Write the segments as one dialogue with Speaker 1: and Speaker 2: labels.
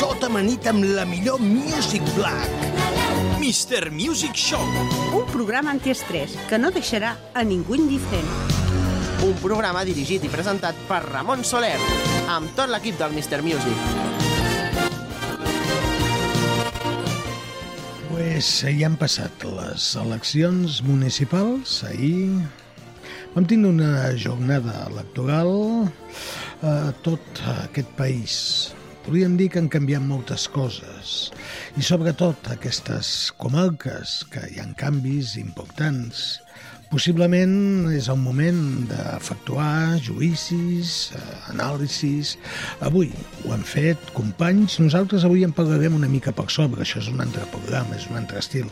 Speaker 1: Tot amanit Tota amb la millor Music Black.
Speaker 2: Mr. Music Show.
Speaker 3: un programa antiestrès que no deixarà a ningú indiferent.
Speaker 4: Un programa dirigit i presentat per Ramon Soler, amb tot l'equip del Mr. Music.
Speaker 5: Pues ja han passat les eleccions municipals, ahir vam tenir una jornada electoral eh, a tot aquest país. Podríem dir que han canviat moltes coses i sobretot aquestes comarques que hi han canvis importants. Possiblement és el moment d'efectuar juïcis, eh, anàlisis... Avui ho han fet companys. Nosaltres avui en parlarem una mica per sobre. Això és un altre programa, és un altre estil.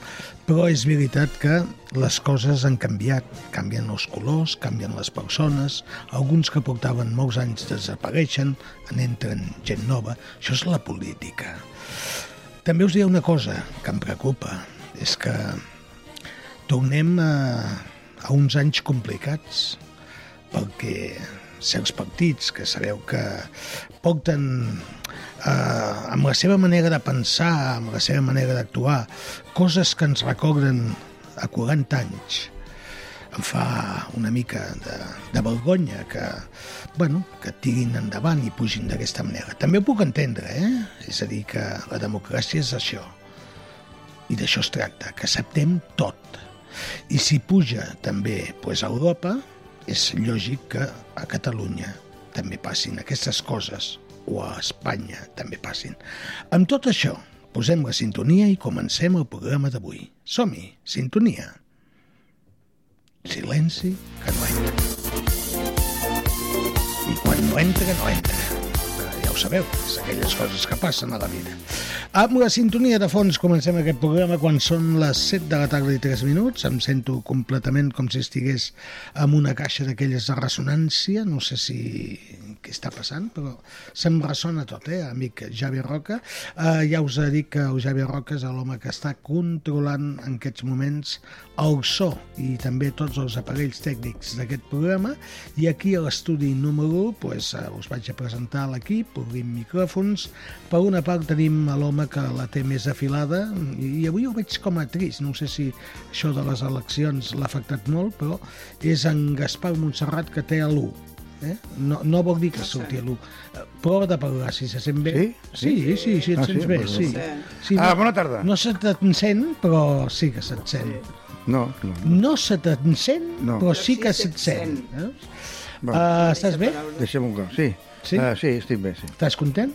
Speaker 5: Però és veritat que les coses han canviat. Canvien els colors, canvien les persones. Alguns que portaven molts anys desapareixen, n'entren gent nova. Això és la política. També us diré una cosa que em preocupa. És que tornem a, a uns anys complicats perquè certs partits que sabeu que porten eh, amb la seva manera de pensar, amb la seva manera d'actuar, coses que ens recorden a 40 anys. Em fa una mica de, de vergonya que, bueno, que tirin endavant i pugin d'aquesta manera. També ho puc entendre, eh? És a dir, que la democràcia és això. I d'això es tracta, que acceptem tot. I si puja també pues, a Europa, és lògic que a Catalunya també passin aquestes coses, o a Espanya també passin. Amb tot això, posem la sintonia i comencem el programa d'avui. Som-hi, sintonia. Silenci que no entra. I quan no entra, no entra ja ho sabeu, és aquelles coses que passen a la vida. Amb la sintonia de fons comencem aquest programa quan són les 7 de la tarda i 3 minuts. Em sento completament com si estigués en una caixa d'aquelles de ressonància. No sé si què està passant, però se'm ressona tot, eh, amic Javi Roca. Eh, ja us dic que el Javi Roca és l'home que està controlant en aquests moments el so i també tots els aparells tècnics d'aquest programa. I aquí a l'estudi número 1 pues, eh, us vaig a presentar l'equip, obrim micròfons. Per una part tenim a l'home que la té més afilada i avui ho veig com a trist. No sé si això de les eleccions l'ha afectat molt, però és en Gaspar Montserrat que té l'1. Eh? No, no vol dir que surti l'1. Prova de parlar, si se sent bé. Sí, sí, sí, sí et
Speaker 6: Ah, sí?
Speaker 5: sents bé.
Speaker 6: Bueno,
Speaker 5: Sí. Sí,
Speaker 6: Ah,
Speaker 5: no-
Speaker 6: bona tarda.
Speaker 5: No se t'encén, però sí que se't sent.
Speaker 6: No, no. no.
Speaker 5: No se t'encén,
Speaker 6: No.
Speaker 5: però sí que se't sent. veus?
Speaker 6: Va,
Speaker 5: Ah, estàs bé?
Speaker 6: deixem un cop. Sí.
Speaker 5: Sí?
Speaker 6: Ah, sí, estic bé, sí.
Speaker 5: Estàs content?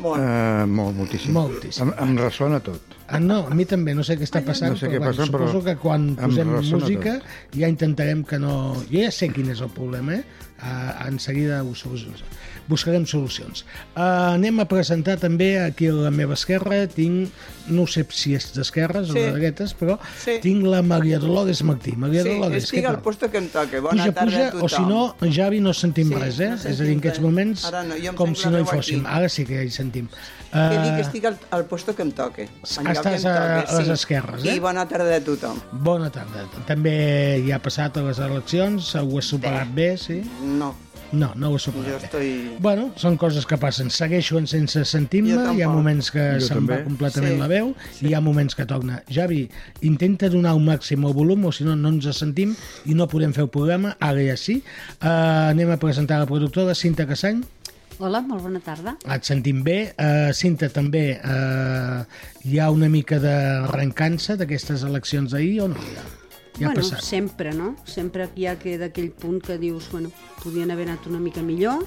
Speaker 6: Uh, molt, moltíssim.
Speaker 5: Moltíssim.
Speaker 6: Em, em ressona tot.
Speaker 5: Ah, no, a mi també, no sé què està passant,
Speaker 6: No sé què
Speaker 5: però,
Speaker 6: passa, però
Speaker 5: suposo que quan
Speaker 6: em
Speaker 5: posem
Speaker 6: ressona
Speaker 5: música ja intentarem que no... Jo ja sé quin és el problema, eh? Uh, en seguida ho solucions. buscarem solucions. Uh, anem a presentar també aquí a la meva esquerra, tinc, no sé si és d'esquerres o
Speaker 7: Sí.
Speaker 5: de dretes, però
Speaker 7: Sí.
Speaker 5: tinc la Maria Dolores Martí. Maria
Speaker 7: Sí,
Speaker 5: Dolores,
Speaker 7: estic
Speaker 5: què
Speaker 7: al
Speaker 5: tal?
Speaker 7: puesto que em toque. Bona
Speaker 5: puja,
Speaker 7: tarda
Speaker 5: puja,
Speaker 7: a tothom.
Speaker 5: o si no, Javi, no sentim
Speaker 7: Sí,
Speaker 5: res, eh?
Speaker 7: no sentim
Speaker 5: és a dir, en aquests
Speaker 7: res.
Speaker 5: moments,
Speaker 7: Ara no, jo em
Speaker 5: com
Speaker 7: sento
Speaker 5: si
Speaker 7: la
Speaker 5: no hi
Speaker 7: veu aquí.
Speaker 5: fóssim. Ara sí que hi sentim.
Speaker 7: Que dic
Speaker 5: Eh,
Speaker 7: que estic al, al puesto que em toque. al lloc
Speaker 5: estàs
Speaker 7: que em
Speaker 5: a-
Speaker 7: toque,
Speaker 5: a les esquerres, eh?
Speaker 7: I bona tarda a tothom.
Speaker 5: Bona tarda. També hi ha passat a les eleccions, ho has superat bé, sí?
Speaker 7: No,
Speaker 5: No, no ho has
Speaker 7: jo
Speaker 5: superat bé.
Speaker 7: estoy...
Speaker 5: Bueno, són coses que passen. Segueixo en sense sentir-me,
Speaker 7: Jo
Speaker 5: hi ha
Speaker 7: tampoc.
Speaker 5: moments que
Speaker 6: Jo
Speaker 5: se'n va
Speaker 6: també.
Speaker 5: completament
Speaker 7: Sí,
Speaker 5: la veu i hi ha moments que torna. Javi, intenta donar un màxim al volum o si no, no ens sentim i no podem fer el programa, ara ja sí. Uh, anem a presentar la productora, Cinta Cassany.
Speaker 8: Hola, molt bona tarda.
Speaker 5: Et sentim bé. Uh, Cinta, també uh, hi ha una mica de rencança d'aquestes eleccions d'ahir o no? Ja, ja ha
Speaker 8: bueno,
Speaker 5: passat.
Speaker 8: sempre, no? Sempre hi ha que d'aquell punt que dius, bueno, podien haver anat una mica millor,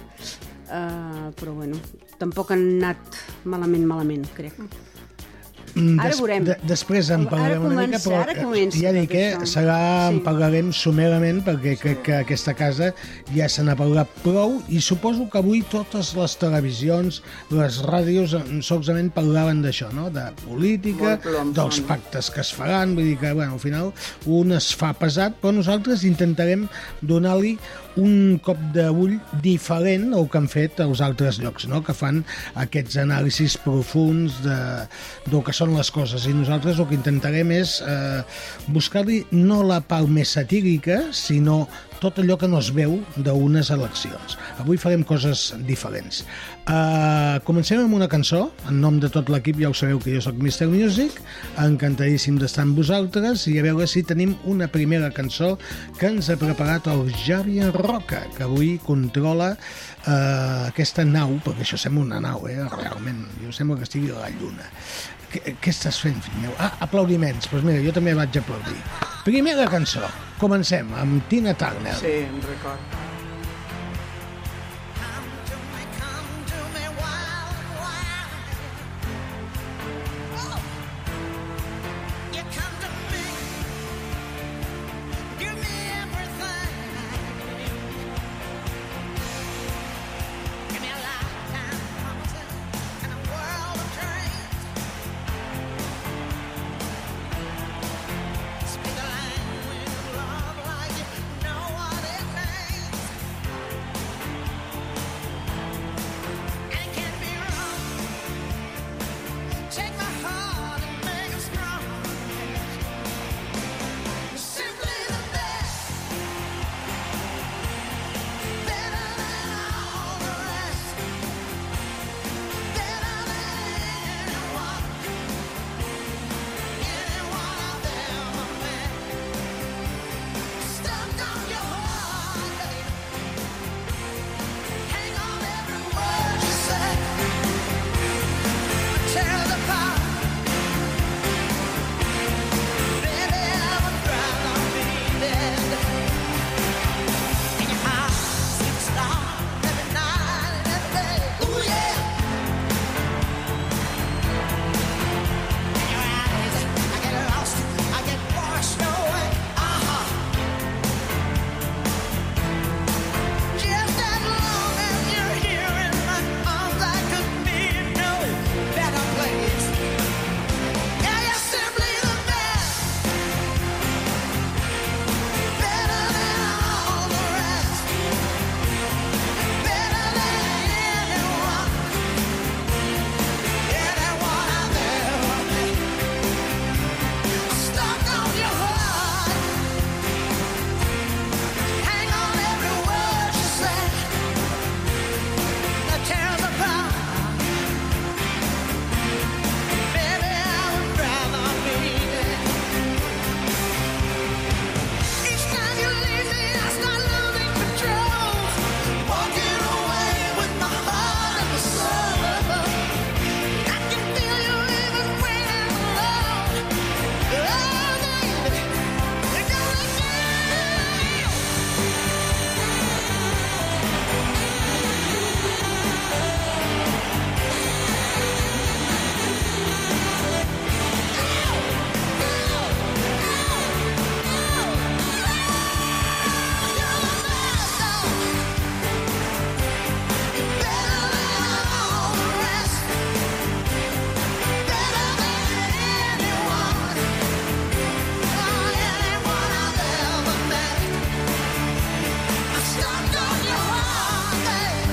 Speaker 8: eh, però bueno, tampoc han anat malament, malament, crec.
Speaker 5: Mm,
Speaker 8: Ara veurem.
Speaker 5: de, després en
Speaker 8: Ara
Speaker 5: parlarem una mica,
Speaker 8: comença,
Speaker 5: però
Speaker 8: ara comença
Speaker 5: ja dic,
Speaker 8: tot
Speaker 5: eh,
Speaker 8: això.
Speaker 5: serà, en
Speaker 8: Sí.
Speaker 5: parlarem sumerament, perquè crec que aquesta casa ja se n'ha parlat prou, i suposo que avui totes les televisions, les ràdios, en- solament parlaven d'això, no? de política,
Speaker 7: Molt plom,
Speaker 5: dels
Speaker 7: som.
Speaker 5: pactes que es faran, vull dir que, bueno, al final, un es fa pesat, però nosaltres intentarem donar-li un cop d'ull diferent al que han fet els altres llocs, no? que fan aquests anàlisis profuns de, del que són les coses. I nosaltres el que intentarem és eh, buscar-li no la part més satírica, sinó tot allò que no es veu d'unes eleccions. Avui farem coses diferents. Uh, comencem amb una cançó, en nom de tot l'equip, ja ho sabeu que jo sóc Mr. Music, encantadíssim d'estar amb vosaltres i a veure si tenim una primera cançó que ens ha preparat el Javier Roca, que avui controla uh, aquesta nau, perquè això sembla una nau, eh? realment, jo sembla que estigui a la lluna. Què, què estàs fent, fill meu? Ah, aplaudiments. Doncs pues mira, jo també vaig aplaudir. Primera cançó. Comencem amb Tina Turner.
Speaker 7: Sí, em record.
Speaker 9: Oh. Speak a language of love like you know what it means. I can't be wrong. Take my heart and make it strong. Simply the best, better than all the rest, better than anyone, anyone I've ever met. Stand on your heart, baby. Hang on every word you say. Tear the apart. Baby, I would rather be dead. In your heart, sweet star, every night and every day. Ooh, yeah. In your eyes, I get lost, I get washed away. Uh-huh. Aha. Just as long as you're here in my arms, I could be in no better place. Yeah, you're simply the best, better than all the rest, better than anyone, anyone I've ever met. Stuck on your heart. Hang on every word you say. That tears apart. Baby, I would rather be dead. Each time you leave me, I start losing control. Walking away with my heart and my soul. I can feel you even when I'm alone. Oh, baby, you're gonna kill me. Stopped on your heart, babe.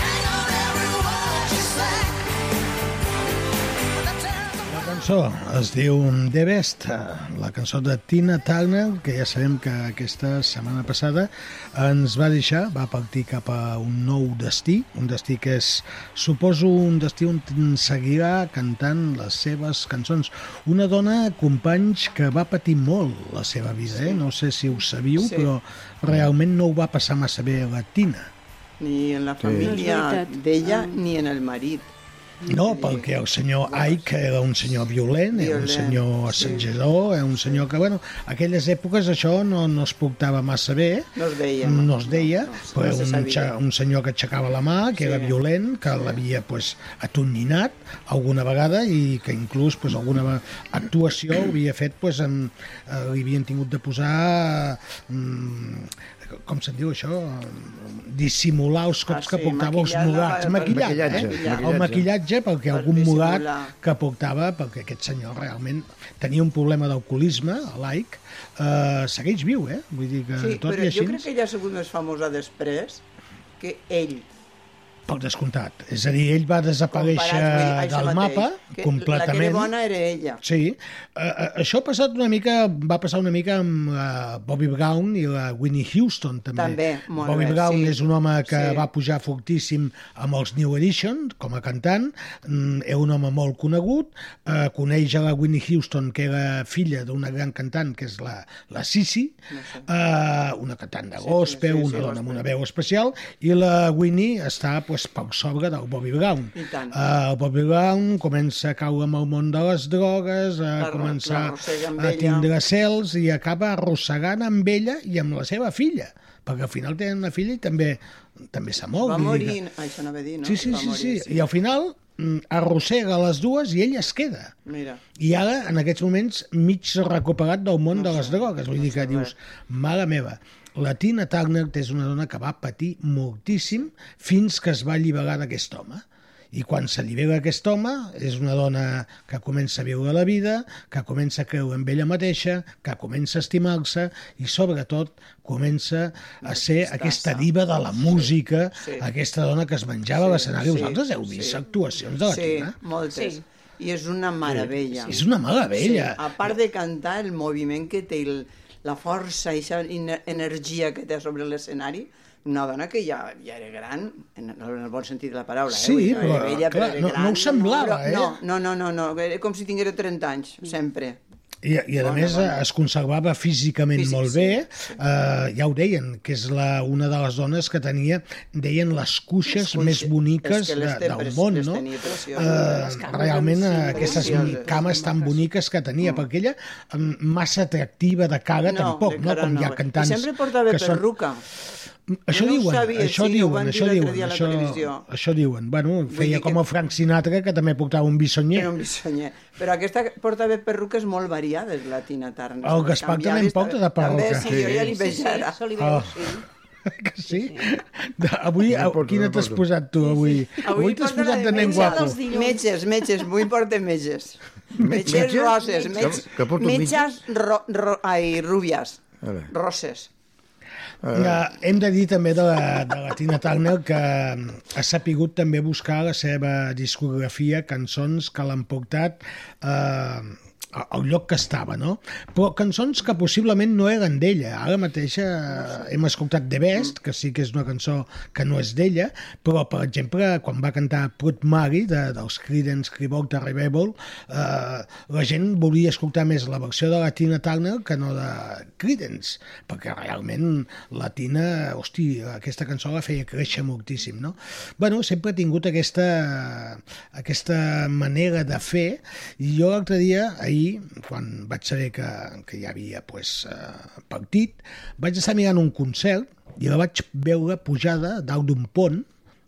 Speaker 9: Hang on every word you say. When I turn the
Speaker 5: La cançó es diu The Best, eh, la cançó de Tina Turner, que ja sabem que aquesta setmana passada ens va deixar, va partir cap a un nou destí, un destí que és, suposo, un destí on seguirà cantant les seves cançons. Una dona, companys, que va patir molt la seva vida, eh? no sé si ho sabíu,
Speaker 7: Sí.
Speaker 5: però realment no ho va passar massa bé a la Tina.
Speaker 7: Ni en la
Speaker 6: No és
Speaker 7: família
Speaker 8: veritat.
Speaker 7: d'ella
Speaker 8: Ah.
Speaker 7: ni en el marit.
Speaker 5: No, perquè el senyor Aik era un senyor violent, era un
Speaker 7: Violent,
Speaker 5: senyor assetjador, era un senyor que, bueno, aquelles èpoques això no, no es portava massa bé,
Speaker 7: No es veia.
Speaker 5: no es deia,
Speaker 7: No, no,
Speaker 5: però
Speaker 7: no se
Speaker 5: un,
Speaker 7: sabia.
Speaker 5: xa- un senyor que aixecava la mà, que era violent, que l'havia pues, atonyinat alguna vegada i que inclús pues, alguna ve- actuació havia fet, pues, amb, eh, li havien tingut de posar... Mm, com se'n diu això? Dissimular els cops
Speaker 7: Ah,
Speaker 5: que
Speaker 7: sí,
Speaker 5: portava els
Speaker 7: maquillar la-
Speaker 5: mudats. Maquillat,
Speaker 6: Maquillatge,
Speaker 5: eh?
Speaker 6: maquillatge.
Speaker 5: El maquillatge perquè
Speaker 7: Per
Speaker 5: algun mudat
Speaker 7: dissimular.
Speaker 5: que portava, perquè aquest senyor realment tenia un problema d'alcoholisme, laic, eh, segueix viu, eh? Vull dir que
Speaker 7: Sí,
Speaker 5: tot
Speaker 7: però
Speaker 5: i així...
Speaker 7: jo crec que ella ha sigut més famosa després que ell.
Speaker 5: Per descomptat. És a dir, ell va desaparèixer
Speaker 7: comparat amb ell- això
Speaker 5: del
Speaker 7: mateix,
Speaker 5: mapa
Speaker 7: que La que
Speaker 5: completament.
Speaker 7: era bona era ella.
Speaker 5: Sí. Uh, això ha passat una mica, va passar una mica amb uh, Bobby Brown i la Winnie Houston, també.
Speaker 7: També, molt
Speaker 5: Bobby
Speaker 7: bé,
Speaker 5: Brown
Speaker 7: sí.
Speaker 5: és un home que
Speaker 7: Sí.
Speaker 5: va pujar fortíssim amb els New Edition, com a cantant. Mm, és un home molt conegut. Uh, coneix a la Winnie Houston, que era filla d'una gran cantant, que és la, la Sissi, uh, una cantant de gospel,
Speaker 7: sí, sí,
Speaker 5: una dona amb
Speaker 7: gospel.
Speaker 5: una veu especial, i la Winnie està pues, per sobre del Bobby Brown.
Speaker 7: I tant.
Speaker 5: Eh, el Bobby Brown comença a caure amb el món de les drogues, a
Speaker 7: La-
Speaker 5: començar
Speaker 7: l'arrossega amb
Speaker 5: a
Speaker 7: ella.
Speaker 5: tindre cels i acaba arrossegant amb ella i amb la seva filla, perquè al final tenen una filla i també també se mou.
Speaker 7: Va
Speaker 5: vull dir que-
Speaker 7: morir, això anava a dir, no?
Speaker 5: Sí, sí,
Speaker 7: Va
Speaker 5: sí, sí.
Speaker 7: morir,
Speaker 5: I al final mm, arrossega les dues i ell es queda.
Speaker 7: Mira,
Speaker 5: I ara, en aquests moments, mig recuperat del món de les drogues. Vull dir que dius, mare meva, la Tina Turner és una dona que va patir moltíssim fins que es va alliberar d'aquest home. I quan s'allibera aquest home, és una dona que comença a viure la vida, que comença a creure en ella mateixa, que comença a estimar-se i, sobretot, comença a ser aquesta diva de la música,
Speaker 7: sí.
Speaker 5: aquesta dona que es menjava l'escenari.
Speaker 7: sí,
Speaker 5: Vosaltres heu vist
Speaker 7: sí.
Speaker 5: actuacions de la
Speaker 7: sí,
Speaker 5: Tina?
Speaker 7: moltes. Sí. I és una meravella.
Speaker 5: És una mala vella.
Speaker 7: Sí, a part de cantar, el moviment que té, el, la força i aquesta energia que té sobre l'escenari, una dona que ja, ja era gran, en el, en el bon sentit de la paraula,
Speaker 5: Sí,
Speaker 7: eh? Vull dir, no era
Speaker 5: però,
Speaker 7: vella,
Speaker 5: clar,
Speaker 7: era
Speaker 5: no- no ho semblava,
Speaker 7: però,
Speaker 5: eh?
Speaker 7: No, no, no, no, no, era com si tinguera 30 anys, sempre.
Speaker 5: I, i a
Speaker 7: Bona,
Speaker 5: més
Speaker 7: bona.
Speaker 5: es conservava físicament
Speaker 7: Físic,
Speaker 5: molt
Speaker 7: sí,
Speaker 5: bé, eh, ja ho deien, que és la, una de les dones que tenia, deien les cuixes
Speaker 7: cuixes.
Speaker 5: més boniques
Speaker 7: És que
Speaker 5: de,
Speaker 7: les té
Speaker 5: del
Speaker 7: preci-
Speaker 5: món,
Speaker 7: les
Speaker 5: no?
Speaker 7: tenia precioses. Les
Speaker 5: Eh,
Speaker 7: cames
Speaker 5: realment
Speaker 7: sí,
Speaker 5: aquestes
Speaker 7: precioses.
Speaker 5: cames tan boniques que tenia, perquè ella mm, massa atractiva de cara tampoc,
Speaker 7: de
Speaker 5: no?
Speaker 7: cara
Speaker 5: Com hi ha
Speaker 7: no.
Speaker 5: cantants
Speaker 7: I sempre portava
Speaker 5: que són...
Speaker 7: perruca.
Speaker 5: Això
Speaker 7: Jo no ho
Speaker 5: diuen,
Speaker 7: sabia,
Speaker 5: això
Speaker 7: sí, ho
Speaker 5: diuen,
Speaker 7: van dir
Speaker 5: això
Speaker 7: l'altre
Speaker 5: diuen,
Speaker 7: dia a la
Speaker 5: això,
Speaker 7: televisió.
Speaker 5: això diuen. Bueno,
Speaker 7: dir
Speaker 5: feia
Speaker 7: que-
Speaker 5: com el Frank Sinatra, que també portava un bisonyer.
Speaker 7: Era un bisonyer. Però aquesta portava perruques molt variades, la Tina Turner.
Speaker 5: El Gaspar també en porta de perruca.
Speaker 7: També, sí, jo ja li veig ara.
Speaker 8: se li veu,
Speaker 5: Ah.
Speaker 8: sí.
Speaker 5: Que sí? De, avui,
Speaker 6: No
Speaker 5: a,
Speaker 6: poso,
Speaker 5: quina
Speaker 6: no
Speaker 5: t'has
Speaker 6: poso.
Speaker 5: posat tu, avui? Avui,
Speaker 7: Avui
Speaker 5: t'has
Speaker 7: porta
Speaker 5: posat
Speaker 7: la
Speaker 5: de nen
Speaker 7: defensa
Speaker 5: guapo.
Speaker 8: dels dilluns.
Speaker 7: Metges, metges, vull portar metges. Metges
Speaker 6: Metges?
Speaker 7: roses,
Speaker 6: Que-
Speaker 7: metges,
Speaker 6: que porto
Speaker 7: metges ro, ro, ai, rúbies,
Speaker 6: A veure.
Speaker 7: roses.
Speaker 5: Ja, hem de dir també de la, de la Tina Turner que ha sapigut també buscar a la seva discografia cançons que l'han portat eh, al lloc que estava, no? Però cançons que possiblement no eren d'ella. Ara mateixa eh, hem escoltat The Best, que sí que és una cançó que no és d'ella, però, per exemple, quan va cantar Prout Mary, de, dels Creedence Clearwater Revival, eh, la gent volia escoltar més la versió de la Tina Turner que no de Creedence, perquè realment la Tina, hosti, aquesta cançó la feia créixer moltíssim, no? Bueno, sempre ha tingut aquesta, aquesta manera de fer, i jo l'altre dia, ahir, quan vaig saber que, que hi havia pues, eh, partit, vaig estar mirant un concert i la vaig veure pujada dalt d'un pont,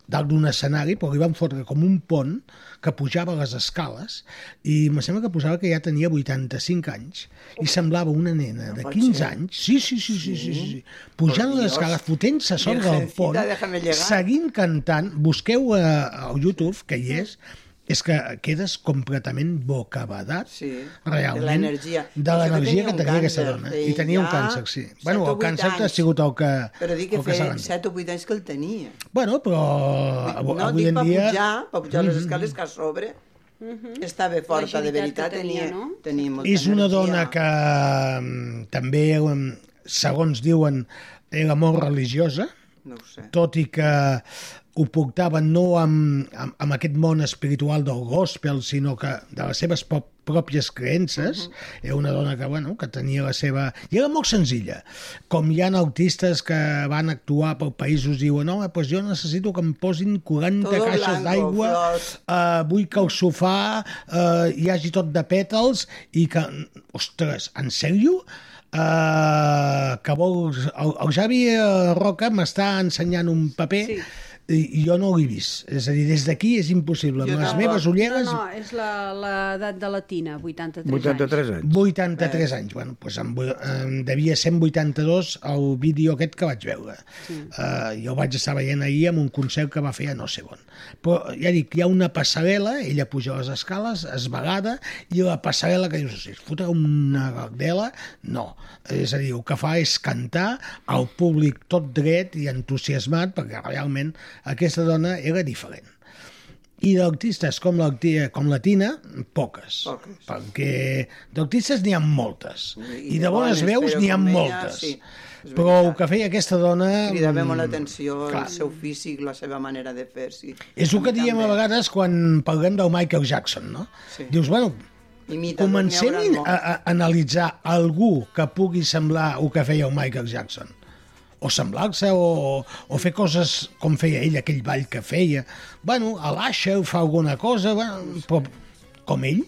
Speaker 5: dalt d'un escenari, però li van fotre com un pont que pujava les escales i em sembla que posava que ja tenia 85 anys i semblava una nena de 15 anys, sí, sí, sí, sí, sí, sí, sí. pujant les escales, fotent-se a sobre del
Speaker 7: Virgencita,
Speaker 5: pont,
Speaker 7: déjame llegar.
Speaker 5: seguint cantant, busqueu a, a YouTube, que hi és, és que quedes completament bocabadat
Speaker 7: Sí,
Speaker 5: realment,
Speaker 7: de l'energia.
Speaker 5: de
Speaker 7: Això que
Speaker 5: l'energia
Speaker 7: tenia
Speaker 5: que
Speaker 7: un
Speaker 5: tenia aquesta
Speaker 7: càncer,
Speaker 5: dona. eh?
Speaker 7: feia
Speaker 5: I tenia un
Speaker 7: ja
Speaker 5: càncer, sí.
Speaker 7: set
Speaker 5: Bueno, el
Speaker 7: o vuit
Speaker 5: càncer ha
Speaker 7: anys.
Speaker 5: sigut el que...
Speaker 7: Però dic que
Speaker 5: el que
Speaker 7: feia
Speaker 5: s'ha dit.
Speaker 7: 7 o 8 anys que el tenia.
Speaker 5: Bueno, però avui,
Speaker 7: No,
Speaker 5: avui
Speaker 7: dic
Speaker 5: en
Speaker 7: per
Speaker 5: dia... Mm-hmm.
Speaker 7: pujar, per pujar les escales que a sobre estava forta, de
Speaker 8: L'agilitat Mm-hmm. que
Speaker 7: veritat,
Speaker 8: tenia,
Speaker 7: tenia,
Speaker 8: no?
Speaker 7: tenia molta
Speaker 5: És una
Speaker 7: energia.
Speaker 5: dona que mm, també, mm, segons diuen, era molt religiosa,
Speaker 7: No ho sé.
Speaker 5: tot i que ho portaven no amb, amb, amb aquest món espiritual del gospel, sinó que de les seves prop, pròpies creences. Uh -huh.
Speaker 7: Mhm.
Speaker 5: Era una dona que, bueno, que tenia la seva... I era molt senzilla. Com hi ha autistes que van actuar per països i diuen no, pues jo necessito que em posin 40
Speaker 7: Todo
Speaker 5: caixes
Speaker 7: blanco,
Speaker 5: d'aigua,
Speaker 7: flors.
Speaker 5: eh, vull que el sofà eh, hi hagi tot de pètals i que... Ostres, en sèrio? Uh, que vols... El, el Javi eh, Roca m'està ensenyant un paper sí. i, i jo no l'he vist. És a dir, des d'aquí és impossible. Amb les
Speaker 7: tampoc.
Speaker 5: meves ulleres...
Speaker 8: No, no, és la- l'edat de la Tina, 83,
Speaker 6: 83 anys.
Speaker 5: 83 anys. Bueno, doncs em, em devia 182 el vídeo aquest que vaig veure. Sí. Uh, jo vaig estar veient ahir amb un concert que va fer a no sé on. Però ja dic, hi ha una passarel·la, ella puja les escales, es vegada, i la passarel·la que dius, "Hosti, es fotrà una gardela? No. És a dir, el que fa és cantar al públic tot dret i entusiasmat, perquè realment aquesta dona era diferent. I d'autistes com, la, com la Tina, poques.
Speaker 7: Poques.
Speaker 5: Perquè d'autistes n'hi ha moltes. I,
Speaker 7: I
Speaker 5: de
Speaker 7: de
Speaker 5: bones
Speaker 7: bones,
Speaker 5: veus
Speaker 7: però
Speaker 5: n'hi ha
Speaker 7: com ella,
Speaker 5: moltes.
Speaker 7: sí, és
Speaker 5: però el
Speaker 7: veritat.
Speaker 5: que feia aquesta dona...
Speaker 7: Cridava molt
Speaker 5: mm,
Speaker 7: l'atenció
Speaker 5: clar.
Speaker 7: el seu físic, la seva manera de fer, sí.
Speaker 5: És el
Speaker 7: A
Speaker 5: que
Speaker 7: mi
Speaker 5: diem a
Speaker 7: també.
Speaker 5: vegades quan parlem del Michael Jackson, no?
Speaker 7: Sí.
Speaker 5: Dius, bueno,
Speaker 7: Imita,
Speaker 5: comencem
Speaker 7: n'hi hauran
Speaker 5: a,
Speaker 7: molts.
Speaker 5: a analitzar algú que pugui semblar el que feia el Michael Jackson o semblar-se o, o fer coses com feia ell, aquell ball que feia bueno, a l'Aixa fa alguna cosa bueno, però com ell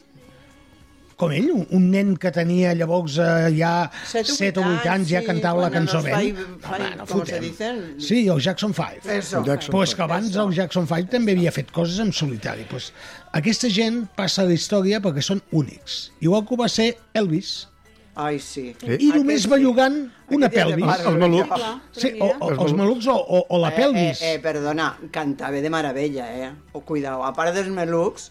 Speaker 5: com ell, un, un nen que tenia llavors eh, ja
Speaker 7: Set o
Speaker 5: 7 o 8 anys ja
Speaker 7: sí,
Speaker 5: cantava la
Speaker 7: quan
Speaker 5: cançó
Speaker 7: els
Speaker 5: Ben.
Speaker 7: five-
Speaker 5: Home,
Speaker 7: five,
Speaker 5: no
Speaker 7: com se
Speaker 5: fotem.
Speaker 7: dicen.
Speaker 5: Sí, el Jackson 5.
Speaker 7: Eso.
Speaker 6: Jackson
Speaker 5: Però és que abans el Jackson Five també havia fet coses en solitari. Pues, aquesta gent passa a la història perquè són únics. Igual que ho va ser Elvis,
Speaker 7: Ai, sí.
Speaker 5: i només
Speaker 7: Aquest
Speaker 5: bellugant una
Speaker 7: Aquest és de
Speaker 5: pelvis.
Speaker 7: barro,
Speaker 6: Els malucs.
Speaker 7: ja.
Speaker 5: Sí, o, o, els malucs o, o, o la pelvis.
Speaker 7: Eh, eh, perdona, cantava de meravella, eh? O cuidao, a part dels melucs,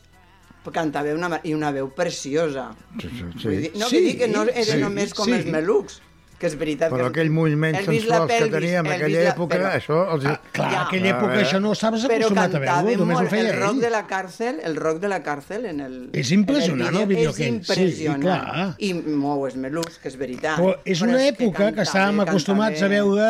Speaker 7: cantava una, ma- i una veu preciosa.
Speaker 6: Sí, sí, sí.
Speaker 7: Vull dir, no
Speaker 5: Sí,
Speaker 7: que dic que no era
Speaker 5: sí,
Speaker 7: només com
Speaker 5: sí.
Speaker 7: els melucs, que és veritat
Speaker 6: Però
Speaker 7: que...
Speaker 6: aquell moviment
Speaker 7: Elvis la
Speaker 6: sensual que
Speaker 7: pelvis,
Speaker 6: tenia en
Speaker 7: Elvis
Speaker 6: aquella
Speaker 7: la-
Speaker 6: època,
Speaker 7: però-
Speaker 6: això els... eh,
Speaker 5: Ah, clar,
Speaker 7: ja.
Speaker 5: en aquella
Speaker 6: A
Speaker 5: època
Speaker 6: veure.
Speaker 5: això no estaves
Speaker 7: Però
Speaker 5: acostumat a
Speaker 7: cantava
Speaker 5: veure-ho, només ho
Speaker 7: molt
Speaker 5: feia
Speaker 7: el rock
Speaker 5: ell.
Speaker 7: de la càrcel, el rock de la càrcel en el...
Speaker 5: És impressionant,
Speaker 7: en
Speaker 5: el vídeo aquell, sí,
Speaker 7: És impressionant.
Speaker 5: clar.
Speaker 7: I mou els melucs, que és veritat.
Speaker 5: Però és una
Speaker 7: que
Speaker 5: època que
Speaker 7: cantava,
Speaker 5: estàvem
Speaker 7: cantava.
Speaker 5: acostumats a veure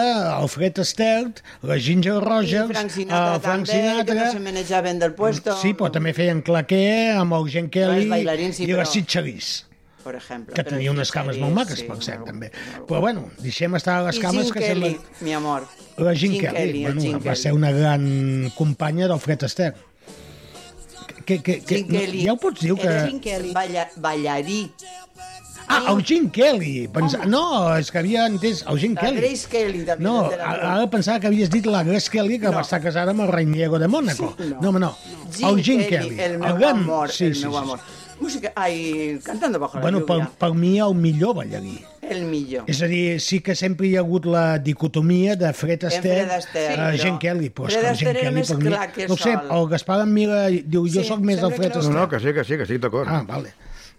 Speaker 5: Alfred Stert, la Ginger Rogers,
Speaker 7: I Frank Sinatra,
Speaker 5: eh, Frank
Speaker 7: també, que
Speaker 5: Sinatra...
Speaker 7: no se manejaven del puesto.
Speaker 5: Sí, però també feien claquer amb el Gen Kelly
Speaker 7: bailarins, sí,
Speaker 5: i la
Speaker 7: però-
Speaker 5: Sitxarís.
Speaker 7: Per exemple.
Speaker 5: que
Speaker 7: però
Speaker 5: tenia unes
Speaker 7: sí,
Speaker 5: cames
Speaker 7: sí,
Speaker 5: molt maques,
Speaker 7: sí,
Speaker 5: per cert,
Speaker 7: molt-
Speaker 5: també.
Speaker 7: molt
Speaker 5: Però bueno, deixem estar les
Speaker 7: I
Speaker 5: cames
Speaker 7: Jim
Speaker 5: que
Speaker 7: Kelly,
Speaker 5: semblen...
Speaker 7: mi amor.
Speaker 5: La Jim,
Speaker 7: Jim
Speaker 5: Kelly,
Speaker 7: Kelly, el
Speaker 5: bueno,
Speaker 7: Jim
Speaker 5: va
Speaker 7: Kelly.
Speaker 5: ser una gran companya del Fred Astaire. Que, que, que,
Speaker 7: Jim Kelly.
Speaker 5: ja ho pots dir que...
Speaker 7: Era Jim Kelly. Balla, ballarí.
Speaker 5: Ah, el Jim Kelly! Pensa... No, és que havia entès el Jim
Speaker 7: La
Speaker 5: Kelly.
Speaker 7: Grace Kelly, també.
Speaker 5: No,
Speaker 7: de la-
Speaker 5: ara pensava que havies dit la Grace Kelly que va estar casada amb el rei Diego de Mónaco.
Speaker 7: no.
Speaker 5: no, home, no. El Jim Kelly.
Speaker 7: El meu
Speaker 5: gran-
Speaker 7: amor,
Speaker 5: sí,
Speaker 7: el
Speaker 5: sí,
Speaker 7: meu
Speaker 5: sí,
Speaker 7: amor. Música, ai, cantando bajo
Speaker 5: Sí.
Speaker 7: la
Speaker 5: Bueno, per,
Speaker 7: lluvia.
Speaker 5: per mi el millor ballarí.
Speaker 7: El millor.
Speaker 5: És a dir, sí que sempre hi ha hagut la dicotomia de Fred Astaire,
Speaker 7: Fred Astaire,
Speaker 5: eh,
Speaker 7: però-
Speaker 5: Gen Kelly. Però és
Speaker 7: Fred
Speaker 5: que el Gen
Speaker 7: Astaire era
Speaker 5: Kelly
Speaker 7: més
Speaker 5: per mi...
Speaker 7: clar que
Speaker 5: No ho sé,
Speaker 7: sol.
Speaker 5: el Gaspar em mira i diu, jo
Speaker 7: Sí,
Speaker 5: sóc més del
Speaker 7: sembla
Speaker 5: Fred
Speaker 7: que no.
Speaker 6: No,
Speaker 5: Astaire.
Speaker 6: no, que sí, que sí, que estic d'acord.
Speaker 5: Ah, vale.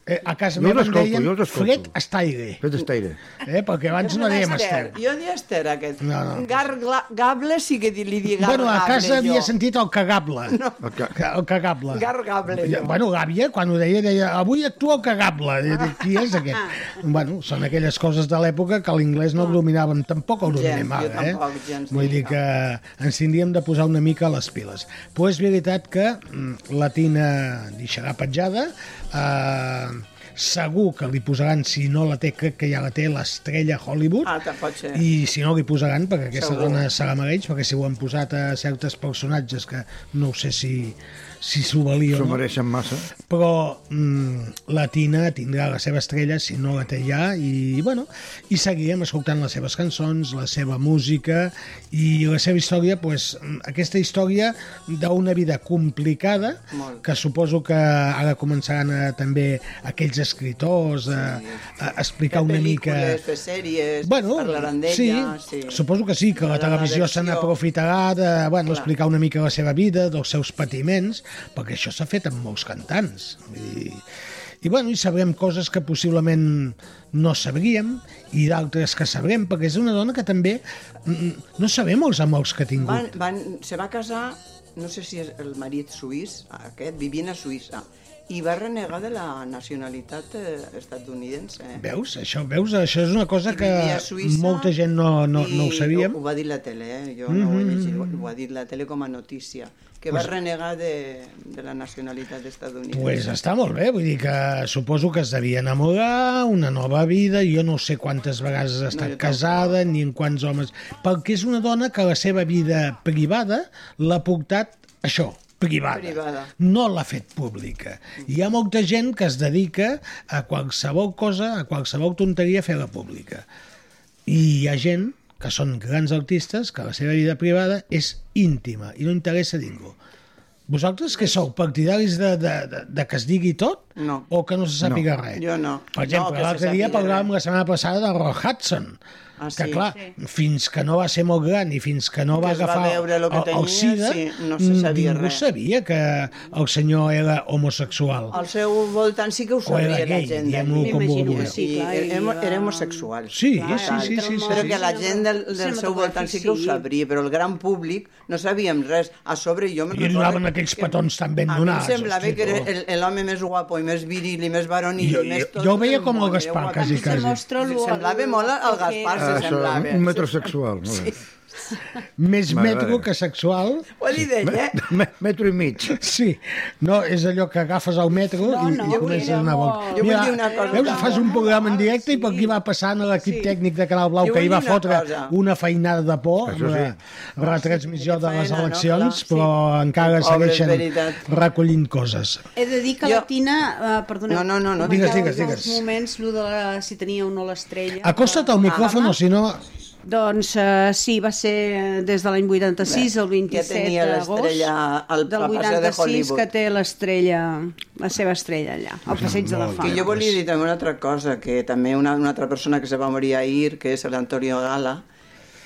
Speaker 5: Eh, a casa
Speaker 6: Jo
Speaker 5: meva em
Speaker 6: l'escolto,
Speaker 5: deien
Speaker 6: jo l'escolto.
Speaker 5: Fred Astaire,
Speaker 6: Fes estaire.
Speaker 5: eh, perquè abans no dèiem Astaire.
Speaker 7: Jo diria Esther, aquest.
Speaker 5: No, no.
Speaker 7: Gargla, gable sí que li digui gargable,
Speaker 5: Bueno, a casa
Speaker 7: jo.
Speaker 5: havia sentit el cagable. No.
Speaker 6: El ca-
Speaker 5: El cagable.
Speaker 7: Gargable,
Speaker 5: Ja,
Speaker 7: jo.
Speaker 5: Bueno, l'àvia, quan ho deia, deia avui actua el cagable. I dic, qui és aquest?
Speaker 7: Ah.
Speaker 5: bueno, són aquelles coses de l'època que l'inglès no el dominàvem tampoc, el dominem
Speaker 7: Gens,
Speaker 5: ara,
Speaker 7: jo tampoc,
Speaker 5: eh?
Speaker 7: gens
Speaker 5: Vull
Speaker 7: ni
Speaker 5: dir
Speaker 7: cap.
Speaker 5: que ens tindríem de posar una mica a les piles. Però és veritat que mm, la Tina deixarà petjada, eh, segur que li posaran, si no la té, crec que ja la té, l'estrella Hollywood.
Speaker 7: Ah, que pot ser.
Speaker 5: I si no, li posaran, perquè aquesta
Speaker 7: Segur.
Speaker 5: dona se la mereix, perquè si ho han posat a certes personatges que no ho sé si si s'ho valia o
Speaker 6: S'ho
Speaker 5: no,
Speaker 6: mereixen massa.
Speaker 5: però mm, la Tina tindrà la seva estrella si no la té ja i, bueno, i seguirem escoltant les seves cançons, la seva música i la seva història, pues, mm, aquesta història d'una vida complicada
Speaker 7: Molt.
Speaker 5: que suposo que ara començaran a, també aquells escritors a, a explicar una mica
Speaker 7: Fer sèries,
Speaker 5: bueno,
Speaker 7: parlaran d'ella.
Speaker 5: sí,
Speaker 7: sí,
Speaker 5: suposo que sí, que la
Speaker 7: Farà una
Speaker 5: televisió se
Speaker 7: versió.
Speaker 5: n'aprofitarà de eh, bueno,
Speaker 7: Clar.
Speaker 5: explicar una mica la seva vida, dels seus patiments, perquè això s'ha fet amb molts cantants. I, i, bueno, i sabrem coses que possiblement no sabríem i d'altres que sabrem, mm, perquè és una dona que també mm, no sabem els amors que ha tingut.
Speaker 7: Van, van, se va casar no sé si és el marit suís, aquest, vivint a Suïssa, i va renegar de la nacionalitat eh, estatunidense.
Speaker 5: Veus? Això, veus? Això és una cosa que
Speaker 7: Vivia a Suïssa
Speaker 5: molta gent no, no,
Speaker 7: i
Speaker 5: no ho sabíem. Mhm,
Speaker 7: Ho, ho va dir la tele, eh? jo no ho he llegit, ho, ho ha dit la tele com a notícia, que va renegar de, de la nacionalitat estadounidense.
Speaker 5: Pues està molt bé, vull dir que suposo que es devia enamorar, una nova vida, jo no sé quantes vegades ha estat
Speaker 7: jo tampoc.
Speaker 5: casada, ni en quants homes... Perquè és una dona que la seva vida privada l'ha portat això, privada.
Speaker 7: Privada.
Speaker 5: No l'ha fet pública. Hi ha molta gent que es dedica a qualsevol cosa, a qualsevol tonteria, a fer-la pública. I hi ha gent que són grans artistes, que la seva vida privada és íntima i no interessa a ningú. Vosaltres que sou partidaris de, de, de, de que es digui tot?
Speaker 7: No.
Speaker 5: O que no se sàpiga no. res?
Speaker 7: Jo no.
Speaker 5: Per
Speaker 7: No,
Speaker 5: exemple,
Speaker 7: que se
Speaker 5: l'altre dia
Speaker 7: sàpiga
Speaker 5: parlàvem
Speaker 7: res.
Speaker 5: la setmana passada de Roy Hudson,
Speaker 7: Ah,
Speaker 5: que
Speaker 7: sí.
Speaker 5: clar, fins que no va ser molt gran i fins que no
Speaker 7: Que
Speaker 5: va
Speaker 7: es va
Speaker 5: agafar
Speaker 7: veure lo que
Speaker 5: el, el
Speaker 7: tenia,
Speaker 5: SIDA, mm,
Speaker 7: sí, no se sabia
Speaker 5: ningú
Speaker 7: res.
Speaker 5: sabia que el senyor era homosexual.
Speaker 7: Al seu voltant sí que ho
Speaker 5: O era
Speaker 7: sabia la
Speaker 5: gay,
Speaker 7: gent.
Speaker 5: diguem-ho
Speaker 7: d'aquí.
Speaker 5: com
Speaker 8: M'imagino
Speaker 5: vulgueu.
Speaker 8: que
Speaker 7: Sí,
Speaker 8: Sí, clar, i
Speaker 7: era,
Speaker 8: va-
Speaker 7: era homosexual.
Speaker 5: Sí,
Speaker 8: Clar,
Speaker 5: sí, sí, sí,
Speaker 8: entra
Speaker 5: sí.
Speaker 8: molt.
Speaker 7: Ah, Però que la gent del, del seu
Speaker 8: Cinematogràfic,
Speaker 7: voltant sí que ho sabria, però el gran públic no sabíem res. A sobre jo... me'n
Speaker 5: I li
Speaker 7: recordo
Speaker 5: donaven aquells
Speaker 7: que-
Speaker 5: petons tan ben
Speaker 7: A mi em
Speaker 5: donats,
Speaker 7: semblava
Speaker 5: hosti,
Speaker 7: que era
Speaker 5: tu.
Speaker 7: el- el- l'home més guapo i més viril i més varonil
Speaker 5: Jo-
Speaker 7: i més
Speaker 5: jo- jo ho veia
Speaker 7: del
Speaker 5: com el
Speaker 7: món, era
Speaker 5: Gaspar,
Speaker 7: guapíssim.
Speaker 5: quasi, quasi.
Speaker 7: Se semblava molt al Gaspar,
Speaker 6: Ah,
Speaker 7: se
Speaker 6: això,
Speaker 7: semblava.
Speaker 6: un metrosexual. Molt bé.
Speaker 5: Més
Speaker 6: M'agrada.
Speaker 5: metro que sexual.
Speaker 7: Ho li deia, eh?
Speaker 6: Me- Metro i mig.
Speaker 5: Sí, no, és allò que agafes al metro
Speaker 8: No,
Speaker 5: i,
Speaker 8: no,
Speaker 5: i comences a
Speaker 8: era
Speaker 5: anar a
Speaker 8: molt-
Speaker 5: vol.
Speaker 7: Jo vull dir una cosa.
Speaker 5: veus, fas un programa en directe i per aquí va passant a l'equip tècnic de Canal Blau
Speaker 7: Jo
Speaker 5: que hi
Speaker 7: vull
Speaker 5: va
Speaker 7: dir una
Speaker 5: fotre
Speaker 7: cosa.
Speaker 5: una feinada de por amb
Speaker 6: Això sí.
Speaker 5: la retransmissió de les
Speaker 7: Faena, no?
Speaker 5: eleccions,
Speaker 7: Clar, sí.
Speaker 5: però encara
Speaker 7: Pobres,
Speaker 5: segueixen
Speaker 7: veritat.
Speaker 5: recollint coses.
Speaker 8: He de dir que
Speaker 7: Jo-
Speaker 8: la Tina, eh, perdoneu,
Speaker 7: No, no, no, no.
Speaker 5: Digues,
Speaker 8: comentava
Speaker 5: digues,
Speaker 8: en
Speaker 5: digues.
Speaker 8: els moments lo de la, si tenia o no l'estrella.
Speaker 5: Acosta't
Speaker 7: Ah,
Speaker 5: al micròfon, o si no...
Speaker 8: Doncs eh, sí, va ser eh, des de l'any 86 al
Speaker 7: ja
Speaker 8: 27
Speaker 7: tenia
Speaker 8: d'agost
Speaker 7: l'estrella al-
Speaker 8: del
Speaker 7: al passeig de
Speaker 8: 86 que
Speaker 7: Hollywood.
Speaker 8: té l'estrella, la seva estrella allà, al passeig de la
Speaker 5: molt
Speaker 8: fama.
Speaker 7: Que jo volia dir també una altra cosa, que també una, una altra persona que se va morir ahir, que és l'Antonio Gala,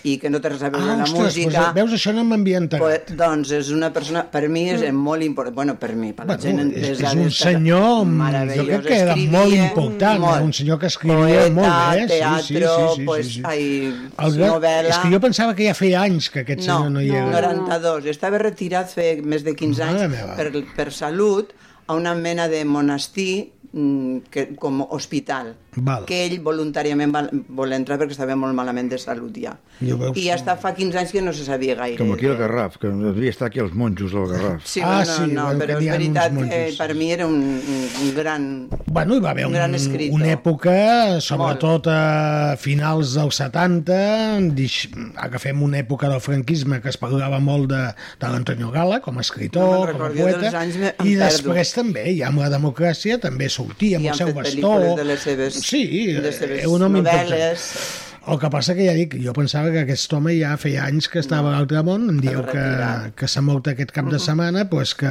Speaker 7: i que no té res a veure
Speaker 5: Ah,
Speaker 7: amb la
Speaker 5: ostres,
Speaker 7: música.
Speaker 5: doncs, veus, això no m'ambienta.
Speaker 7: Pues, doncs és una persona, per mi és molt important, bueno, per mi, per la
Speaker 5: Mm. Bueno,
Speaker 7: gent
Speaker 5: és-
Speaker 7: entesa
Speaker 5: és un
Speaker 7: d'esta-
Speaker 5: senyor, mm,
Speaker 7: meravellós,
Speaker 5: jo crec que era
Speaker 7: escrivia
Speaker 5: molt important, era un senyor que escrivia molt bé, sí, sí, sí,
Speaker 7: teatre,
Speaker 5: sí, sí,
Speaker 7: pues,
Speaker 5: sí.
Speaker 7: Ai,
Speaker 5: El gran-
Speaker 7: novel·la...
Speaker 5: És que jo pensava que ja feia anys que aquest
Speaker 7: No,
Speaker 5: senyor no, hi era.
Speaker 7: 92. Estava retirat fe més de 15
Speaker 5: Mare
Speaker 7: anys
Speaker 5: meva.
Speaker 7: per, per salut a una mena de monestir mm, que, com hospital
Speaker 5: Val.
Speaker 7: que ell voluntàriament va voler entrar perquè estava molt malament de salut ja
Speaker 5: Ja veus
Speaker 7: i
Speaker 5: com-
Speaker 7: està fa 15 anys que no se sabia gaire
Speaker 6: Com aquí al Garraf, que devia estar aquí els monjos del Garraf.
Speaker 7: sí,
Speaker 5: Ah,
Speaker 7: ah,
Speaker 5: sí,
Speaker 7: no, no,
Speaker 5: bueno, que
Speaker 7: però
Speaker 5: n'hi
Speaker 7: és
Speaker 5: ha uns
Speaker 7: veritat que
Speaker 5: monjos.
Speaker 7: per mi era un, un, un gran
Speaker 5: Bueno, hi va haver
Speaker 7: Un
Speaker 5: un,
Speaker 7: gran escritor.
Speaker 5: una època, sobretot a finals dels 70, dix, agafem una època del franquisme que es parlava molt de, de l'Antonio Gala com a
Speaker 7: No
Speaker 5: escritor,
Speaker 7: me'n
Speaker 5: com a
Speaker 7: recordo, jo dels
Speaker 5: poeta,
Speaker 7: anys me- em
Speaker 5: i
Speaker 7: perdo.
Speaker 5: després també, ja amb la democràcia, també sortia amb
Speaker 7: I
Speaker 5: el
Speaker 7: han
Speaker 5: seu
Speaker 7: fet
Speaker 5: bastó.
Speaker 7: pel·lícules de les seves-
Speaker 5: sí,
Speaker 7: de les seves
Speaker 5: era un home
Speaker 7: novel·les.
Speaker 5: important. El que passa que ja dic, jo pensava que aquest home ja feia anys que estava a l'altre món, em dieu que,
Speaker 7: retirat.
Speaker 5: que s'ha mort aquest cap de setmana, doncs que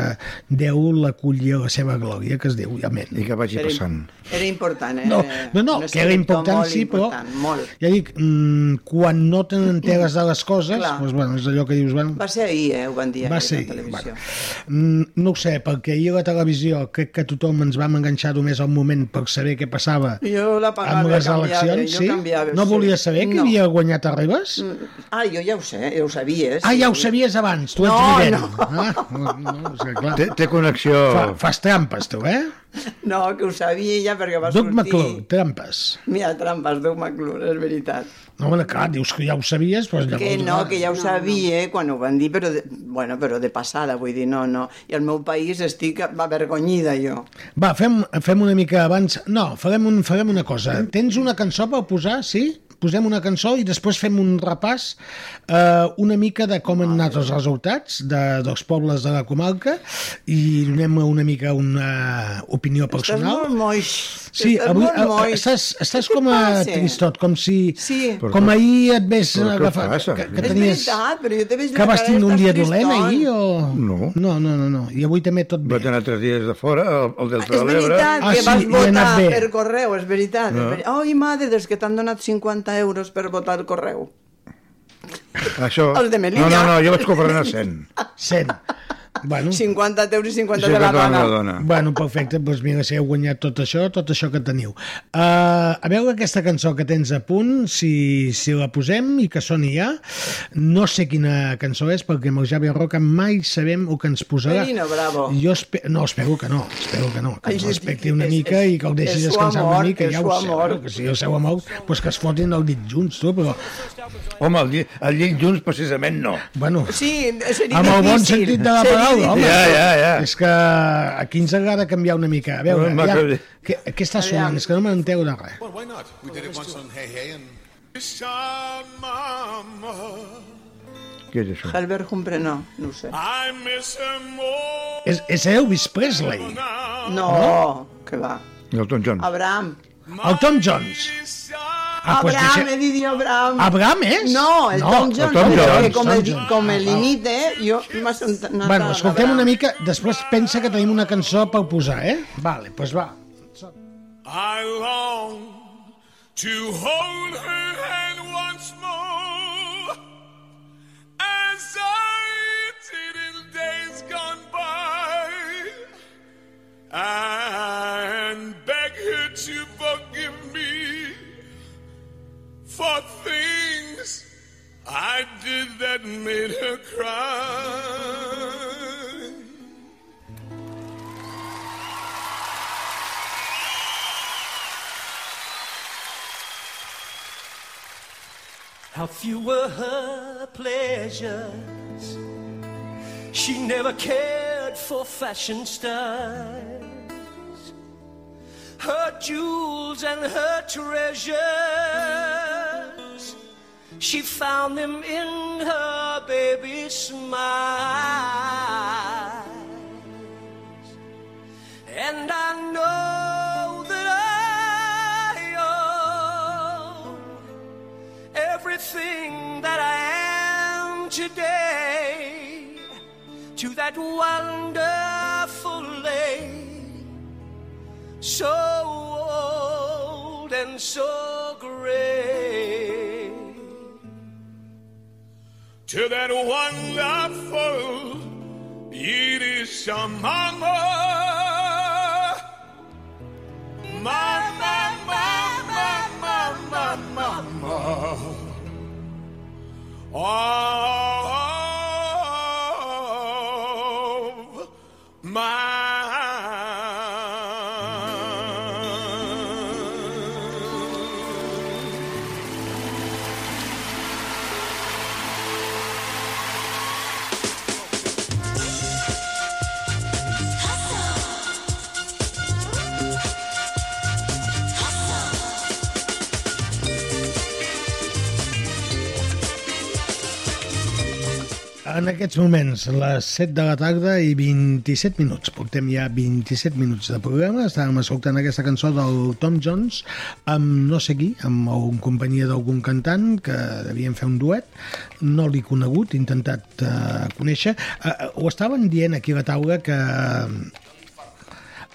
Speaker 5: Déu l'aculli a la seva glòria, que es diu, amén.
Speaker 6: I que vagi
Speaker 7: era,
Speaker 6: passant.
Speaker 7: era important eh?
Speaker 5: No, no, no
Speaker 7: Un
Speaker 5: que era
Speaker 7: escriptor
Speaker 5: important,
Speaker 7: molt
Speaker 5: sí, però...
Speaker 7: important, molt.
Speaker 5: Ja dic, mm, quan no te n'enteres de les coses,
Speaker 7: Clar.
Speaker 5: doncs, bueno, és allò que dius, bueno,
Speaker 7: va ser ahir, eh, ho van dir
Speaker 5: va
Speaker 7: ahir a
Speaker 5: ser...
Speaker 7: la televisió
Speaker 5: Bueno. Mm, no ho sé, perquè ahir a la televisió crec que tothom ens vam enganxar només al moment per saber què passava
Speaker 7: Jo l'apagava,
Speaker 5: amb les
Speaker 7: canviava,
Speaker 5: eleccions,
Speaker 7: eh, jo
Speaker 5: sí?
Speaker 7: canviava,
Speaker 5: no
Speaker 7: sí.
Speaker 5: volia saber que
Speaker 7: No.
Speaker 5: havia guanyat Arribas?
Speaker 7: Ah, jo ja ho sé, ja ho sabies.
Speaker 5: Ah, ja ho sabies abans, tu ets
Speaker 7: No,
Speaker 5: vivent.
Speaker 7: no.
Speaker 5: Ah, no, no, és que clar,
Speaker 6: Té, té connexió...
Speaker 5: fa, fas trampes, tu, eh?
Speaker 7: No, que ho sabia ja perquè va
Speaker 5: Doug
Speaker 7: sortir...
Speaker 5: McClure, trampes.
Speaker 7: Mira, trampes, Doug McClure, és veritat.
Speaker 5: No, bueno, clar, dius que ja ho sabies, però llavors...
Speaker 7: Que no,
Speaker 5: clar.
Speaker 7: que ja ho sabia, eh, quan ho van dir, però de, bueno, però de passada, vull dir, no, no. I al meu país estic avergonyida, jo.
Speaker 5: Va, fem, fem una mica abans... No, farem, un, farem una cosa. Tens una cançó per posar, sí? Posem una cançó i després fem un repàs eh, una mica de com han anat els resultats de, dels pobles de la comarca i donem una mica una opinió personal.
Speaker 7: Estàs molt moix.
Speaker 5: Sí,
Speaker 7: estàs
Speaker 5: avui
Speaker 7: molt
Speaker 5: eh,
Speaker 7: moix.
Speaker 5: estàs, estàs
Speaker 7: Què
Speaker 5: com a
Speaker 7: passa?
Speaker 5: tristot, com si...
Speaker 7: Sí. Però
Speaker 5: Com ahir et ves
Speaker 6: però què
Speaker 5: agafar...
Speaker 6: passa?
Speaker 5: Que,
Speaker 6: És
Speaker 5: que
Speaker 7: És
Speaker 5: tenies...
Speaker 7: veritat, però jo te veig la
Speaker 5: Que vas
Speaker 7: cara
Speaker 5: tindre un dia
Speaker 7: d'estàs
Speaker 5: dolent
Speaker 7: triston.
Speaker 5: ahir o...?
Speaker 6: No.
Speaker 5: No, no, no, no. I avui també tot bé.
Speaker 6: Va tenir altres dies de fora, el, el Delta
Speaker 7: És
Speaker 6: de l'Ebre.
Speaker 7: veritat,
Speaker 5: Ah,
Speaker 7: que
Speaker 5: sí,
Speaker 7: vas
Speaker 5: i ha
Speaker 7: votar
Speaker 5: anat bé.
Speaker 7: per correu, és veritat. No. Ai, madre, des que t'han donat 50 euros per votar al correu.
Speaker 6: Ah, Això...
Speaker 7: El de Melilla.
Speaker 6: No, no, no, jo vaig cobrar a 100.
Speaker 5: Cent. Bueno,
Speaker 7: 50 euros i 50
Speaker 6: Això
Speaker 7: de
Speaker 6: que
Speaker 7: la
Speaker 6: te
Speaker 7: dona.
Speaker 6: la dona.
Speaker 5: bueno perfecte, doncs mira, si heu guanyat tot això, tot això que teniu. Uh, a veure aquesta cançó que tens a punt, si, si la posem i que soni ja. No sé quina cançó és, perquè amb el Javi Roca mai sabem el que ens posarà.
Speaker 7: Carina Bravo.
Speaker 5: Jo espe no, espero que no, espero que no, que
Speaker 7: Ai,
Speaker 5: ens
Speaker 7: jo
Speaker 5: respecti
Speaker 7: dic,
Speaker 5: una
Speaker 7: és-
Speaker 5: mica
Speaker 7: és-
Speaker 5: i que el deixi
Speaker 7: és su
Speaker 5: descansar una
Speaker 7: amor,
Speaker 5: mica,
Speaker 7: és
Speaker 5: ja
Speaker 7: su
Speaker 5: ho sé,
Speaker 7: amor.
Speaker 5: no? que si el seu amor, doncs que es fotin el dit junts, tu, però,
Speaker 6: Home, el, lli- el llit junts precisament no.
Speaker 5: bueno...
Speaker 7: Sí, seria
Speaker 5: Amb el bon
Speaker 7: difícil.
Speaker 5: sentit de la
Speaker 7: Seria
Speaker 5: paraula, home.
Speaker 6: Ja, ja, ja.
Speaker 5: És que aquí ens agrada canviar una mica. A veure,
Speaker 6: Home,
Speaker 5: ja,
Speaker 6: que bé.
Speaker 5: què, què està sonant? És que no m'enteu de res.
Speaker 10: Well, why not? We did it once on Hey Hey and. Wish I, Mama,
Speaker 6: Què és això?
Speaker 7: Albert Humphrey, no, no ho sé.
Speaker 10: I miss him more
Speaker 5: És, és Elvis Presley,
Speaker 10: now.
Speaker 7: No, que va.
Speaker 6: Elton John.
Speaker 7: Abraham.
Speaker 5: el Tom Jones.
Speaker 10: Wish I
Speaker 5: Ah, doncs
Speaker 7: Abraham,
Speaker 5: deixa-
Speaker 7: he dit jo Abraham.
Speaker 5: Abraham és?
Speaker 7: No, el Tom
Speaker 5: el
Speaker 7: Jones,
Speaker 6: Tom
Speaker 7: però
Speaker 6: Jones,
Speaker 7: que com,
Speaker 5: Tom
Speaker 7: el,
Speaker 5: Jones.
Speaker 7: com
Speaker 5: Ah,
Speaker 7: el
Speaker 5: val.
Speaker 7: limite, jo m'ha sentat...
Speaker 5: Bueno, escoltem una mica, després pensa que tenim una cançó per posar, eh? Vale, doncs pues va.
Speaker 10: I long to hold her hand once more, as I did in days gone by, and beg her to forgive me for things I did that made her cry.
Speaker 11: How few were her pleasures. She never cared for fashion styles. Her jewels and her treasures. She found them in her baby's smile. And I know that I own everything that I am today to that wonderful lady, so old and so great.
Speaker 10: to that wonderful Yiddish mama. Mama, mama, mama, mama. Of mine.
Speaker 5: En aquests moments, les 7 de la tarda i 27 minuts. Portem ja 27 minuts de programa. Estàvem escoltant aquesta cançó del Tom Jones amb no sé qui, amb un companyia d'algun cantant que devien fer un duet. No l'he conegut, he intentat eh, conèixer. Eh, eh, ho estaven dient aquí a la taula que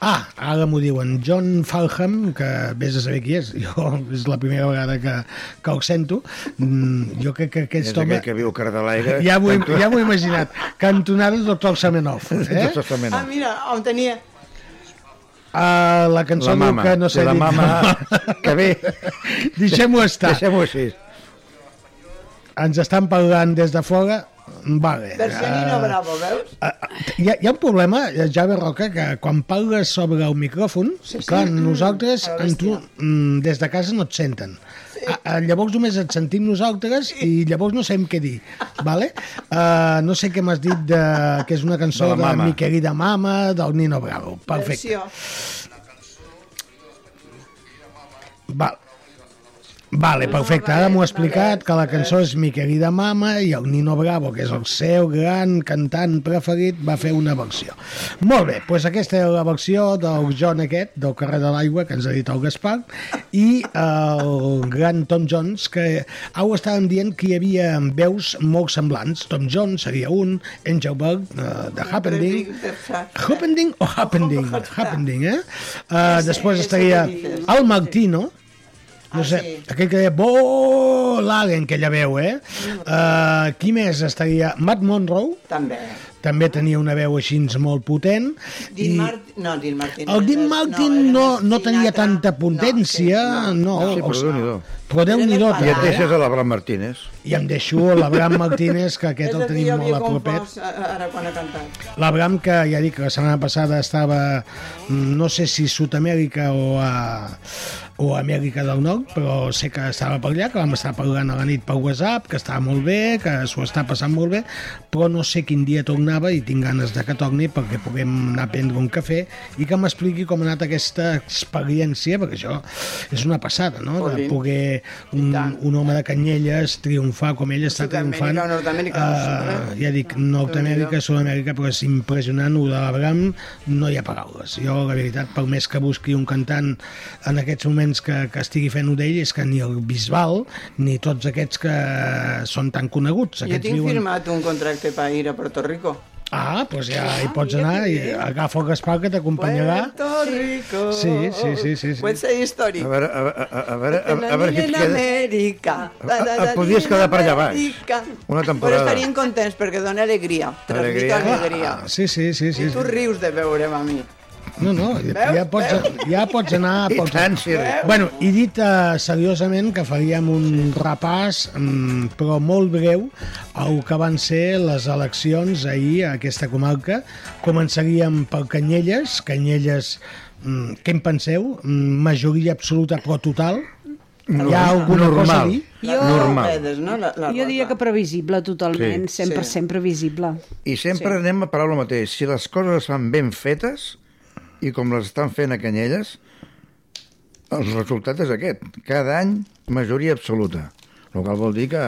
Speaker 5: Ah, ara m'ho diuen, John Falham, que vés a saber qui és, jo és la primera vegada que, que ho sento, mm, jo crec que
Speaker 6: És
Speaker 5: aquest home...
Speaker 6: aquell que viu a Cardalaire.
Speaker 5: Ja m'ho ja m'ho he imaginat. Cantonada doctor Semenov. Eh?
Speaker 7: Ah,
Speaker 6: Exactament.
Speaker 7: mira, on tenia...
Speaker 5: Uh, la cançó
Speaker 6: La
Speaker 5: diu
Speaker 6: mama.
Speaker 5: que no s'ha
Speaker 6: la
Speaker 5: dit.
Speaker 6: mama. Que bé.
Speaker 5: Deixem-ho estar.
Speaker 6: Deixem-ho així.
Speaker 5: Ens estan parlant des de fora. Vale.
Speaker 7: Versionino
Speaker 5: eh,
Speaker 7: Bravo, veus?
Speaker 5: ah, hi, ha, hi ha un problema, eh, Jaume Roca, que quan parles sobre el micròfon, sí, sí. clar, nosaltres,
Speaker 7: a la
Speaker 5: en tu,
Speaker 7: bèstia.
Speaker 5: mm, des de casa no et senten. Sí. A, a, llavors només et sentim nosaltres i llavors no sabem què dir, vale? Uh, no sé què m'has dit de, que és una cançó
Speaker 6: De la
Speaker 5: de,
Speaker 6: mama.
Speaker 5: Mi querida mama, del Nino Bravo. Perfecte.
Speaker 7: Versió.
Speaker 5: Val. Vale, perfecte. Ara m'ho ha explicat que la cançó és Mi querida mama i el Nino Bravo, que és el seu gran cantant preferit, va fer una versió. Molt bé, doncs aquesta és la versió del John aquest, del carrer de l'aigua, que ens ha dit el Gaspar, i el gran Tom Jones, que au estàvem dient que hi havia veus molt semblants. Tom Jones seria un, Engelberg, eh, de Happening, Happening o Happening? Happening, eh? Uh, després
Speaker 7: ese
Speaker 5: estaria
Speaker 7: que dices.
Speaker 5: el Martino, no
Speaker 7: Ah,
Speaker 5: sé,
Speaker 7: sí.
Speaker 5: aquell que deia Mm. Ah, Bo Lagen, que ja veu, eh? Uh, qui més estaria? Matt Monroe,
Speaker 7: També.
Speaker 5: també tenia una veu així molt potent.
Speaker 7: Dean Martin, no, Dean Martin.
Speaker 5: El Dean Martin no, no tenia tanta potència, no.
Speaker 6: Sí, però
Speaker 5: els-
Speaker 6: déu-n'hi-do.
Speaker 5: Però déu-n'hi-do.
Speaker 8: Ah,
Speaker 6: I
Speaker 8: eh?
Speaker 6: et deixes a l'Abraham Martínez.
Speaker 5: I em deixo l'Abraham Martínez, que aquest el tenim molt a propet.
Speaker 7: Ara quan ha cantat.
Speaker 5: L'Abraham, que ja dic que la setmana passada estava, mm, no sé si Sud-amèrica o a, o a Amèrica del Nord, però sé que estava per allà, que vam estar parlant a la nit per WhatsApp, que estava molt bé, que s'ho està passant molt bé, però no sé quin dia tornava i tinc ganes de que torni perquè puguem anar a prendre un cafè i que m'expliqui com ha anat aquesta experiència, perquè això és una passada, no?, de
Speaker 7: Jolín.
Speaker 5: poder un, un home de Canyelles triomfar com ell està
Speaker 7: Sud-amèrica,
Speaker 5: triomfant.
Speaker 7: Nord-amèrica,
Speaker 5: eh, ja dic, Nord-Amèrica, Sud-Amèrica, però és impressionant, ho de l'Abram, no hi ha paraules. Jo, la veritat, per més que busqui un cantant en aquests moments que, que estigui fent ho d'ell, és que ni el Bisbal, ni tots aquests que són tan coneguts.
Speaker 7: Jo
Speaker 5: Aquests
Speaker 7: tinc firmat un contracte per ir a Puerto Rico.
Speaker 5: Ah, doncs ja hi pots anar, i agafa el Gaspar que t'acompanyarà.
Speaker 7: Puerto Rico.
Speaker 5: Sí, sí, sí, sí, sí.
Speaker 7: Pot ser històric.
Speaker 6: A veure, a, a, a, a veure, a, a veure
Speaker 7: Nani
Speaker 6: si et
Speaker 7: en
Speaker 6: queda...
Speaker 7: Amèrica.
Speaker 6: Ah, ah, podies quedar per allà baix. Una
Speaker 7: Però
Speaker 6: temporada.
Speaker 7: estarien contents perquè dona alegria. Transmita
Speaker 6: Alegria.
Speaker 7: alegria.
Speaker 5: Sí, sí, sí, Ah, sí.
Speaker 7: I tu rius de eh, veure'm a mi.
Speaker 5: No, no, ja pots, ja pots anar...
Speaker 6: I
Speaker 5: Pots...
Speaker 6: tant, sí.
Speaker 5: Bueno, i dit eh, seriosament que faríem un repàs, mm, però molt breu, al que van ser les eleccions ahir a aquesta comarca. Començaríem per Canyelles. Canyelles, mm, què en penseu? Mm, Majoria absoluta però total? Hi ha alguna
Speaker 6: normal.
Speaker 5: cosa a dir?
Speaker 8: Jo-
Speaker 6: Normal.
Speaker 7: Vedes, no? La, la
Speaker 8: Jo diria
Speaker 7: rosa.
Speaker 8: que previsible totalment,
Speaker 7: Sí.
Speaker 8: 100%
Speaker 7: Sí.
Speaker 8: previsible.
Speaker 6: I sempre sí. anem a parar el mateix. Si les coses es fan ben fetes, i com les estan fent a Canyelles, el resultat és aquest. Cada any, majoria absoluta. El que vol dir que...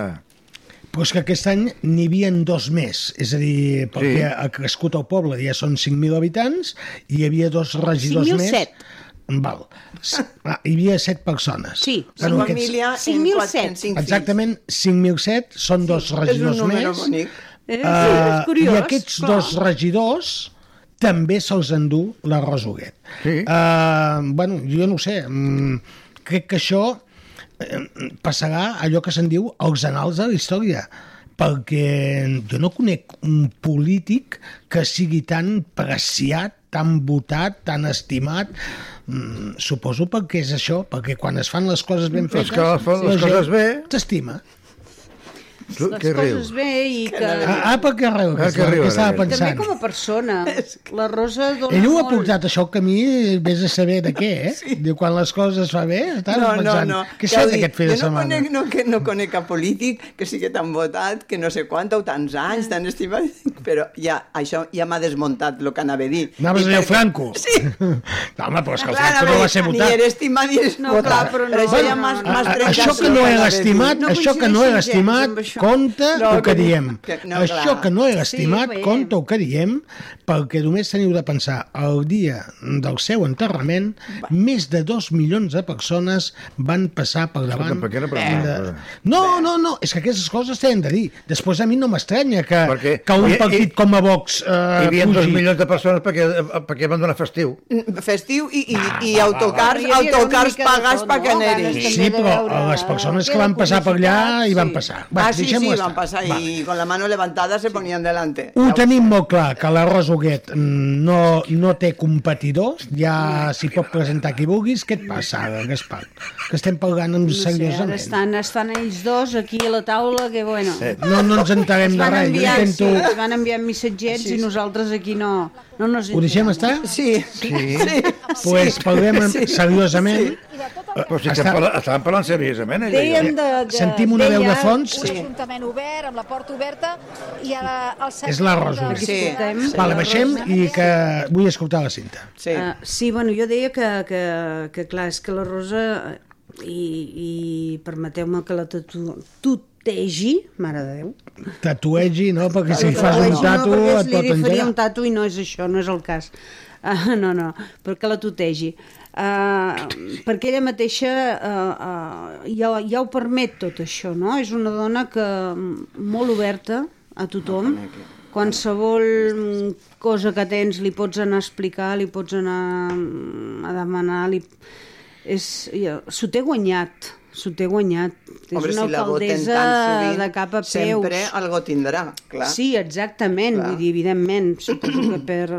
Speaker 5: Però és que aquest any n'hi havia dos més, és a dir, perquè
Speaker 6: Sí.
Speaker 5: ha crescut el poble, ja són 5.000 habitants, i hi havia dos regidors més.
Speaker 3: 5.007.
Speaker 5: Val. S- Ah, hi havia 7 persones.
Speaker 3: Sí,
Speaker 5: Bueno, aquests-
Speaker 7: Família en
Speaker 3: 5.007.
Speaker 7: quatre- en cinc fills.
Speaker 5: Exactament, 5.007 són dos regidors
Speaker 7: és un número
Speaker 5: més.
Speaker 7: bonic.
Speaker 8: Eh,
Speaker 5: Eh, I aquests dos regidors també se'ls endú la Rosuguet.
Speaker 6: Sí.
Speaker 5: Eh, bueno, jo no ho sé, mm, crec que això eh, passarà allò que se'n diu els anals de la història, perquè jo no conec un polític que sigui tan preciat, tan votat, tan estimat, mm, suposo perquè és això, perquè quan es fan les coses ben
Speaker 6: Les
Speaker 5: fetes...
Speaker 6: que les fan
Speaker 5: la
Speaker 6: les
Speaker 5: gent
Speaker 6: coses bé.
Speaker 5: T'estima.
Speaker 6: Tu,
Speaker 8: les
Speaker 6: què
Speaker 8: coses
Speaker 6: rius?
Speaker 8: bé i que...
Speaker 5: Ah, ah, perquè reu,
Speaker 6: Ah,
Speaker 5: que,
Speaker 6: que riu,
Speaker 5: que estava
Speaker 6: Raquel.
Speaker 5: pensant.
Speaker 8: També com a persona. La Rosa dona
Speaker 5: Ell ho ha
Speaker 8: molt.
Speaker 5: portat això al camí, vés a saber de què, eh? Sí. Diu, quan les coses es fa bé, estàs
Speaker 7: No, no,
Speaker 5: pensant,
Speaker 7: no.
Speaker 5: què
Speaker 7: Ja
Speaker 5: s'ha
Speaker 7: ho dic,
Speaker 5: d'aquest fi de
Speaker 7: jo no
Speaker 5: setmana?
Speaker 7: Conec, no, que no conec cap polític que sigui tan votat, que no sé quant, o tants anys, tan estimat, però ja, això ja m'ha desmuntat el que anava a dir.
Speaker 5: Anaves
Speaker 7: I
Speaker 5: a dir el
Speaker 7: perquè-
Speaker 5: Franco?
Speaker 7: Sí.
Speaker 5: No, home, però és que el
Speaker 7: Clar,
Speaker 5: Franco no
Speaker 7: anava
Speaker 5: va ser
Speaker 7: a dir,
Speaker 5: votat.
Speaker 7: Ni era estimat ni era
Speaker 8: No,
Speaker 7: votat.
Speaker 8: clar, però no.
Speaker 7: Però això
Speaker 8: Bueno,
Speaker 7: ja m'has
Speaker 8: a-
Speaker 7: m'has
Speaker 5: A-
Speaker 7: trencat
Speaker 5: Això que
Speaker 7: el
Speaker 5: no
Speaker 7: anava
Speaker 5: era
Speaker 7: a dir.
Speaker 5: estimat,
Speaker 8: No
Speaker 5: això que no
Speaker 8: coincideixen
Speaker 5: era
Speaker 8: gens
Speaker 5: estimat,
Speaker 8: amb això.
Speaker 5: compta el
Speaker 7: No,
Speaker 5: que
Speaker 7: que no-
Speaker 5: diem.
Speaker 7: que- no,
Speaker 5: Això
Speaker 7: clar.
Speaker 5: que no era estimat,
Speaker 8: bé.
Speaker 5: compta el que diem, perquè només teniu de pensar, el dia del seu enterrament, més de dos milions de persones van passar per davant.
Speaker 6: per què no preguntes?
Speaker 5: de- No, no, no, és que aquestes coses s'han de dir. Després a mi no m'estranya que,
Speaker 6: Perquè-
Speaker 5: que un
Speaker 6: i- i-
Speaker 5: partit com a Vox eh,
Speaker 6: Hi havia dos
Speaker 5: fugi.
Speaker 6: milions de persones perquè, eh, perquè van donar festiu.
Speaker 7: Mm, Festiu i, i, i autocars,
Speaker 8: va, va. Hi
Speaker 7: autocars
Speaker 8: havia una mica de
Speaker 7: pagats
Speaker 8: tot,
Speaker 7: per que
Speaker 8: no?
Speaker 7: aneris.
Speaker 8: Ganes
Speaker 5: Sí,
Speaker 8: També de
Speaker 5: però
Speaker 8: veure
Speaker 5: les persones
Speaker 8: què
Speaker 5: que
Speaker 8: era
Speaker 5: van passar per allà
Speaker 8: publicitat,
Speaker 5: hi van
Speaker 8: sí.
Speaker 5: passar.
Speaker 7: Ah, sí, sí,
Speaker 5: deixem-ho
Speaker 7: van
Speaker 5: estar.
Speaker 7: passar
Speaker 5: Va.
Speaker 7: i con la mano levantada se ponían delante.
Speaker 5: Ho tenim molt clar, que la Rosa Huguet mm, no, no té competidors, ja s'hi pot presentar qui vulguis. Què et passa ara, Gaspar? Que estem parlant amb
Speaker 8: No sé, ara
Speaker 5: seriosament.
Speaker 8: estan, estan ells dos aquí a la taula, que bueno...
Speaker 5: No, no ens entenem
Speaker 8: Es
Speaker 5: de
Speaker 8: van,
Speaker 5: res. Jo
Speaker 8: enviar, sí,
Speaker 5: intento...
Speaker 8: es van enviar missatgets i nosaltres aquí no, no nos
Speaker 5: Ho deixem
Speaker 8: enterem.
Speaker 5: estar?
Speaker 7: Sí, sí. sí.
Speaker 5: Doncs pues parlem amb- seriosament.
Speaker 6: Però si
Speaker 5: Està-
Speaker 6: estan parlant, estaven parlant seriosament, ella. i
Speaker 8: Dèiem
Speaker 6: jo.
Speaker 8: de, de,
Speaker 5: Sentim una veu de
Speaker 8: deia-
Speaker 5: fons.
Speaker 12: un ajuntament obert, amb la porta oberta, i a la, al
Speaker 5: És la Rosa Huguet.
Speaker 7: Sí.
Speaker 8: Escoltem.
Speaker 7: Sí.
Speaker 5: Vale, baixem i que vull escoltar la cinta.
Speaker 7: Sí.
Speaker 8: Eh, sí, bueno, jo deia que, que, que clar, és que la Rosa, eh, i, i permeteu-me que la tatu- tutegi, mare de Déu,
Speaker 5: Tatuegi, no? Perquè si fas
Speaker 8: Ai,
Speaker 5: un tatu
Speaker 8: no,
Speaker 5: et pot
Speaker 8: faria un
Speaker 5: engegar.
Speaker 8: tatu i no és això, no és el cas. Uh, no, no, perquè la tutegi. Uh, perquè ella mateixa uh, uh, ja, ja ho permet tot això, no? És una dona que mm, molt oberta a tothom, qualsevol mm, cosa que tens li pots anar a explicar, li pots anar mm, a demanar, li és, ja, s'ho té guanyat, s'ho té guanyat.
Speaker 7: Home,
Speaker 8: és una
Speaker 7: si la voten
Speaker 8: alcaldessa
Speaker 7: tan sovint,
Speaker 8: de cap a peus.
Speaker 7: sempre algo tindrà, clar.
Speaker 8: Sí, exactament,
Speaker 7: Clar.
Speaker 8: vull dir, evidentment, suposo que per,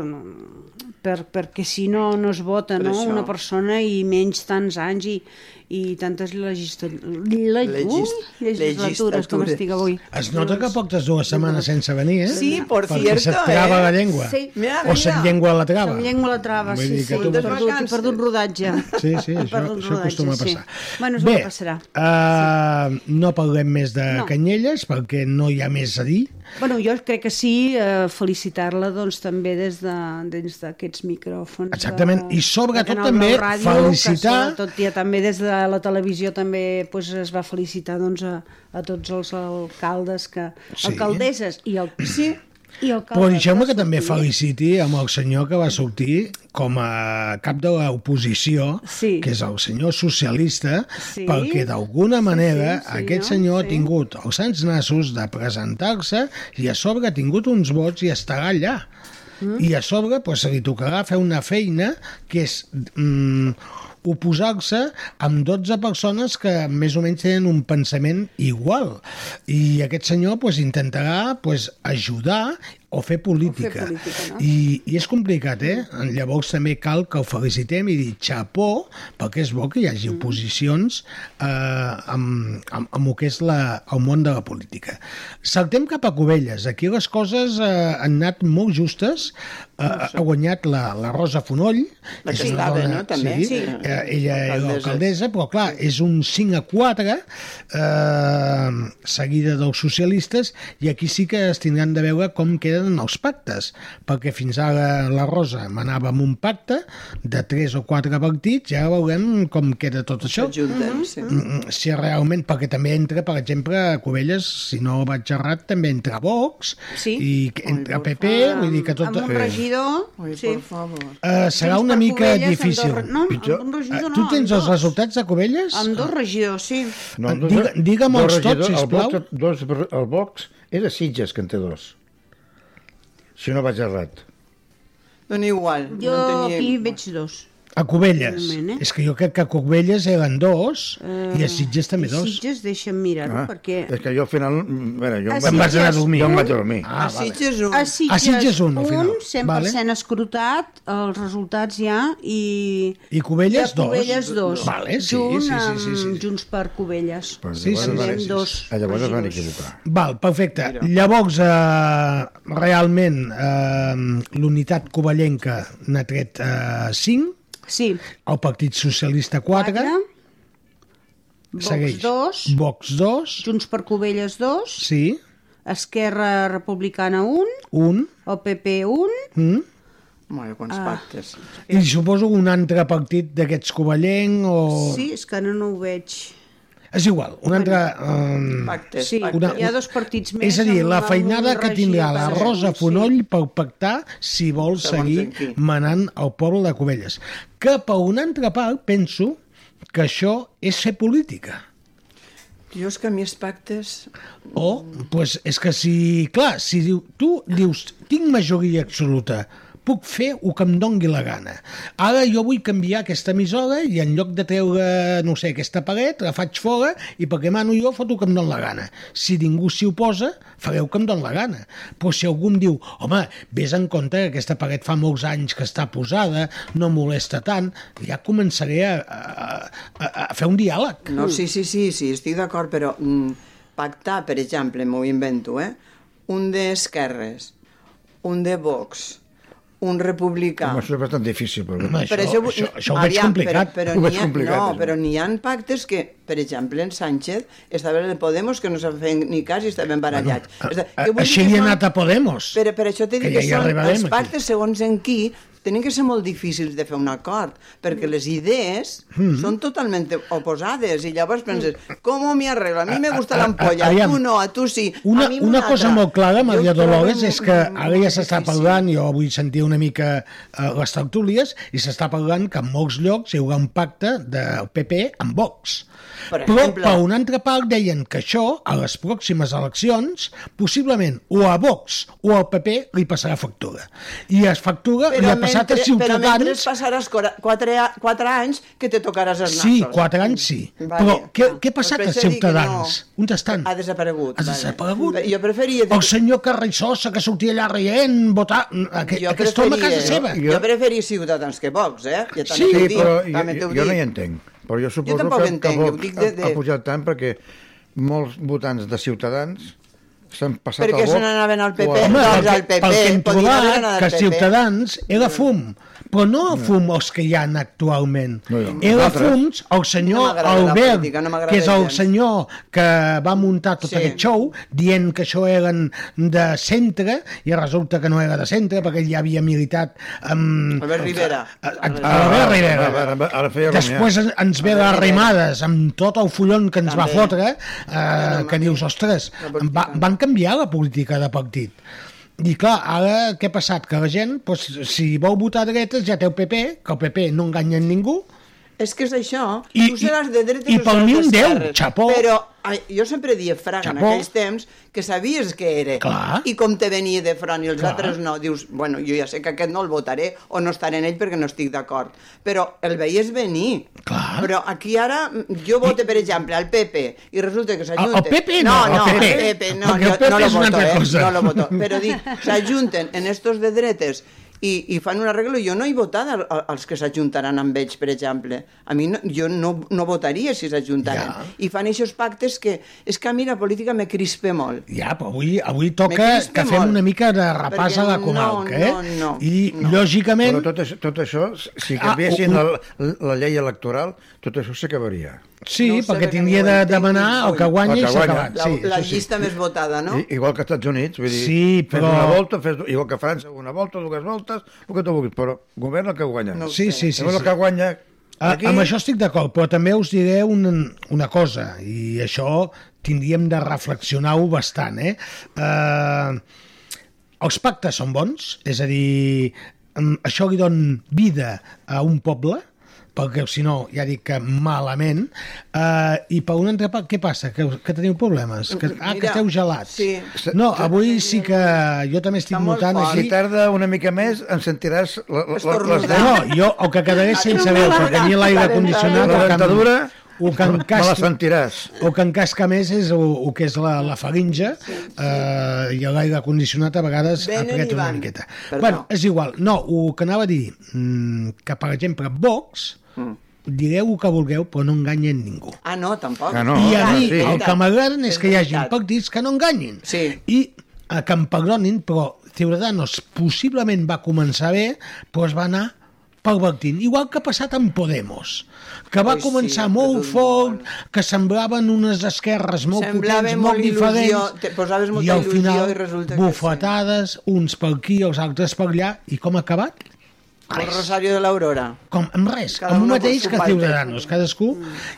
Speaker 8: per, perquè si no, no es vota
Speaker 7: Per
Speaker 8: no?
Speaker 7: això.
Speaker 8: una persona i menys tants anys i, i tantes legisla... le- ui,
Speaker 7: Legis-
Speaker 8: legislatures com
Speaker 7: legislatures.
Speaker 8: estic avui.
Speaker 5: Es nota que portes dues setmanes sense venir, eh?
Speaker 7: Sí, por
Speaker 5: Perquè
Speaker 7: cierto,
Speaker 5: se't trava
Speaker 7: eh?
Speaker 5: la llengua.
Speaker 8: Sí.
Speaker 7: Mira,
Speaker 5: o se't
Speaker 7: mira.
Speaker 5: llengua la trava.
Speaker 8: Amb llengua a la trava,
Speaker 5: Vull
Speaker 8: sí,
Speaker 5: dir
Speaker 8: sí,
Speaker 5: que
Speaker 8: he
Speaker 5: tu m'has-
Speaker 8: perdut, he perdut rodatge.
Speaker 5: Sí, sí,
Speaker 8: He
Speaker 5: això,
Speaker 8: perdut
Speaker 5: això acostuma a
Speaker 8: rodatge,
Speaker 5: passar.
Speaker 8: Sí. Bueno, és
Speaker 5: Bé,
Speaker 8: el que passarà.
Speaker 5: Uh, no parlem més de
Speaker 8: No.
Speaker 5: Canyelles perquè no hi ha més a dir.
Speaker 8: Bueno, jo crec que sí, eh, felicitar-la doncs, també des de- des d'aquests de, micròfons.
Speaker 5: Exactament,
Speaker 8: de-
Speaker 5: i sobretot
Speaker 8: de Canal
Speaker 5: també
Speaker 8: Nou Ràdio,
Speaker 5: felicitar-
Speaker 8: Que sobretot ja també des de la televisió també pues, es va felicitar doncs, a, a tots els alcaldes, que,
Speaker 5: Sí.
Speaker 8: alcaldesses i, el, sí, i
Speaker 5: Però
Speaker 8: alcaldes.
Speaker 5: deixeu-me que també feliciti amb el senyor que va sortir com a cap de l'oposició,
Speaker 8: Sí.
Speaker 5: que és el senyor socialista,
Speaker 8: Sí.
Speaker 5: perquè d'alguna manera
Speaker 8: sí, sí,
Speaker 5: aquest
Speaker 8: no?
Speaker 5: senyor
Speaker 8: Sí.
Speaker 5: ha tingut els sants nassos de presentar-se i a sobre ha tingut uns vots i estarà allà. Mm. I a sobre doncs, se li tocarà fer una feina que és... Mm, oposar-se amb 12 persones que més o menys tenen un pensament igual. I aquest senyor pues, intentarà pues, ajudar o fer política.
Speaker 8: política, no?
Speaker 5: I, I és complicat, eh?
Speaker 7: Mm.
Speaker 5: Llavors també cal que el felicitem i dir xapó, perquè és bo que hi
Speaker 7: Mm.
Speaker 5: hagi oposicions eh, amb, amb, amb el que és la, el món de la política. Saltem cap a Covelles. Aquí les coses eh, han anat molt justes. Eh, ha guanyat la, la Rosa Fonoll.
Speaker 7: La
Speaker 5: és
Speaker 7: que
Speaker 5: una
Speaker 7: estava,
Speaker 5: dona-
Speaker 7: no? També.
Speaker 5: Sí,
Speaker 7: Sí.
Speaker 5: Eh, ella era
Speaker 7: Alcaldessa.
Speaker 5: l'alcaldessa, però clar, és un 5 a 4 eh, seguida dels socialistes i aquí sí que es tindran de veure com queden els pactes, perquè fins ara la Rosa manava amb un pacte de 3 o 4 partits, ja veurem com queda tot això.
Speaker 8: Mm-hmm.
Speaker 7: Ajunten, sí.
Speaker 5: Mm, si realment, perquè també entra, per exemple, a Covelles, si no vaig errat, també entra Vox
Speaker 8: Sí.
Speaker 5: i que entra PP, vull dir que tot...
Speaker 8: Amb un regidor...
Speaker 7: Ui,
Speaker 8: sí.
Speaker 7: por favor.
Speaker 5: Eh, serà
Speaker 8: Junts
Speaker 5: una
Speaker 8: per
Speaker 5: mica
Speaker 8: Covelles, amb
Speaker 5: difícil.
Speaker 8: dos re- no, amb
Speaker 5: Pitjor.
Speaker 8: un regidor
Speaker 5: Eh,
Speaker 8: no,
Speaker 5: tu tens
Speaker 8: amb dos.
Speaker 5: els resultats de Covelles?
Speaker 8: Amb dos regidors, sí.
Speaker 5: Eh, diga- digue'm els tots, sisplau.
Speaker 6: El Vox, dos, per- el Vox és a Sitges, que en té dos. Si no vaig errat.
Speaker 7: Dona igual.
Speaker 8: Jo
Speaker 7: no en
Speaker 8: aquí
Speaker 7: tenia...
Speaker 8: veig dos.
Speaker 5: A Covelles.
Speaker 8: Realment, eh?
Speaker 5: És que jo crec que a Covelles eren dos i a Sitges també
Speaker 8: I
Speaker 5: dos. Ah.
Speaker 8: Sitges, deixa'm mirar-ho, perquè...
Speaker 6: És que jo al final... mm, A veure, jo
Speaker 8: A
Speaker 6: em
Speaker 5: Te'n
Speaker 6: vaig,
Speaker 5: vas anar a dormir.
Speaker 6: jo em vaig dormir.
Speaker 5: Ah,
Speaker 7: a
Speaker 5: vale.
Speaker 7: Sitges un.
Speaker 8: A Sitges,
Speaker 5: Sitges un, al
Speaker 8: un
Speaker 5: final.
Speaker 8: 100%
Speaker 5: Vale.
Speaker 8: escrotat, els resultats ja, i...
Speaker 5: I Covelles,
Speaker 8: i a Covelles
Speaker 5: dos.
Speaker 8: dos.
Speaker 5: Vale, sí,
Speaker 8: Junt,
Speaker 5: sí, sí, sí,
Speaker 8: amb-
Speaker 5: sí.
Speaker 8: Junts per Covelles.
Speaker 6: Pues
Speaker 5: Sí,
Speaker 6: Ah, llavors es van-
Speaker 5: sí, sí, sí.
Speaker 8: Dos
Speaker 6: Ah, Llavors es van
Speaker 8: regidors.
Speaker 6: equivocar.
Speaker 5: Val, perfecte. Llavors, eh, realment, eh, l'unitat covellenca n'ha tret eh, 5,
Speaker 8: Sí,
Speaker 5: el Partit Socialista 4,
Speaker 8: quatre,
Speaker 5: segueix.
Speaker 8: Vox dos,
Speaker 5: Vox 2,
Speaker 8: Junts per Covelles dos,
Speaker 5: sí,
Speaker 8: Esquerra Republicana un,
Speaker 5: 1,
Speaker 8: el PP un,
Speaker 5: mm,
Speaker 7: Mare, quants
Speaker 8: Ah.
Speaker 7: pactes.
Speaker 5: i suposo un altre partit d'aquests covellenc o...
Speaker 8: sí, és que no, no ho veig.
Speaker 5: És igual, un altre... Eh,
Speaker 7: Pactes,
Speaker 8: Sí,
Speaker 7: pactes.
Speaker 5: Una-
Speaker 8: hi ha dos partits més.
Speaker 5: És a dir,
Speaker 8: amb-
Speaker 5: la
Speaker 8: amb un
Speaker 5: feinada que
Speaker 8: regidor
Speaker 5: tindrà la
Speaker 8: per
Speaker 5: Rosa
Speaker 8: un, sí.
Speaker 5: Fonoll per pactar si vol
Speaker 7: Segons en
Speaker 5: seguir
Speaker 7: qui.
Speaker 5: manant el poble de Covelles. Que per una altra part penso que això és fer política.
Speaker 7: Jo és que a mi els pactes...
Speaker 5: O, Oh, pues, és que si, clar, si diu, tu dius, tinc majoria absoluta, puc fer el que em dongui la gana. Ara jo vull canviar aquesta emissora i en lloc de treure, no sé, aquesta paret, la faig fora i perquè mano jo foto el que em dóna la gana. Si ningú s'hi oposa, fareu que em dóna la gana. Però si algú em diu, home, vés en compte que aquesta paret fa molts anys que està posada, no molesta tant, ja començaré a, a, a, a fer un diàleg.
Speaker 7: No, sí, sí, sí, sí estic d'acord, però mm, pactar, per exemple, m'ho invento, eh? Un d'esquerres, un de Vox, un republicà...
Speaker 6: Home, això és bastant difícil. Però...
Speaker 5: Home, això, això, això, ho veig
Speaker 7: Aviam,
Speaker 5: complicat. eh?
Speaker 6: Ho
Speaker 7: Però, però
Speaker 6: veig
Speaker 7: n'hi ha,
Speaker 6: complicat,
Speaker 7: no,
Speaker 6: això.
Speaker 7: però n'hi ha pactes que, per exemple, en Sánchez estava en el Podemos, que no s'ha fet ni cas i estaven barallats. És dir,
Speaker 5: A-
Speaker 7: que vull dir
Speaker 5: Així
Speaker 7: que
Speaker 5: hi ha
Speaker 7: són-
Speaker 5: anat a Podemos.
Speaker 7: Per, per això t'he dit
Speaker 5: Que
Speaker 7: que,
Speaker 5: ja hi
Speaker 7: són
Speaker 5: arribarem,
Speaker 7: els
Speaker 5: aquí.
Speaker 7: pactes, segons en qui, tenen que ser molt difícils de fer un acord, perquè les idees
Speaker 5: Mm.
Speaker 7: són totalment oposades, i llavors penses, com m'hi arreglo? A mi me gusta
Speaker 5: A- a-
Speaker 7: l'ampolla, a,
Speaker 5: aviam.
Speaker 7: tu no, a tu sí,
Speaker 5: Una,
Speaker 7: a mi
Speaker 5: una cosa
Speaker 7: altra.
Speaker 5: molt clara, Maria
Speaker 7: Jo ho trobo
Speaker 5: Dolores, és que
Speaker 7: molt-
Speaker 5: ara ja s'està
Speaker 7: difícil.
Speaker 5: parlant, jo vull sentir una mica eh, les tertúlies, i s'està parlant que en molts llocs hi haurà un pacte del PP amb Vox.
Speaker 7: Per
Speaker 5: Però
Speaker 7: exemple.
Speaker 5: per una altra part deien que això, a les pròximes eleccions, possiblement o a Vox o al PP li passarà factura. I a factura
Speaker 7: Però
Speaker 5: li
Speaker 7: amb
Speaker 5: passat a Ciutadans...
Speaker 7: Però mentre passaràs 4, 4 anys que te tocaràs el nas.
Speaker 5: Sí, quatre anys sí.
Speaker 7: Vale.
Speaker 5: Però què, què ha
Speaker 7: Doncs
Speaker 5: passat a
Speaker 7: pensé dir que
Speaker 5: Ciutadans? No. On estan?
Speaker 7: Ha desaparegut.
Speaker 5: Ha desaparegut?
Speaker 7: Vale. Jo preferia dir...
Speaker 5: El senyor Carrizosa que sortia allà rient, votar... Aquest,
Speaker 7: jo
Speaker 5: aquest home a casa seva.
Speaker 7: Jo, jo preferia Ciutadans que Vox, eh? Jo també
Speaker 6: sí,
Speaker 7: t'ho dic,
Speaker 6: però
Speaker 7: també t'ho
Speaker 6: jo, jo no hi
Speaker 7: dic.
Speaker 6: entenc. Però jo suposo
Speaker 7: tampoc
Speaker 6: que,
Speaker 7: entenc,
Speaker 6: que
Speaker 7: ho
Speaker 6: Vox
Speaker 7: dic de- de-
Speaker 6: ha, ha pujat tant perquè molts votants de Ciutadans s'han passat
Speaker 7: Perquè
Speaker 6: al Vox.
Speaker 7: se n'anaven al
Speaker 6: o
Speaker 7: PP.
Speaker 6: a-
Speaker 7: Home, Doncs
Speaker 5: perquè-
Speaker 7: el PP,
Speaker 5: pel que hem
Speaker 7: podien haver
Speaker 5: trobat,
Speaker 7: anat al
Speaker 5: que
Speaker 7: PP.
Speaker 5: Ciutadans era fum, però no fum els que hi han actualment. No,
Speaker 6: no.
Speaker 5: Era
Speaker 6: Nosaltres.
Speaker 5: fums el
Speaker 7: No
Speaker 5: senyor
Speaker 7: m'agrada la
Speaker 5: Albert,
Speaker 7: política, no m'agrada
Speaker 5: que és el
Speaker 7: gens.
Speaker 5: senyor que va muntar tot
Speaker 7: Sí.
Speaker 5: aquest show, dient que això eren de centre, i resulta que no era de centre, perquè ell ja havia militat amb...
Speaker 7: Albert Rivera.
Speaker 5: A, a, a l'Albert Rivera.
Speaker 6: Ara- ara- ara- ara feia
Speaker 5: Després
Speaker 6: rumiar.
Speaker 5: en- ens ve l'arrimades amb tot el follon que ens va
Speaker 7: També.
Speaker 5: fotre, eh, que dius, ostres, va, van canviar la política de partit. I clar, ara què ha passat? Que la gent, doncs, si vol votar dretes, ja té el PP, que el PP no enganya ningú,
Speaker 7: És que és això.
Speaker 5: I-
Speaker 7: tu seràs de dretes
Speaker 5: i- i
Speaker 7: o
Speaker 5: pel
Speaker 7: seràs
Speaker 5: mi un deu,
Speaker 7: d'esquerres.
Speaker 5: xapó.
Speaker 7: Però ai, jo sempre dia fraga en
Speaker 5: Xapó.
Speaker 7: aquells temps que sabies que era.
Speaker 5: Clar.
Speaker 7: I com te venia de front i els
Speaker 5: Clar.
Speaker 7: altres no. Dius, bueno, jo ja sé que aquest no el votaré o no estaré en ell perquè no estic d'acord. Però el veies venir.
Speaker 5: Clar.
Speaker 7: Però aquí ara mm, jo vote, per exemple, al PP i resulta que
Speaker 5: El- el
Speaker 7: s'ajunten...
Speaker 5: PP no,
Speaker 7: no,
Speaker 5: el PP.
Speaker 7: el PP no,
Speaker 5: Perquè el
Speaker 7: jo
Speaker 5: PP
Speaker 7: no lo
Speaker 5: és una
Speaker 7: voto,
Speaker 5: altra
Speaker 7: eh?
Speaker 5: cosa.
Speaker 7: No lo voto. Però dic, s'ajunten en estos de dretes i, i fan un arreglo, jo no he votat al- al- als que s'ajuntaran amb ells, per exemple. A mi no, jo no, no votaria si s'ajuntaren.
Speaker 5: Ja.
Speaker 7: I fan aquests pactes que... És que a mi la política me crispe molt.
Speaker 5: Ja, però avui, avui
Speaker 7: Me
Speaker 5: toca
Speaker 7: crispa
Speaker 5: que fem
Speaker 7: molt.
Speaker 5: una mica de repàs
Speaker 7: Perquè
Speaker 5: a la
Speaker 7: no,
Speaker 5: comarca, eh?
Speaker 7: no, no,
Speaker 5: I,
Speaker 7: no.
Speaker 5: lògicament,
Speaker 6: Però tot això, tot això si
Speaker 5: Ah,
Speaker 6: canviessin
Speaker 5: un-
Speaker 6: la, la llei electoral, tot això s'acabaria.
Speaker 5: sí,
Speaker 7: no ho sé,
Speaker 5: perquè
Speaker 7: perquè
Speaker 5: tindria
Speaker 7: no ho
Speaker 5: de
Speaker 7: entenc,
Speaker 5: demanar el que
Speaker 7: vull.
Speaker 5: guanya
Speaker 6: El
Speaker 5: i
Speaker 6: que
Speaker 5: s'ha
Speaker 6: guanya.
Speaker 5: acabat.
Speaker 7: La,
Speaker 5: Sí,
Speaker 7: la
Speaker 5: això sí.
Speaker 7: llista més votada, no?
Speaker 6: I, igual que als Estats Units, vull dir,
Speaker 5: Sí,
Speaker 6: fes
Speaker 5: però-
Speaker 6: una volta, fes, igual que França, una volta, dues voltes, el que tu vulguis, però governa el que guanya.
Speaker 7: No ho
Speaker 5: Sí, sí, sí,
Speaker 6: Llavors el
Speaker 5: sí.
Speaker 6: que guanya
Speaker 5: A,
Speaker 6: aquí...
Speaker 5: Amb això estic d'acord, però també us diré una, una cosa, i això tindríem de reflexionar-ho bastant. Eh? Eh, els pactes són bons, és a dir, em- això li don vida a un poble, perquè si no, ja dic que malament, eh, i per un altre part, què passa? Que, que teniu problemes? Que, ah, que
Speaker 7: Mira,
Speaker 5: esteu gelats.
Speaker 7: sí.
Speaker 5: No, avui sí que jo també estic
Speaker 7: Està molt
Speaker 5: notant
Speaker 7: fort.
Speaker 5: aquí...
Speaker 6: Si tarda una mica més, em sentiràs la, la, la, les
Speaker 7: Estornudar.
Speaker 6: dents.
Speaker 5: No, jo el que quedaré sense veu, perquè a mi l'aire condicionat...
Speaker 6: La
Speaker 5: el que em-
Speaker 6: dentadura
Speaker 5: el que em
Speaker 6: me la
Speaker 5: casca,
Speaker 6: sentiràs.
Speaker 5: o que encasca més és el, el que és la, la faringe eh, i l'aire condicionat a vegades
Speaker 7: Venen i
Speaker 5: apreta una
Speaker 7: van.
Speaker 5: miqueta.
Speaker 7: Però
Speaker 5: bueno,
Speaker 7: no.
Speaker 5: és igual. No, el que anava a dir, mm, que per exemple Vox, direu el que vulgueu, però no enganyen ningú.
Speaker 7: Ah, no, tampoc.
Speaker 6: Ah, no.
Speaker 5: I a
Speaker 6: clar,
Speaker 5: mi
Speaker 6: sí.
Speaker 5: el que m'agraden és
Speaker 7: És
Speaker 5: que hi hagi
Speaker 7: veritat.
Speaker 5: partits que no enganyin.
Speaker 7: Sí.
Speaker 5: I eh, que em perdonin, però Ciudadanos possiblement va començar bé, però es va anar pervertint. Igual que ha passat amb Podemos, que va
Speaker 7: Ui, sí,
Speaker 5: començar
Speaker 7: ha
Speaker 5: molt
Speaker 7: perdut
Speaker 5: fort,
Speaker 7: molt.
Speaker 5: que semblaven unes esquerres molt
Speaker 7: Semblava
Speaker 5: potents, molt,
Speaker 7: molt il·lusió,
Speaker 5: diferents,
Speaker 7: te posaves molta
Speaker 5: i al
Speaker 7: il·lusió
Speaker 5: final
Speaker 7: i resulta que sí.
Speaker 5: bufetades, uns per aquí, els altres per allà, i com ha acabat?
Speaker 7: El Rosario de l'Aurora.
Speaker 5: com amb res,
Speaker 7: Cada
Speaker 5: amb un
Speaker 7: una pel
Speaker 5: mateix
Speaker 7: seu
Speaker 5: que
Speaker 7: pal.
Speaker 5: Ciudadanos, cadascú,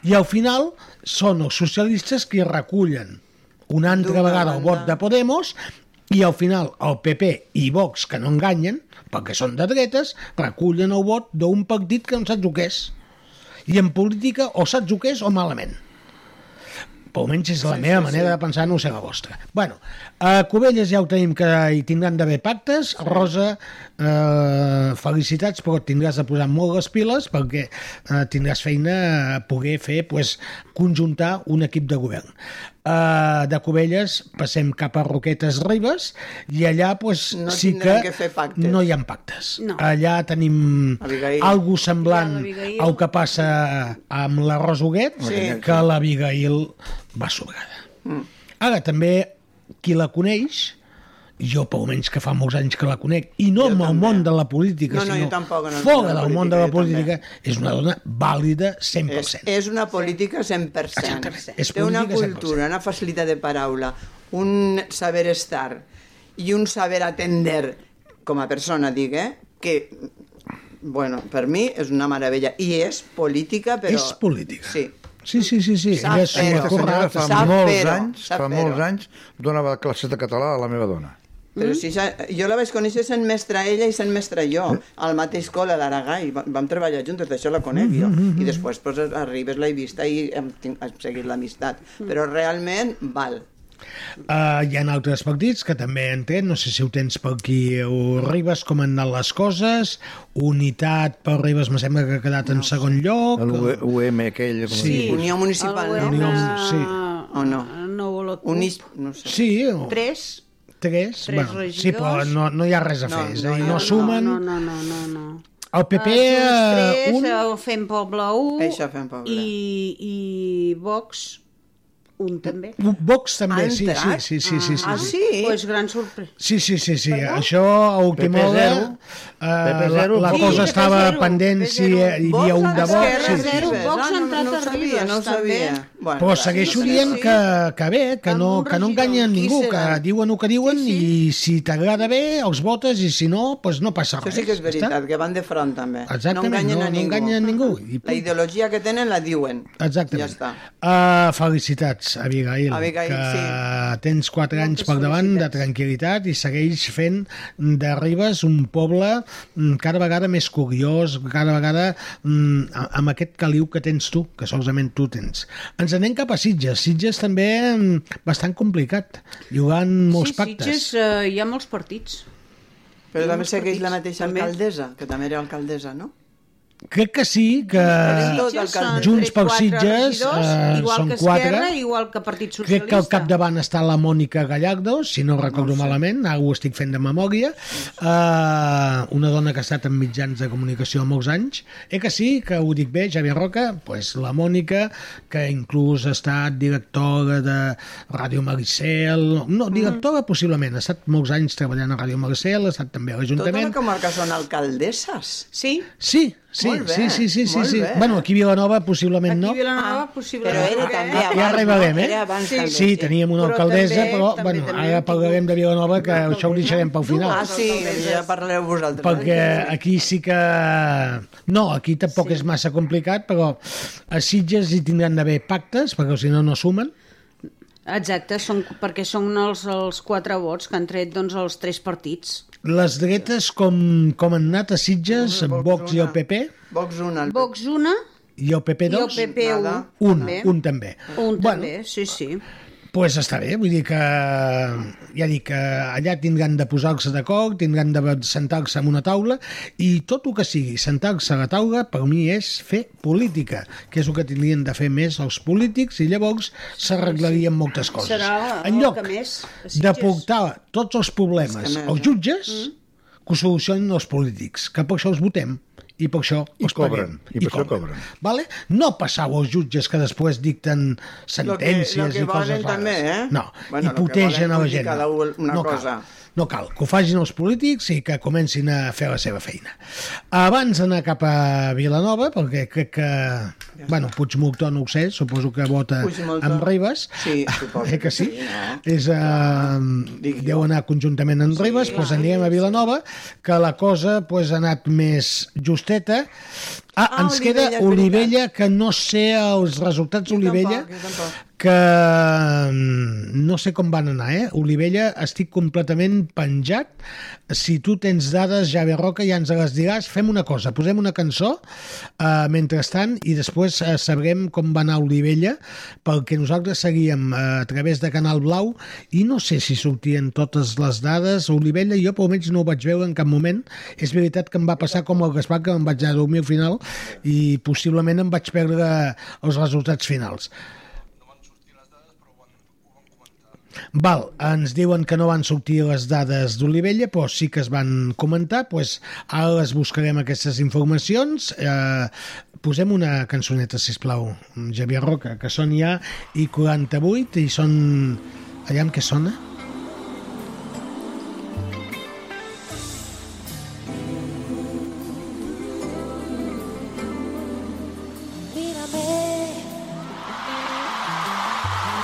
Speaker 5: i al final són els socialistes que recullen una altra
Speaker 7: D'una
Speaker 5: vegada el
Speaker 7: banda.
Speaker 5: vot de Podemos i al final el PP i Vox, que no enganyen, perquè són de dretes, recullen el vot d'un partit que no saps el que és. I en política o saps el que és o malament. Però almenys és la meva manera de pensar, no sé la vostra. bueno, a Covelles ja ho tenim, que hi tindran d'haver pactes. Rosa, eh, felicitats, però et tindràs de posar molt les piles perquè eh, tindràs feina a poder fer, pues, conjuntar un equip de govern. Eh, de Covelles passem cap a Roquetes Ribes i allà pues,
Speaker 7: No
Speaker 5: sí que,
Speaker 7: tindrem que fer pactes.
Speaker 5: no hi ha pactes.
Speaker 8: No.
Speaker 5: Allà tenim
Speaker 7: Abigail.
Speaker 5: algo
Speaker 8: Ja,
Speaker 5: semblant
Speaker 8: l'Abigail.
Speaker 5: al que passa amb la Rosuguet,
Speaker 7: Sí. Mm.
Speaker 5: que l'Abigail va sobrada. Ara, també, qui la coneix, jo, pel menys que fa molts anys que la conec, i no
Speaker 7: Jo
Speaker 5: amb el
Speaker 7: també.
Speaker 5: món de la política,
Speaker 7: No, no,
Speaker 5: sinó
Speaker 7: jo tampoc, en el món
Speaker 5: fora
Speaker 7: de la
Speaker 5: del món de
Speaker 7: política,
Speaker 5: la
Speaker 7: jo
Speaker 5: política, és una dona vàlida 100%.
Speaker 7: És, és una política 100%.
Speaker 5: Exactament. És
Speaker 7: Té una
Speaker 5: política 100%.
Speaker 7: cultura, una facilitat de paraula, un saber estar i un saber atender com a persona, dic, eh? que bueno, per mi és una meravella. I és política, però...
Speaker 5: És política.
Speaker 7: Sí.
Speaker 5: Sí, sí, sí, sí.
Speaker 7: Sap
Speaker 5: Ella s'ho
Speaker 7: fer-ho.
Speaker 5: ha
Speaker 6: Aquesta senyora
Speaker 5: currat.
Speaker 6: fa
Speaker 7: Sap
Speaker 6: molts
Speaker 7: fer-ho,
Speaker 6: anys,
Speaker 7: sap
Speaker 6: fa
Speaker 7: fer-ho.
Speaker 6: molts anys, donava classes de català a la meva dona.
Speaker 7: Però si ja, jo la vaig conèixer sent mestra ella i sent mestra jo,
Speaker 5: Eh?
Speaker 7: al mateix col·le d'Aragai. Va- Vam treballar juntes, d'això la conec jo.
Speaker 5: Mm-hmm,
Speaker 7: I després pues, arribes la he vista i hem, tinc- hem seguit l'amistat. Però realment val.
Speaker 5: Uh, hi ha altres partits que també en té, no sé si ho tens per aquí ho arribes, com han anat les coses, unitat per Ribes em sembla que ha quedat en segon lloc.
Speaker 6: L'UM aquell... com
Speaker 5: Sí.
Speaker 6: es diu.
Speaker 7: Unió Municipal,
Speaker 8: El
Speaker 7: no?
Speaker 8: UM,
Speaker 5: sí.
Speaker 7: O no?
Speaker 8: No vol la CUP.
Speaker 7: Unís, no sé.
Speaker 5: Sí, o...
Speaker 8: Tres.
Speaker 5: Tres,
Speaker 8: Tres
Speaker 5: bueno,
Speaker 8: regidors.
Speaker 5: sí, però no, no hi ha res a fer, no, és a dir, no, sumen.
Speaker 8: No, no, no, no, no.
Speaker 5: El PP,
Speaker 8: Ah,
Speaker 5: eh,
Speaker 8: Junts
Speaker 5: un...
Speaker 8: tres, un... Fem Poble 1
Speaker 7: Això, Fem Poble.
Speaker 8: i, i Vox un també.
Speaker 5: Vox també,
Speaker 7: Ha
Speaker 5: sí, sí,
Speaker 7: entrat?
Speaker 5: sí, sí, sí, sí,
Speaker 7: Ah,
Speaker 5: sí.
Speaker 7: sí?
Speaker 8: Pues gran sorpresa.
Speaker 5: Sí, sí, sí, sí. Això a última
Speaker 6: PP
Speaker 5: hora
Speaker 6: zero.
Speaker 5: eh,
Speaker 6: PP
Speaker 5: la,
Speaker 6: zero,
Speaker 5: la
Speaker 6: Vox.
Speaker 5: cosa
Speaker 8: Sí,
Speaker 5: estava
Speaker 8: PP zero,
Speaker 5: pendent
Speaker 8: PP
Speaker 5: si eh, hi havia un de Vox.
Speaker 8: Esquerra
Speaker 5: Sí,
Speaker 8: zero,
Speaker 5: sí.
Speaker 8: Vox ha entrat
Speaker 7: no, no,
Speaker 8: a
Speaker 7: ho sabia,
Speaker 8: Ribes,
Speaker 7: no ho sabia.
Speaker 8: també.
Speaker 7: Bueno,
Speaker 5: Però
Speaker 7: va,
Speaker 5: segueixo
Speaker 7: no sé.
Speaker 5: dient que, que bé, que
Speaker 8: Amb
Speaker 5: no,
Speaker 8: un
Speaker 5: que no
Speaker 8: regidor.
Speaker 5: enganyen
Speaker 7: Qui
Speaker 5: ningú, que
Speaker 7: serà?
Speaker 5: diuen el que diuen i si t'agrada bé els votes i si no, doncs no passa
Speaker 7: Això
Speaker 5: res.
Speaker 7: sí que és
Speaker 5: Ja està.
Speaker 7: veritat, que van de front també. no
Speaker 5: Exactament,
Speaker 7: enganyen
Speaker 5: no-
Speaker 7: a
Speaker 5: no
Speaker 7: ningú.
Speaker 5: enganyen a ningú. I
Speaker 7: La
Speaker 5: punt.
Speaker 7: ideologia que tenen la diuen.
Speaker 5: Exactament.
Speaker 7: Ja està.
Speaker 5: Uh, felicitats, Abigail,
Speaker 7: Abigail,
Speaker 5: que
Speaker 7: sí.
Speaker 5: tens 4 anys per davant de tranquil·litat i segueix fent de Ribes un poble mm, cada vegada més curiós, cada vegada mm, a- amb aquest caliu que tens tu, que solament tu tens. Ens anem cap a Sitges. Sitges també mm, bastant complicat, jugant molts
Speaker 8: sí,
Speaker 5: pactes.
Speaker 8: Sitges, eh, hi ha molts partits.
Speaker 7: Però també
Speaker 8: molts
Speaker 7: segueix la
Speaker 8: partits,
Speaker 7: mateixa
Speaker 8: també.
Speaker 7: alcaldessa, que també era alcaldessa, no?
Speaker 5: Crec que sí, que...
Speaker 7: Tenim tot
Speaker 8: Sitges
Speaker 7: alcalde.
Speaker 8: són
Speaker 5: Junts
Speaker 8: tres,
Speaker 5: per
Speaker 8: quatre
Speaker 5: Sitges,
Speaker 8: regidors,
Speaker 5: eh,
Speaker 8: igual
Speaker 5: són
Speaker 8: que Esquerra,
Speaker 5: quatre.
Speaker 8: Igual que Partit Socialista.
Speaker 5: Crec que al capdavant està la Mònica Gallardo, si no recordo no malament, ara ho estic fent de memòria, uh, una dona que ha estat en mitjans de comunicació molts anys. Eh que sí, que ho dic bé, Javier Roca? pues la Mònica, que inclús ha estat directora de Ràdio Maricel, no, directora possiblement, ha estat molts anys treballant a Ràdio Maricel, ha estat també a
Speaker 7: Tota la
Speaker 5: l'Ajuntament.
Speaker 7: comarca són alcaldesses.
Speaker 8: Sí,
Speaker 5: Sí, sí,
Speaker 7: Molt bé,
Speaker 5: sí, sí, sí, sí,
Speaker 7: molt
Speaker 5: sí.
Speaker 7: bé.
Speaker 5: Bueno, aquí a Vilanova possiblement
Speaker 8: aquí
Speaker 5: no.
Speaker 8: a Vilanova, possiblement.
Speaker 7: Però era
Speaker 8: Eh?
Speaker 7: també
Speaker 5: Ah,
Speaker 7: abans.
Speaker 5: ja arribarem, eh?
Speaker 7: Era abans
Speaker 5: sí,
Speaker 7: també.
Speaker 5: sí, teníem una
Speaker 8: Però
Speaker 5: alcaldessa,
Speaker 8: també-
Speaker 5: però
Speaker 8: també
Speaker 5: bueno,
Speaker 8: teníem
Speaker 5: ara
Speaker 8: tingut-
Speaker 5: parlarem de Vilanova, que això ho deixarem pel final.
Speaker 7: Ah, sí, ja parlareu vosaltres. eh?
Speaker 5: Perquè aquí sí que... No, aquí tampoc és massa complicat, però a Sitges hi tindran d'haver pactes, perquè si no, no sumen.
Speaker 8: Exacte, són, perquè són els, els quatre vots que han tret doncs, els tres partits.
Speaker 5: Les dretes, com, com han anat a Sitges, Vox i el PP,
Speaker 7: Vox una. el-
Speaker 8: Vox una
Speaker 5: i el PP
Speaker 8: i el
Speaker 5: 2,
Speaker 8: PP un.
Speaker 7: Nada.
Speaker 5: un,
Speaker 8: també.
Speaker 5: un també.
Speaker 8: Un
Speaker 5: Bueno,
Speaker 8: també, sí, sí.
Speaker 5: pues està bé, vull dir que ja dic que allà tindran de posar-se d'acord, tindran de sentar-se en una taula i tot el que sigui sentar-se a la taula per mi és fer política, que és el que tindrien de fer més els polítics i llavors s'arreglarien moltes coses.
Speaker 8: Serà
Speaker 5: en
Speaker 8: el
Speaker 5: lloc
Speaker 8: que més
Speaker 5: de
Speaker 8: desitges.
Speaker 5: portar tots els problemes
Speaker 7: És que més,
Speaker 5: als
Speaker 7: eh?
Speaker 5: jutges,
Speaker 8: Mm.
Speaker 5: que ho solucionin els polítics, que per això els votem i per això
Speaker 6: I
Speaker 5: els
Speaker 6: cobren,
Speaker 5: paguem.
Speaker 6: i per això cobren.
Speaker 5: Vale? No passau als jutges que després dicten
Speaker 7: Lo que- lo
Speaker 5: sentències
Speaker 7: que
Speaker 5: i coses
Speaker 7: volen
Speaker 5: rares.
Speaker 7: també, eh?
Speaker 5: No,
Speaker 7: Bueno,
Speaker 5: bueno,
Speaker 7: lo que
Speaker 5: hipotegen
Speaker 7: volen
Speaker 5: a la
Speaker 7: vull dir
Speaker 5: gent.
Speaker 7: cada u una
Speaker 5: no
Speaker 7: cosa.
Speaker 5: Cal. No cal, que ho facin els polítics i que comencin a fer la seva feina. Abans d'anar cap a Vilanova, perquè crec que... Ja bueno, Puigmoctor no ho sé, suposo que vota
Speaker 7: Puigmoctor.
Speaker 5: amb Ribes.
Speaker 7: Sí, suposo
Speaker 5: Eh que sí?
Speaker 7: que sí, no?
Speaker 5: És, eh,
Speaker 7: Digui jo.
Speaker 5: deu anar conjuntament amb Ribes, doncs anirem a Vilanova, que la cosa pues, ha anat més justeta. Ah,
Speaker 7: Ah,
Speaker 5: ens
Speaker 7: Olivella,
Speaker 5: queda
Speaker 7: és veritat.
Speaker 5: Olivella, que no sé els resultats
Speaker 7: Jo tampoc,
Speaker 5: Olivella,
Speaker 7: jo tampoc.
Speaker 5: que mm, no sé com van anar, eh? Olivella, estic completament penjat. Si tu tens dades, Javier Roca, ja ens les diràs. Fem una cosa, posem una cançó eh, mentrestant i després eh, sabrem com va anar Olivella, perquè nosaltres seguíem eh, a través de Canal Blau i no sé si sortien totes les dades. Olivella, jo per almenys no ho vaig veure en cap moment. És veritat que em va passar com el Gaspar, que em vaig anar a dormir al final i possiblement em vaig perdre els resultats finals. Val, ens diuen que no van sortir les dades d'Olivella, però sí que es van comentar, doncs ara les buscarem aquestes informacions. Eh, posem una cançoneta, si plau, Javier Roca, que són ja i 48 i són... Allà amb què sona?
Speaker 9: Mírame,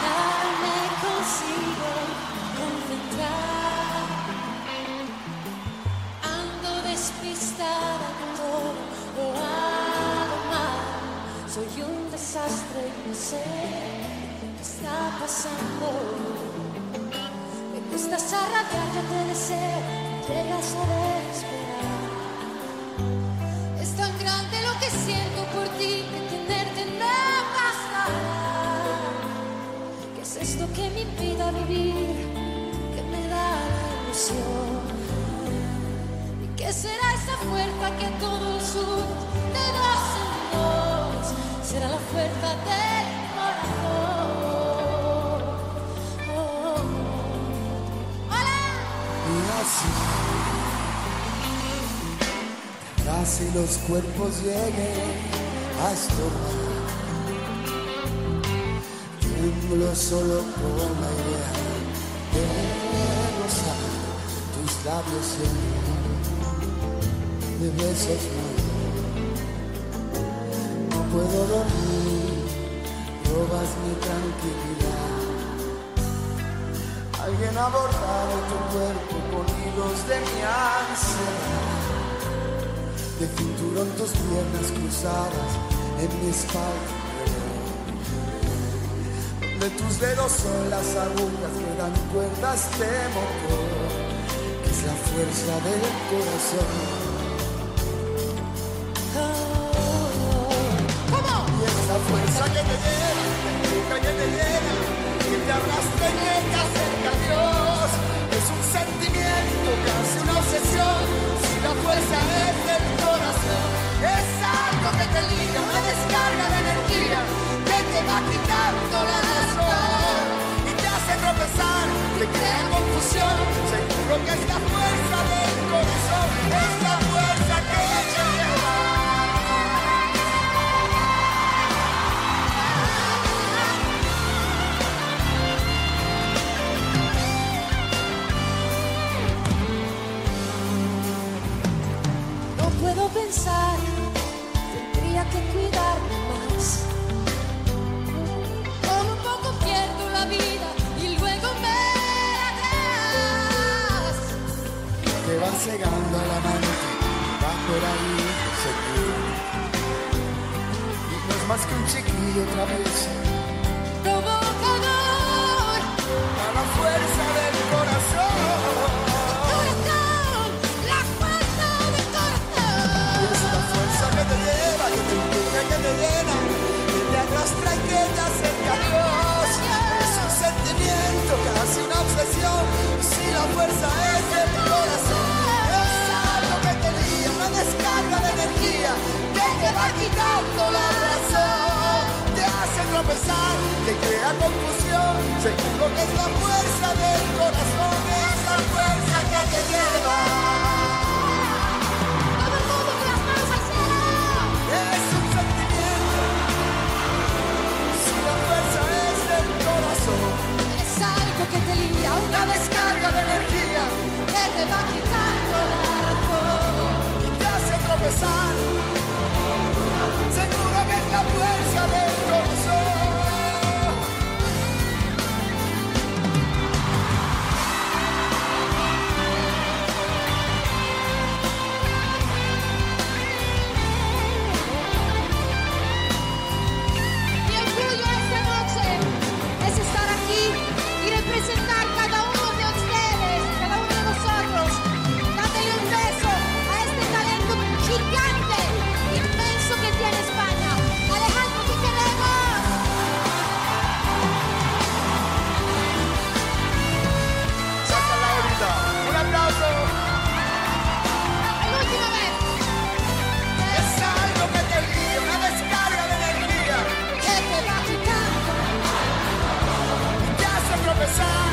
Speaker 9: no me consigo concentrar. Ando despistada con todo, lo hago mal. Soy un desastre, no sé qué está pasando. Me gusta esa rabia, yo te deseo, llegas a desesperar. Es tan grande lo que siento por ti que tenerte no bastará. ¿Qué es esto que me impida vivir? fuerza que todo el sur te da, Señor, será la fuerza del corazón. Oh, oh. ¡Hola!
Speaker 13: Casi los cuerpos lleguen a este estorbar. Tiemblo solo con la idea de rozar tus labios, Señor, de besos no. No puedo dormir, robas mi tranquilidad. Alguien ha bordado tu cuerpo con hilos de mi ansiedad de cinturón tus piernas cruzadas en mi espalda. De tus dedos son las agujas que dan cuerdas de motor, que es la fuerza del corazón. Ah, Y esa fuerza que te llena, que te empuja y que te llena, que te arrastra y que te acerca a Dios, es un sentimiento, casi una obsesión, si la fuerza es del corazón, es algo que te liga, una descarga de energía, que te va quitando la razón, y te hace tropezar, te crea confusión, seguro que es la fuerza del corazón, es la fuerza que te lleva.
Speaker 9: No puedo pensar, tendría que cuidarme más. Por un poco pierdo la vida y luego me atrás.
Speaker 13: que va cegando al amante bajo la luz del Señor. Y no es más que un chiquillo otra vez.
Speaker 9: Provocador,
Speaker 13: A la fuerza del corazón.
Speaker 9: corazón, la fuerza del corazón.
Speaker 13: Es la fuerza que te lleva, que te empuja, que te llena, que te arrastra y que te acerca a Dios. Es un sentimiento, casi una obsesión. Si la fuerza es del corazón, es algo que te lía, una descarga de energía que te va quitando la razón. Te hace tropezar, te crea confusión. Seguro que es la fuerza del corazón, es la fuerza que te lleva.
Speaker 9: Todo el mundo con las manos al cielo.
Speaker 13: Es un sentimiento, si la fuerza es del corazón,
Speaker 9: Es algo que te limpia, una descarga de energía que te va quitando la razón.
Speaker 13: y te hace tropezar, seguro que es la fuerza del corazón.
Speaker 9: Mi orgullo esta noche es estar aquí y representar cada uno de ustedes, cada uno de nosotros. Dátele un beso a este talento gigante, inmenso que tiene España. Alejandro, te queremos.
Speaker 13: Saca la horita, un aplauso.
Speaker 9: La última vez.
Speaker 13: Es algo que te lía, una descarga de energía,
Speaker 9: Que te va quitando
Speaker 13: y te hace tropezar,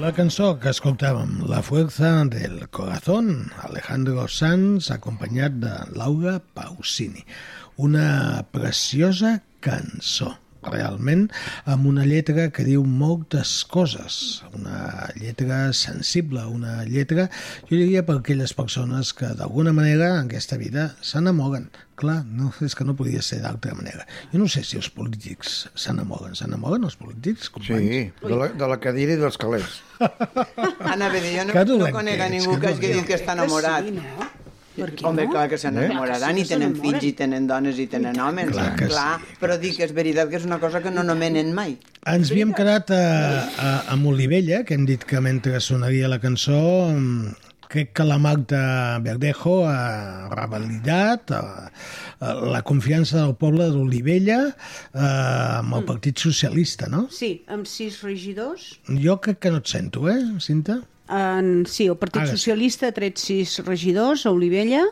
Speaker 5: La cançó que escoltàvem, La fuerza del corazón, Alejandro Sanz, acompanyat de Laura Pausini. Una preciosa cançó. realment, amb una lletra que diu moltes coses, una lletra sensible, una lletra, jo diria, per aquelles persones que d'alguna manera en aquesta vida s'enamoren. Clar, no, és que no podia ser d'altra manera. Jo no sé si els polítics s'enamoren. S'enamoren els polítics, companys?
Speaker 6: Sí, de la, de la cadira i dels calés.
Speaker 7: Anava a dir, jo no,
Speaker 5: Que dolent
Speaker 7: no conec
Speaker 5: que
Speaker 7: a
Speaker 5: ets,
Speaker 7: ningú
Speaker 5: que
Speaker 7: que hagi
Speaker 5: dolent.
Speaker 7: dit que està enamorat. Sí, no? Home, clar
Speaker 6: Clar
Speaker 7: que s'enamoraran
Speaker 6: que
Speaker 7: i
Speaker 6: sí que
Speaker 7: tenen
Speaker 6: s'enamoren.
Speaker 7: fills i tenen dones i tenen homes, clar,
Speaker 5: que
Speaker 7: clar però dic que és veritat que és una cosa que no nomenen mai.
Speaker 5: Ens havíem quedat a, a, a Olivella, que hem dit que mentre sonaria la cançó mm, crec que la Magda Verdejo ha revalidat eh, la confiança del poble d'Olivella eh, amb
Speaker 8: Mm.
Speaker 5: el Partit Socialista, no?
Speaker 8: Sí, amb sis regidors.
Speaker 5: Jo crec que no et sento, eh, Cinta?
Speaker 8: En, sí, el Partit
Speaker 5: Ara sí.
Speaker 8: Socialista ha tret sis regidors a Olivella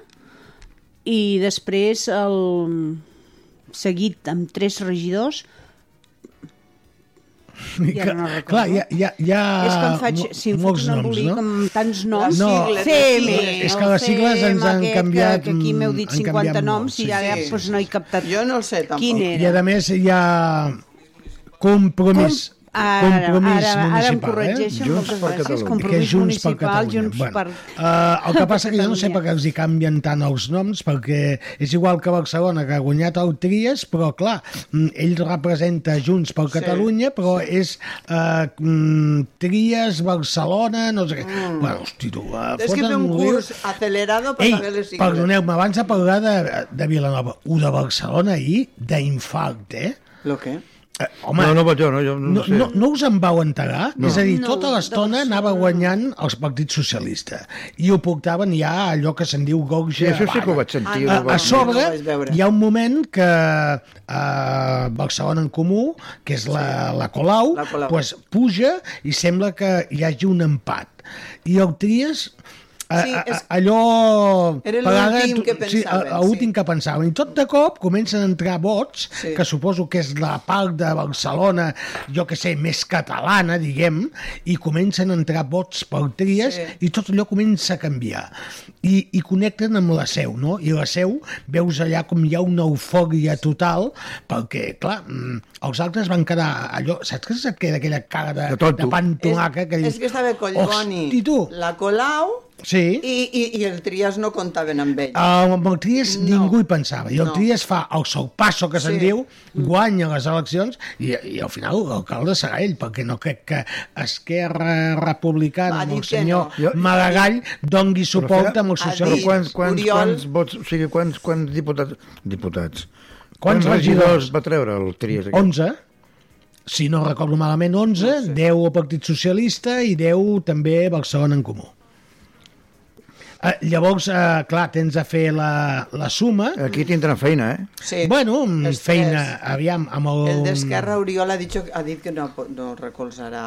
Speaker 8: i després el seguit amb tres regidors I ara no recordo.
Speaker 5: clar, hi ha, hi ha, hi ha
Speaker 8: és que em faig, si em faig
Speaker 5: Ah, molts
Speaker 8: un
Speaker 5: noms,
Speaker 8: embolic
Speaker 5: no?
Speaker 8: amb tants noms,
Speaker 5: No, Les sigles,
Speaker 8: CM,
Speaker 5: les sigles. És que les sigles
Speaker 8: el
Speaker 5: ens han
Speaker 8: CM,
Speaker 5: canviat,
Speaker 8: que, que aquí m'heu dit
Speaker 5: han canviat
Speaker 8: 50
Speaker 5: molt,
Speaker 8: noms
Speaker 5: sí.
Speaker 8: i ara
Speaker 5: Sí.
Speaker 8: doncs, no he captat
Speaker 7: jo no el sé tampoc.
Speaker 8: quin
Speaker 5: I
Speaker 8: era
Speaker 5: a més hi ha compromís.
Speaker 8: Com- ara-
Speaker 5: compromís
Speaker 8: ara- ara em
Speaker 5: municipal,
Speaker 8: corregeixo, moltes
Speaker 5: eh?
Speaker 8: Junts per gràcies. Catalunya. Compromís
Speaker 5: Que és Junts per
Speaker 8: municipal,
Speaker 5: Catalunya.
Speaker 8: Junts
Speaker 5: bueno,
Speaker 8: per-
Speaker 5: eh, el que passa que jo no sé per què els hi canvien tant els noms, perquè és igual que Barcelona, que ha guanyat el Tries, però clar, mm, ell representa Junts per Catalunya, però és eh, mm, Tries, Barcelona, no sé què. Bueno, hosti, tu, eh,
Speaker 7: Tens Mm. que fer un
Speaker 5: foten un
Speaker 7: curs acelerado per saber les
Speaker 5: Ei,
Speaker 7: sigles.
Speaker 5: perdoneu-me, abans de parlar de, de Vilanova, un de Barcelona i d'infalt, eh?
Speaker 7: Lo que?
Speaker 5: Eh, home,
Speaker 6: no, no vaig jo, no, jo no,
Speaker 5: no,
Speaker 6: sé.
Speaker 5: no, no us en vau enterar?
Speaker 6: No.
Speaker 5: És a dir,
Speaker 6: No,
Speaker 5: tota l'estona anava guanyant els partits socialistes i ho portaven ja a allò que se'n diu
Speaker 6: Sí,
Speaker 5: gorja.
Speaker 6: això sí que
Speaker 5: vaga.
Speaker 6: ho vaig sentir,
Speaker 5: A,
Speaker 6: ho vaig
Speaker 5: a sobre
Speaker 6: veure. No ho vaig veure.
Speaker 5: hi ha un moment que eh, Barcelona en Comú, que és la, la Colau, la Colau. Pues, puja i sembla que hi hagi un empat. I el Tries a,
Speaker 7: Sí,
Speaker 5: a, a,
Speaker 7: és-
Speaker 5: allò...
Speaker 7: Era
Speaker 5: pagada,
Speaker 7: l'últim
Speaker 5: tu-
Speaker 7: que
Speaker 5: Sí,
Speaker 7: pensaven,
Speaker 5: a- a últim que pensaven. I tot de cop comencen a entrar vots, sí. que suposo que és la part de Barcelona, jo que sé, més catalana, diguem, i comencen a entrar vots per Tries sí. i tot allò comença a canviar. I, I connecten amb la seu, no? I la seu veus allà com hi ha una eufòria total, perquè, clar, mm, els altres van quedar allò... Saps que se't queda aquella cara de, de, de pantomaca? que dius,
Speaker 7: És que estava Collboni,
Speaker 5: "Hosti, tu,
Speaker 7: la Colau
Speaker 5: Sí.
Speaker 7: i, i, i el Trias no comptaven amb ell.
Speaker 5: Uh, amb el Tries no. ningú hi pensava. I el
Speaker 7: No.
Speaker 5: no. Tries fa el sorpasso que se'n
Speaker 7: Sí.
Speaker 5: diu, guanya les eleccions i, i al final l'alcalde serà ell, perquè no crec que Esquerra Republicana, amb el senyor no. Maragall, dongui suport amb els
Speaker 6: Però Quants,
Speaker 5: socialistes.
Speaker 6: quants, quants vots, o sigui, quants, quants diputats... Diputats. Quants,
Speaker 5: regidors?
Speaker 6: regidors va treure el Trias? Aquest?
Speaker 5: 11, si no recordo malament, 11, no sé. 10 al Partit Socialista i 10 també a Barcelona en Comú. Eh, llavors, eh, clar, tens a fer la, la suma.
Speaker 6: Aquí tindran feina, eh?
Speaker 7: Sí.
Speaker 5: Bueno, mm,
Speaker 7: Els
Speaker 5: feina, mm.
Speaker 7: tres.
Speaker 5: aviam, amb el...
Speaker 7: El d'Esquerra Oriol ha dit, ha dit que no, no recolzarà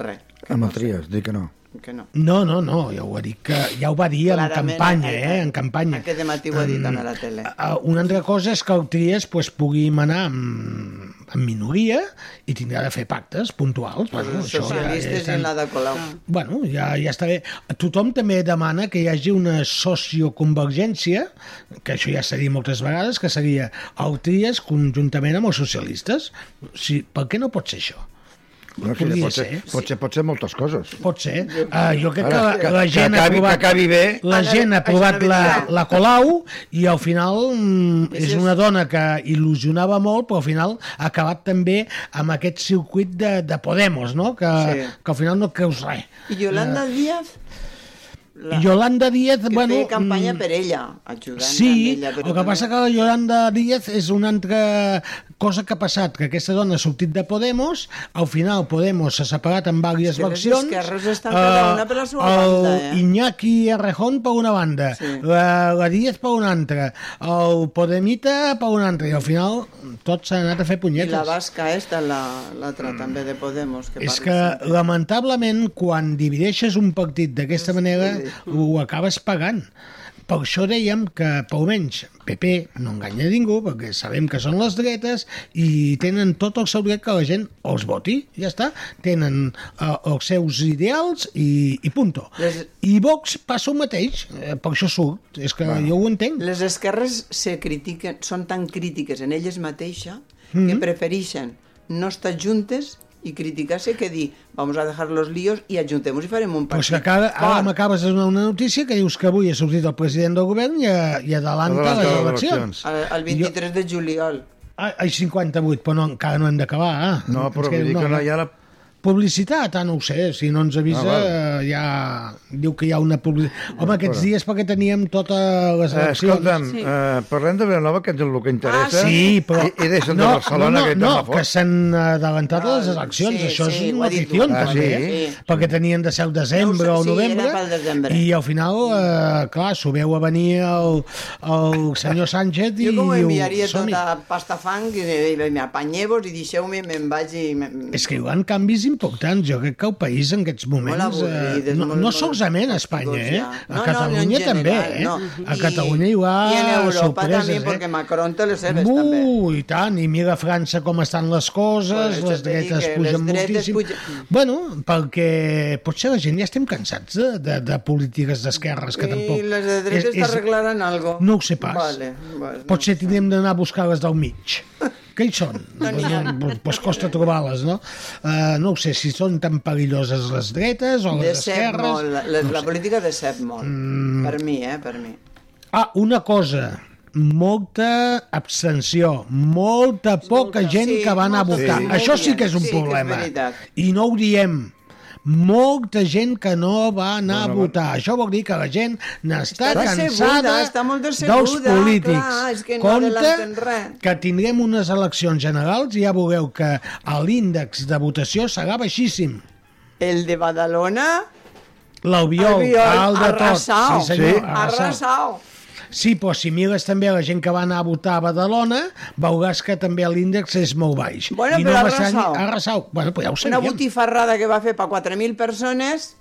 Speaker 7: res,
Speaker 6: Amb el Trias, dic que no.
Speaker 7: que no.
Speaker 5: No, no, no, ja ho, va dir que, ja ho va dir en
Speaker 7: Clarament,
Speaker 5: campanya,
Speaker 7: eh,
Speaker 5: eh, en campanya.
Speaker 7: Aquest matí ho ha dit a la tele.
Speaker 5: Eh, Una altra cosa és que el Trias pues, pugui manar amb, amb minoria i tindrà de fer pactes puntuals. Bueno,
Speaker 7: Els
Speaker 5: això ja, ja
Speaker 7: socialistes i
Speaker 5: estan...
Speaker 7: la de Colau.
Speaker 5: Bueno, ja, ja està bé. Tothom també demana que hi hagi una socioconvergència, que això ja s'ha dit moltes vegades, que seria el Trias conjuntament amb els socialistes. O sigui, per què no pot ser això?
Speaker 6: No, sí,
Speaker 5: Podria
Speaker 6: pot, ser,
Speaker 5: ser.
Speaker 6: pot, ser, pot ser moltes coses.
Speaker 5: Pot ser. Uh, jo crec
Speaker 6: Ara,
Speaker 5: que, la gent
Speaker 6: que acabi,
Speaker 5: ha provat,
Speaker 6: que acabi bé.
Speaker 5: La
Speaker 6: Ara,
Speaker 5: gent ha
Speaker 6: això
Speaker 5: provat
Speaker 6: no
Speaker 5: la,
Speaker 6: vindrà.
Speaker 5: la Colau i al final mm, és una dona que il·lusionava molt, però al final ha acabat també amb aquest circuit de, de Podemos, no? Que,
Speaker 7: Sí.
Speaker 5: sí. que al final no creus res.
Speaker 7: I Yolanda Díaz,
Speaker 5: La... Eh. Yolanda Díaz,
Speaker 7: que
Speaker 5: bueno...
Speaker 7: feia campanya
Speaker 5: mm,
Speaker 7: per ella, ajudant amb
Speaker 5: Sí,
Speaker 7: ella.
Speaker 5: el que passa que la Yolanda Díaz és una altra cosa que ha passat, que aquesta dona ha sortit de Podemos, al final Podemos s'ha separat en diverses
Speaker 7: que les
Speaker 5: versions.
Speaker 7: esquerres estan cada una per la seva banda, eh?
Speaker 5: El Iñaki Errejón per una banda, sí. la, la Díaz per una altra, el Podemita per una altra, i al final tot s'ha anat a fer
Speaker 7: I la
Speaker 5: punyetes.
Speaker 7: basca esta, la- l'altra també de Podemos, que
Speaker 5: Mm. És
Speaker 7: parla
Speaker 5: que, lamentablement, quan divideixes un partit d'aquesta manera, ho acabes pagant. Per això dèiem que, pel menys, PP no enganya ningú, perquè sabem que són les dretes i tenen tot el seu dret que la gent els voti, ja està. Tenen eh, els seus ideals i, i punto. I Vox passa el mateix, eh, per això surt. És que jo ho entenc.
Speaker 7: Les esquerres se critiquen, són tan crítiques en elles mateixa
Speaker 5: Mm-hmm.
Speaker 7: que prefereixen no estar juntes i criticar-se que dir vamos a dejar los líos i ajuntem-nos i farem un
Speaker 5: Però és
Speaker 7: partit.
Speaker 5: que cada, ara m'acabes de donar una notícia que dius que avui ha sortit el president del govern i, i adelanta les eleccions.
Speaker 7: El, el 23 de juliol.
Speaker 5: Ah, Ai, 58, però no, encara no hem d'acabar. Ah.
Speaker 6: No, però vull dir que no hi ha la...
Speaker 5: Publicitat, ah, no ho sé, si no ens avisa
Speaker 6: Ah, val. Ah,
Speaker 5: eh, ja... Diu que hi ha una publicitat... Home, aquests
Speaker 6: però-
Speaker 5: dies perquè teníem totes les
Speaker 6: Eh,
Speaker 5: eleccions.
Speaker 6: escolta'm, eh, sí. eh, parlem de Vilanova, que és el que interessa.
Speaker 5: Ah, Sí, però...
Speaker 6: I, i deixen e-, de Barcelona,
Speaker 5: no,
Speaker 6: que
Speaker 5: no, no,
Speaker 6: tampoc.
Speaker 5: que s'han adelantat
Speaker 7: Ah,
Speaker 5: les eleccions,
Speaker 6: sí,
Speaker 5: això
Speaker 6: sí,
Speaker 5: és
Speaker 6: ho ha
Speaker 5: una
Speaker 6: dit
Speaker 5: afició,
Speaker 6: tu. Ah, sí?
Speaker 5: també, eh?
Speaker 6: Sí.
Speaker 5: perquè tenien de ser el desembre
Speaker 7: No ho
Speaker 5: o
Speaker 7: sé, sí,
Speaker 5: novembre,
Speaker 7: era pel desembre.
Speaker 5: i al final, eh, clar, s'ho veu a venir el, el senyor Sánchez i
Speaker 7: Jo com ho
Speaker 5: diu,
Speaker 7: enviaria
Speaker 5: som-hi.
Speaker 7: tota pasta fang i de- de- me apanyeu-vos i deixeu-me, me'n vaig i... Me...
Speaker 5: És que hi ha canvis importants. Jo crec que el país en aquests moments...
Speaker 7: avorrit, és
Speaker 5: eh, no,
Speaker 7: molt-
Speaker 5: no
Speaker 7: molt
Speaker 5: solament a Espanya, eh?
Speaker 7: ja. No,
Speaker 5: A
Speaker 7: no,
Speaker 5: Catalunya
Speaker 7: en
Speaker 5: també,
Speaker 7: general,
Speaker 5: eh?
Speaker 7: no.
Speaker 5: A Catalunya hi ha
Speaker 7: I en Europa
Speaker 5: sorpreses,
Speaker 7: també,
Speaker 5: eh?
Speaker 7: perquè Macron té les seves.
Speaker 5: Ui, i tant, i mira a França com estan les coses,
Speaker 7: Bueno,
Speaker 5: les
Speaker 7: això t'he
Speaker 5: dretes
Speaker 7: dit que les
Speaker 5: pugen
Speaker 7: dretes
Speaker 5: moltíssim. Bueno, perquè potser la gent ja estem cansats de, de, de polítiques d'esquerres, que tampoc...
Speaker 7: I les de dretes
Speaker 5: és- és-
Speaker 7: t'arreglaran algo.
Speaker 5: No ho sé pas.
Speaker 7: Vale, vale.
Speaker 5: Potser tindrem d'anar a buscar les del mig. Què hi són?
Speaker 7: No n'hi ha.
Speaker 5: Doncs pues costa trobar-les, no? Uh, no ho sé, si són tan perilloses les dretes o les
Speaker 7: Decep
Speaker 5: esquerres...
Speaker 7: molt, la, la política decep molt.
Speaker 5: Mm.
Speaker 7: Per mi, eh, per mi.
Speaker 5: Ah, una cosa, molta abstenció, molta poca gent
Speaker 7: sí,
Speaker 5: que va anar a
Speaker 7: molta,
Speaker 5: votar.
Speaker 7: sí.
Speaker 5: Això
Speaker 7: Molta
Speaker 5: sí que és
Speaker 7: gent,
Speaker 5: un
Speaker 7: sí que és
Speaker 5: problema.
Speaker 7: veritat.
Speaker 5: I no ho diem. Molta gent que no va anar a votar. Això vol dir que la gent n'està
Speaker 7: Està
Speaker 5: cansada
Speaker 7: decebuda, està molt decebuda,
Speaker 5: dels polítics.
Speaker 7: clar, és que no adelanten res.
Speaker 5: que tindrem unes eleccions generals i ja veureu que l'índex de votació serà baixíssim.
Speaker 7: El de Badalona...
Speaker 5: L'Albiol,
Speaker 7: Albiol,
Speaker 5: dalt de tot.
Speaker 7: arrasau,
Speaker 5: Sí, senyor, arrasau.
Speaker 7: arrasau.
Speaker 5: Sí, però si mires també la gent que va anar a votar a Badalona, veuràs que també l'índex és molt baix.
Speaker 7: Bueno,
Speaker 5: I
Speaker 7: però
Speaker 5: va ser-
Speaker 7: arrasau.
Speaker 5: Arrasau. Bueno, pues ja ho
Speaker 7: Una
Speaker 5: sabíem.
Speaker 7: botifarrada que va fer per 4.000 persones...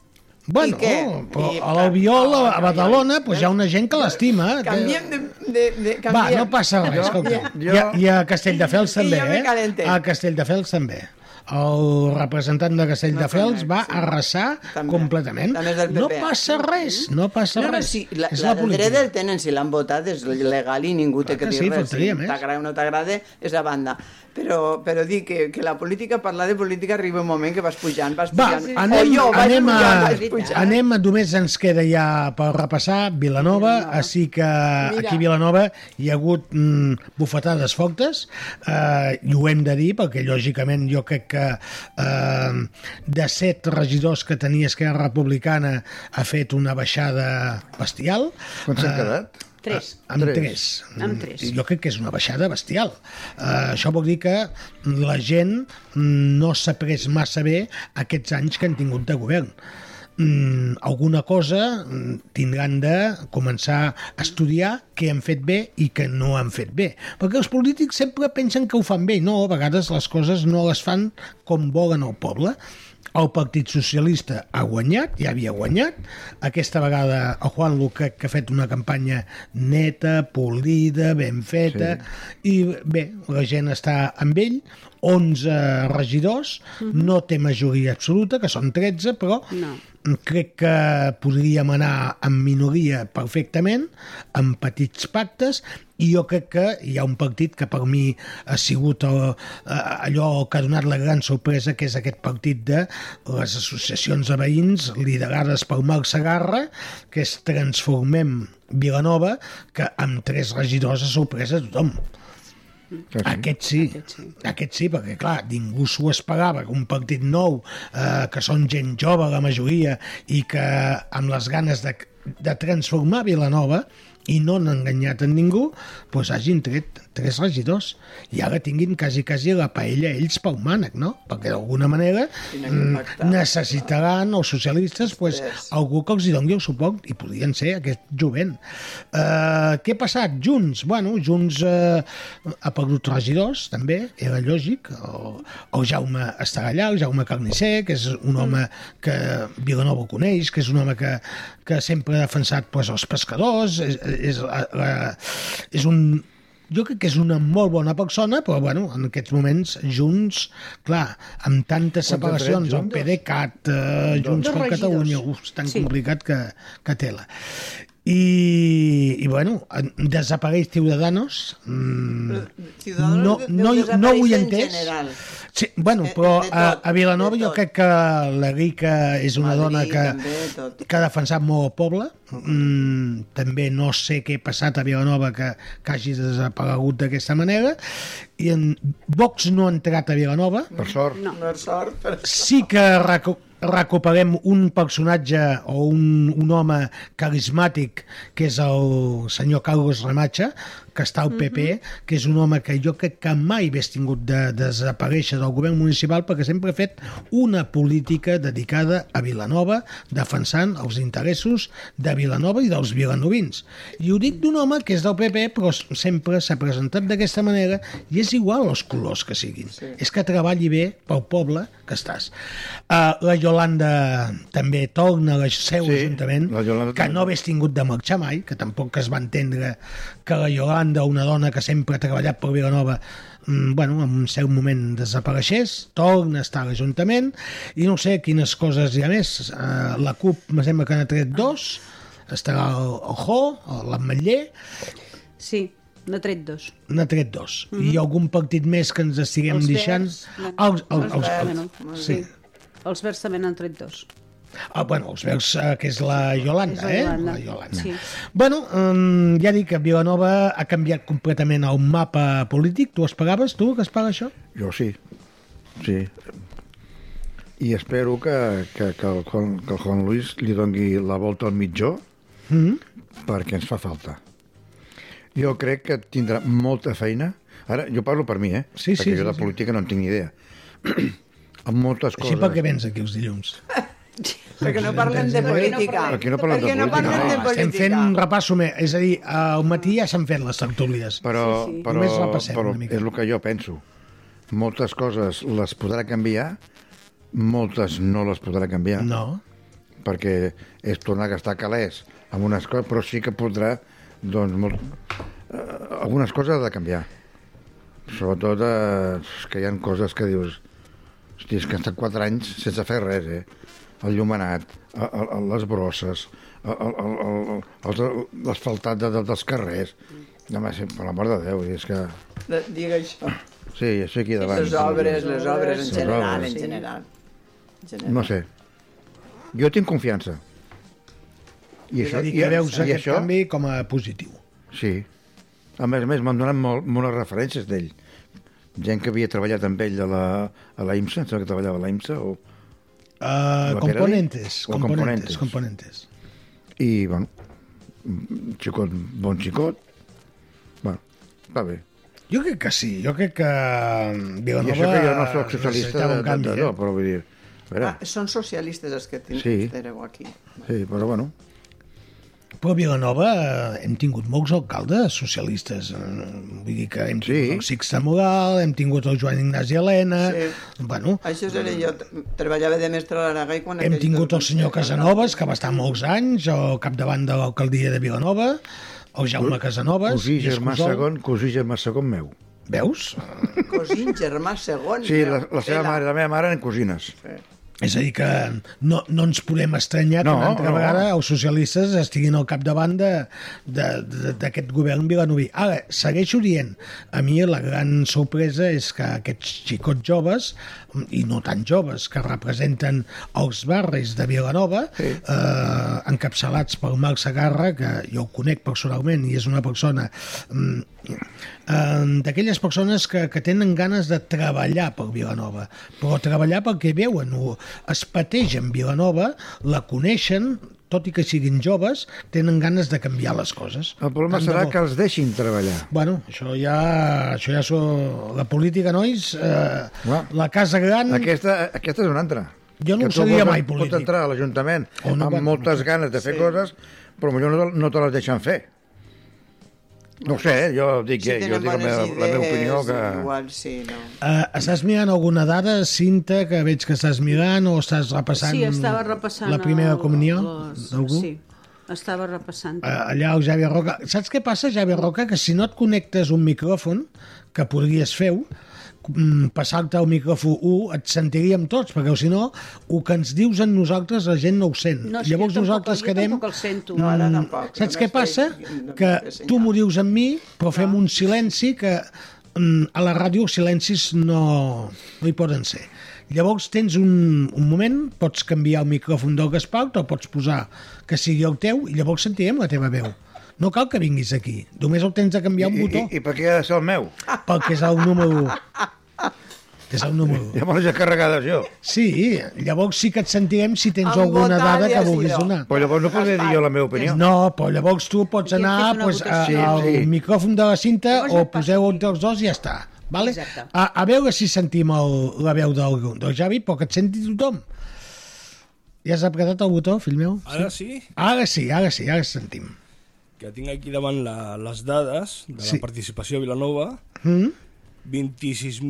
Speaker 5: Bueno,
Speaker 7: I què?
Speaker 5: però a l'Albiol,
Speaker 7: Ah,
Speaker 5: a Badalona, pues hi ha una gent que l'estima.
Speaker 7: Canviem de... de, de
Speaker 5: Va,
Speaker 7: canviem.
Speaker 5: no passa res, escolta. I, a, I a Castelldefels també,
Speaker 7: jo me
Speaker 5: eh?
Speaker 7: calente.
Speaker 5: A Castelldefels també. El representant de Castelldefels va arrasar completament.
Speaker 7: També és del
Speaker 5: No
Speaker 7: PP.
Speaker 5: passa res, no passa
Speaker 7: No, no,
Speaker 5: res.
Speaker 7: sí, la,
Speaker 5: És la
Speaker 7: la, la
Speaker 5: política.
Speaker 7: dreta el tenen, si l'han votat és legal i ningú té
Speaker 5: Clar
Speaker 7: que
Speaker 5: que
Speaker 7: dir
Speaker 5: sí,
Speaker 7: res, si
Speaker 5: faltaria més.
Speaker 7: t'agrada o no t'agrada és a banda, però, però dir que, que la política, parlar de política arriba un moment que vas pujant, vas
Speaker 5: Va,
Speaker 7: pujant
Speaker 5: anem,
Speaker 7: o jo vaig
Speaker 5: anem,
Speaker 7: pujant,
Speaker 5: a,
Speaker 7: vaig pujant
Speaker 5: anem a... Només ens queda ja per repassar Vilanova, així que aquí a Vilanova hi ha hagut mm, bufetades fortes, eh, i ho hem de dir, perquè lògicament jo crec que eh, de set regidors que tenia Esquerra Republicana ha fet una baixada bestial.
Speaker 6: Quants s'han
Speaker 5: Eh,
Speaker 6: quedat?
Speaker 8: Tres.
Speaker 5: Ah, Amb
Speaker 6: Tres.
Speaker 5: tres. tres.
Speaker 8: Amb tres.
Speaker 5: Jo crec que és una baixada bestial. Uh, això vol dir que la gent mm, no s'ha pres massa bé aquests anys que han tingut de govern. Mm, alguna cosa mm, tindran de començar a estudiar què han fet bé i que no han fet bé. Perquè els polítics sempre pensen que ho fan bé. No, a vegades les coses no les fan com volen el poble. El Partit Socialista ha guanyat, ja havia guanyat. Aquesta vegada el Juan Luca, que ha fet una campanya neta, polida, ben feta, sí. i bé, la gent està amb ell, 11 regidors, no té majoria absoluta, que són 13, però
Speaker 8: No.
Speaker 5: crec que podríem anar en minoria perfectament, en petits pactes, i jo crec que hi ha un partit que per mi ha sigut el, eh, allò que ha donat la gran sorpresa, que és aquest partit de les associacions de veïns liderades per Marc Sagarra, que és Transformem Vilanova, que amb tres regidors ha sorprès a tothom. Ah, Aquest sí. Aquest sí. Aquest sí, perquè clar, ningú s'ho esperava, que un partit nou, eh, que són gent jove la majoria i que amb les ganes de, de transformar Vilanova i no n'han enganyat en ningú, doncs hagin tret tres regidors i ara tinguin quasi, quasi la paella ells pel mànec, no? Perquè d'alguna manera mm, necessitaran els socialistes pues, algú que els hi doni el suport i podrien ser aquest jovent. Eh, què ha passat? Junts, bueno, Junts eh, ha perdut regidors, també, era lògic. El, el Jaume estarà allà, el Jaume Carnicer, que és un home que Vilanova coneix, que és un home que, que sempre ha defensat pues, els pescadors, és, és, la, la, és un, jo crec que és una molt bona persona, però bueno, en aquests moments, junts, clar, amb tantes
Speaker 6: Quants han tret,
Speaker 5: separacions, el
Speaker 6: Junts?
Speaker 5: PDeCAT, eh, Junts
Speaker 8: Dos Doncs
Speaker 5: per
Speaker 8: regidors.
Speaker 5: Catalunya, uf, és tan
Speaker 8: Sí.
Speaker 5: complicat que, que tela. I, i bueno, en- desapareix Ciudadanos. Mm,
Speaker 7: Ciudadanos
Speaker 5: no,
Speaker 7: deu
Speaker 5: no, no ho
Speaker 7: desaparèixer
Speaker 5: he
Speaker 7: en
Speaker 5: entès.
Speaker 7: general.
Speaker 8: Eh,
Speaker 5: Sí, bueno, però a, a Vilanova jo crec que la Rica és una dona que, que ha defensat molt el poble. Mm, també no sé què ha passat a Vilanova que, que hagi desaparegut d'aquesta manera. I en Vox no ha entrat a Vilanova.
Speaker 6: Per sort.
Speaker 7: No. Per sort, per...
Speaker 5: Sí que recu recuperem un personatge o un, un home carismàtic que és el senyor Carlos Ramacha que està al PP, que és un home que jo crec que mai hagués tingut de, desaparèixer del govern municipal perquè sempre ha fet una política dedicada a Vilanova, defensant els interessos de Vilanova i dels vilanovins. I ho dic d'un home que és del PP però sempre s'ha presentat d'aquesta manera i és igual els colors que siguin. Sí. És que treballi bé pel poble que estàs. Uh, la Yolanda també torna al seu sí, ajuntament, que no hagués tingut de marxar mai, que tampoc es va entendre que la Yolanda, una dona que sempre ha treballat per Vilanova, mm, bueno, en un cert moment desapareixés, torna a estar a l'Ajuntament, i no sé quines coses hi ha més. Uh, la CUP, me sembla que n'ha tret dos, estarà el, el Jo, el- l'Ametller, ah.
Speaker 8: Sí, n'ha tret dos.
Speaker 5: n'ha tret dos. Mm -hmm. I algun partit més que ens estiguem
Speaker 8: Mhm. Els
Speaker 5: deixant...
Speaker 8: verds,
Speaker 5: Ah,
Speaker 8: no.
Speaker 5: Els, els,
Speaker 8: Els
Speaker 5: els,
Speaker 8: verds,
Speaker 5: els,
Speaker 8: no.
Speaker 5: sí.
Speaker 8: Els verds també n'han tret dos.
Speaker 5: Ah, bueno, els veus eh, que és la Yolanda,
Speaker 8: És la
Speaker 5: eh?
Speaker 8: Yolanda.
Speaker 5: La Yolanda.
Speaker 8: Sí.
Speaker 5: Bueno, um, ja dic que Vilanova ha canviat completament el mapa polític. Tu esperaves, tu, que es paga això?
Speaker 6: Jo sí, sí. I espero que, que, que, el, Juan, que el Juan Luis li doni la volta al mitjó
Speaker 5: Mm?
Speaker 6: perquè ens fa falta. Jo crec que tindrà molta feina. Ara, jo parlo per mi, eh?
Speaker 5: Sí, sí,
Speaker 6: perquè jo
Speaker 5: sí,
Speaker 6: de
Speaker 5: sí.
Speaker 6: política no en tinc ni idea. Amb moltes coses...
Speaker 5: Així perquè vens aquí els dilluns.
Speaker 7: Perquè no parlem de política.
Speaker 6: Aquí no parlem de
Speaker 7: Perquè no
Speaker 6: política.
Speaker 7: parlem de
Speaker 5: Estem
Speaker 7: política.
Speaker 5: fent un repàs, home. és a dir, al matí ja s'han fet les tertúlies.
Speaker 6: Però, sí, sí. però,
Speaker 5: Només repassem
Speaker 6: però
Speaker 5: una mica.
Speaker 6: és el que jo penso. Moltes coses les podrà canviar, moltes no les podrà canviar.
Speaker 5: No.
Speaker 6: Perquè és tornar a gastar calés amb unes coses, però sí que podrà, doncs, molt... eh, algunes coses ha de canviar. Sobretot eh, és que hi ha coses que dius... Hosti, és que han estat 4 anys sense fer res, eh? El llumenat, el, el, el- les brosses, el, el, el, el, els- l'asfaltat de, de, dels carrers... Demà, per la mort de Déu, és que...
Speaker 7: De- Digue això.
Speaker 6: Sí, jo sé aquí davant.
Speaker 7: Les obres, eh. les obres,
Speaker 6: Les
Speaker 7: en general,
Speaker 6: obres.
Speaker 7: en general. En general.
Speaker 6: No sé. Jo tinc confiança.
Speaker 5: I és a dir, que veus aquest això? canvi com a positiu.
Speaker 6: Sí. A més a més, m'han donat molt, moltes referències d'ell. Gent que havia treballat amb ell a la, a la IMSA, em sembla que treballava a la IMSA, o...
Speaker 5: Uh,
Speaker 6: La
Speaker 5: componentes,
Speaker 6: Pirelli? O
Speaker 5: componentes,
Speaker 6: componentes.
Speaker 5: componentes.
Speaker 6: I, bueno, un xicot, bon xicot. Bueno, va bé.
Speaker 5: Jo crec que sí, jo crec que mm,
Speaker 6: I
Speaker 5: Vilanova...
Speaker 6: això que jo no soc socialista
Speaker 5: necessitava
Speaker 6: de,
Speaker 5: un
Speaker 6: de,
Speaker 5: canvi,
Speaker 6: de,
Speaker 5: eh?
Speaker 6: no, però vull dir... A veure,
Speaker 7: Ah, són socialistes els que tenen
Speaker 6: Sí.
Speaker 7: sí. aquí.
Speaker 6: sí, però bueno,
Speaker 5: Però a Vilanova eh, hem tingut molts alcaldes socialistes. eh, Vull dir que hem tingut sí. el Sixte Moral, hem tingut el Joan Ignasi Helena... Sí. Bueno,
Speaker 7: Això
Speaker 6: Doncs
Speaker 7: seré jo. t- Treballava de mestre a l'Aragai quan...
Speaker 5: hem
Speaker 7: aquell-
Speaker 5: tingut el senyor Casanovas, que va estar molts anys al capdavant de l'alcaldia de Vilanova, el Jaume Casanovas...
Speaker 6: cosí
Speaker 5: Ah, i
Speaker 6: germà
Speaker 5: Escusol.
Speaker 6: segon, cosí germà segon meu.
Speaker 5: Veus?
Speaker 7: Cosí, germà segon.
Speaker 6: Sí, la, la seva mare, la meva mare eren cosines.
Speaker 5: És a dir, que no, no ens podem estranyar no,
Speaker 6: No,
Speaker 5: que una altra
Speaker 6: no.
Speaker 5: no. vegada els socialistes estiguin al capdavant de- de- de- d'aquest govern vilanoví. Ara, segueixo dient, a mi la gran sorpresa és que aquests xicots joves, i no tan joves, que representen els barris de Vilanova, sí. eh, encapçalats pel Marc Sagarra, que jo ho conec personalment i és una persona mm, eh, d'aquelles persones que, que tenen ganes de treballar per Vilanova, però treballar perquè veuen, ho, es pategen Vilanova, la coneixen, tot i que siguin joves, tenen ganes de canviar les coses.
Speaker 6: El problema
Speaker 5: Tant de
Speaker 6: serà
Speaker 5: bo.
Speaker 6: que els deixin treballar.
Speaker 5: Bueno, això ja... Això ja so... La política, nois... Eh,
Speaker 6: Clar.
Speaker 5: la casa gran...
Speaker 6: Aquesta, aquesta és una altra.
Speaker 5: Mm. Jo no
Speaker 6: Que
Speaker 5: ho
Speaker 6: tu
Speaker 5: seria
Speaker 6: vols-
Speaker 5: mai
Speaker 6: Pots
Speaker 5: polític.
Speaker 6: entrar a l'Ajuntament
Speaker 5: O no,
Speaker 6: amb
Speaker 5: bueno,
Speaker 6: moltes ganes de fer coses, però potser no, te- no te les deixen fer. No ho sé, eh? jo dic, eh, jo dic la, meva, la meva opinió que...
Speaker 7: Igual, sí, no.
Speaker 5: Eh, estàs mirant alguna dada, Cinta, que veig que estàs mirant o estàs repassant
Speaker 8: Sí, estava repassant
Speaker 5: la primera
Speaker 8: el-
Speaker 5: comunió
Speaker 8: les-
Speaker 5: d'algú?
Speaker 8: Sí. Estava repassant.
Speaker 5: Eh, allà el Javier Roca... Saps què passa, Javier Roca? Que si no et connectes un micròfon, que podries fer-ho, mm, passar-te al micròfon 1, et sentiríem tots, perquè si no, el que ens dius en nosaltres la gent no ho sent.
Speaker 8: No, és que
Speaker 5: Llavors
Speaker 8: jo tampoc-
Speaker 5: nosaltres
Speaker 8: jo
Speaker 5: quedem...
Speaker 8: tampoc el sento.
Speaker 5: Mm,
Speaker 8: No, ara tampoc,
Speaker 5: Saps
Speaker 8: no
Speaker 5: què
Speaker 8: estic-
Speaker 5: passa?
Speaker 8: no
Speaker 5: que tu m'ho dius amb mi, però fem un silenci que mm, a la ràdio els silencis no, no hi poden ser. Llavors tens un, un moment, pots canviar el micròfon del Gaspar, o pots posar que sigui el teu i llavors sentirem la teva veu. No cal que vinguis aquí, només el tens de canviar un
Speaker 6: I, i,
Speaker 5: botó,
Speaker 6: I per què ha de ser el meu?
Speaker 5: perquè és el número 1. És el número 1.
Speaker 6: Llavors ja carregada jo.
Speaker 5: Sí, llavors sí que et sentirem si tens alguna dada que vulguis donar.
Speaker 6: Però llavors no podré dir jo la meva opinió.
Speaker 5: No, però llavors tu pots anar
Speaker 6: fet una
Speaker 5: pues, a,
Speaker 6: votació.
Speaker 5: al
Speaker 6: Sí, sí.
Speaker 5: micròfon de la cinta o poseu un dels dos i ja està. Vale?
Speaker 8: Exacte.
Speaker 5: A, a veure si sentim el, la veu del, del Javi, però que et senti tothom. Ja has apretat el botó, fill meu?
Speaker 10: Ara sí?
Speaker 5: Ara sí, ara sí, ara sentim.
Speaker 10: que tinc aquí davant la, les dades de la
Speaker 5: Sí.
Speaker 10: sí. participació a Vilanova,
Speaker 5: Mm?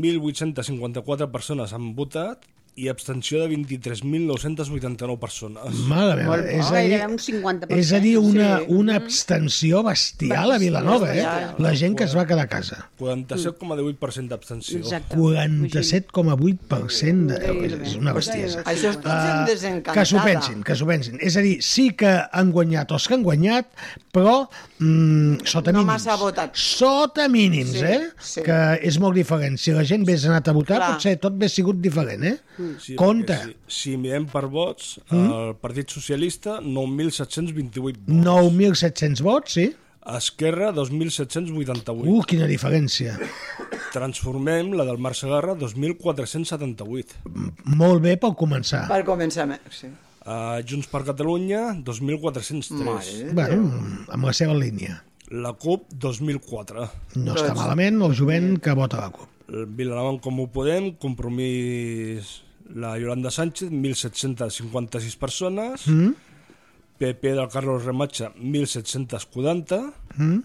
Speaker 10: 26.854 persones han votat i abstenció de 23.989 persones.
Speaker 5: Mare meva, Molt bo. és a dir-
Speaker 8: Oh,
Speaker 5: Gairebé
Speaker 8: un 50%.
Speaker 5: És a dir, una, una abstenció bestial a Vilanova, eh?
Speaker 10: Bestial.
Speaker 5: La gent que es va quedar a casa.
Speaker 10: 47,18% d'abstenció.
Speaker 5: 47,8% de... és una bestiesa.
Speaker 7: Això és tot gent
Speaker 5: Eh,
Speaker 7: desencantada.
Speaker 5: que s'ho pensin, que s'ho pensin. És a dir, sí que han guanyat els que han guanyat, però mm, sota
Speaker 7: No
Speaker 5: mínims.
Speaker 7: massa votat.
Speaker 5: Sota mínims,
Speaker 7: Sí,
Speaker 5: eh?
Speaker 7: sí.
Speaker 5: Que és molt diferent. Si la gent hagués anat a votar,
Speaker 10: Clar.
Speaker 5: potser tot hagués sigut diferent, eh?
Speaker 10: Sí,
Speaker 5: Compte.
Speaker 10: perquè Si, si mirem per vots,
Speaker 5: Mm.
Speaker 10: el Partit Socialista, 9.728.
Speaker 5: 9.700 vots, sí?
Speaker 10: Esquerra, 2.788.
Speaker 5: Uh, quina diferència.
Speaker 10: Transformem la del Mar Segarra, 2.478.
Speaker 5: Molt bé per començar.
Speaker 7: Per començar, sí.
Speaker 10: Uh, Junts per Catalunya, 2.403.
Speaker 5: Bueno, amb la seva línia.
Speaker 10: La CUP, 2004.
Speaker 5: No està malament el jovent que vota la CUP.
Speaker 10: El Vilanova en Comú Podem, compromís la Yolanda Sánchez, 1.756 persones.
Speaker 5: Mm?
Speaker 10: PP del Carlos Rematxa, 1.740.
Speaker 5: Mm?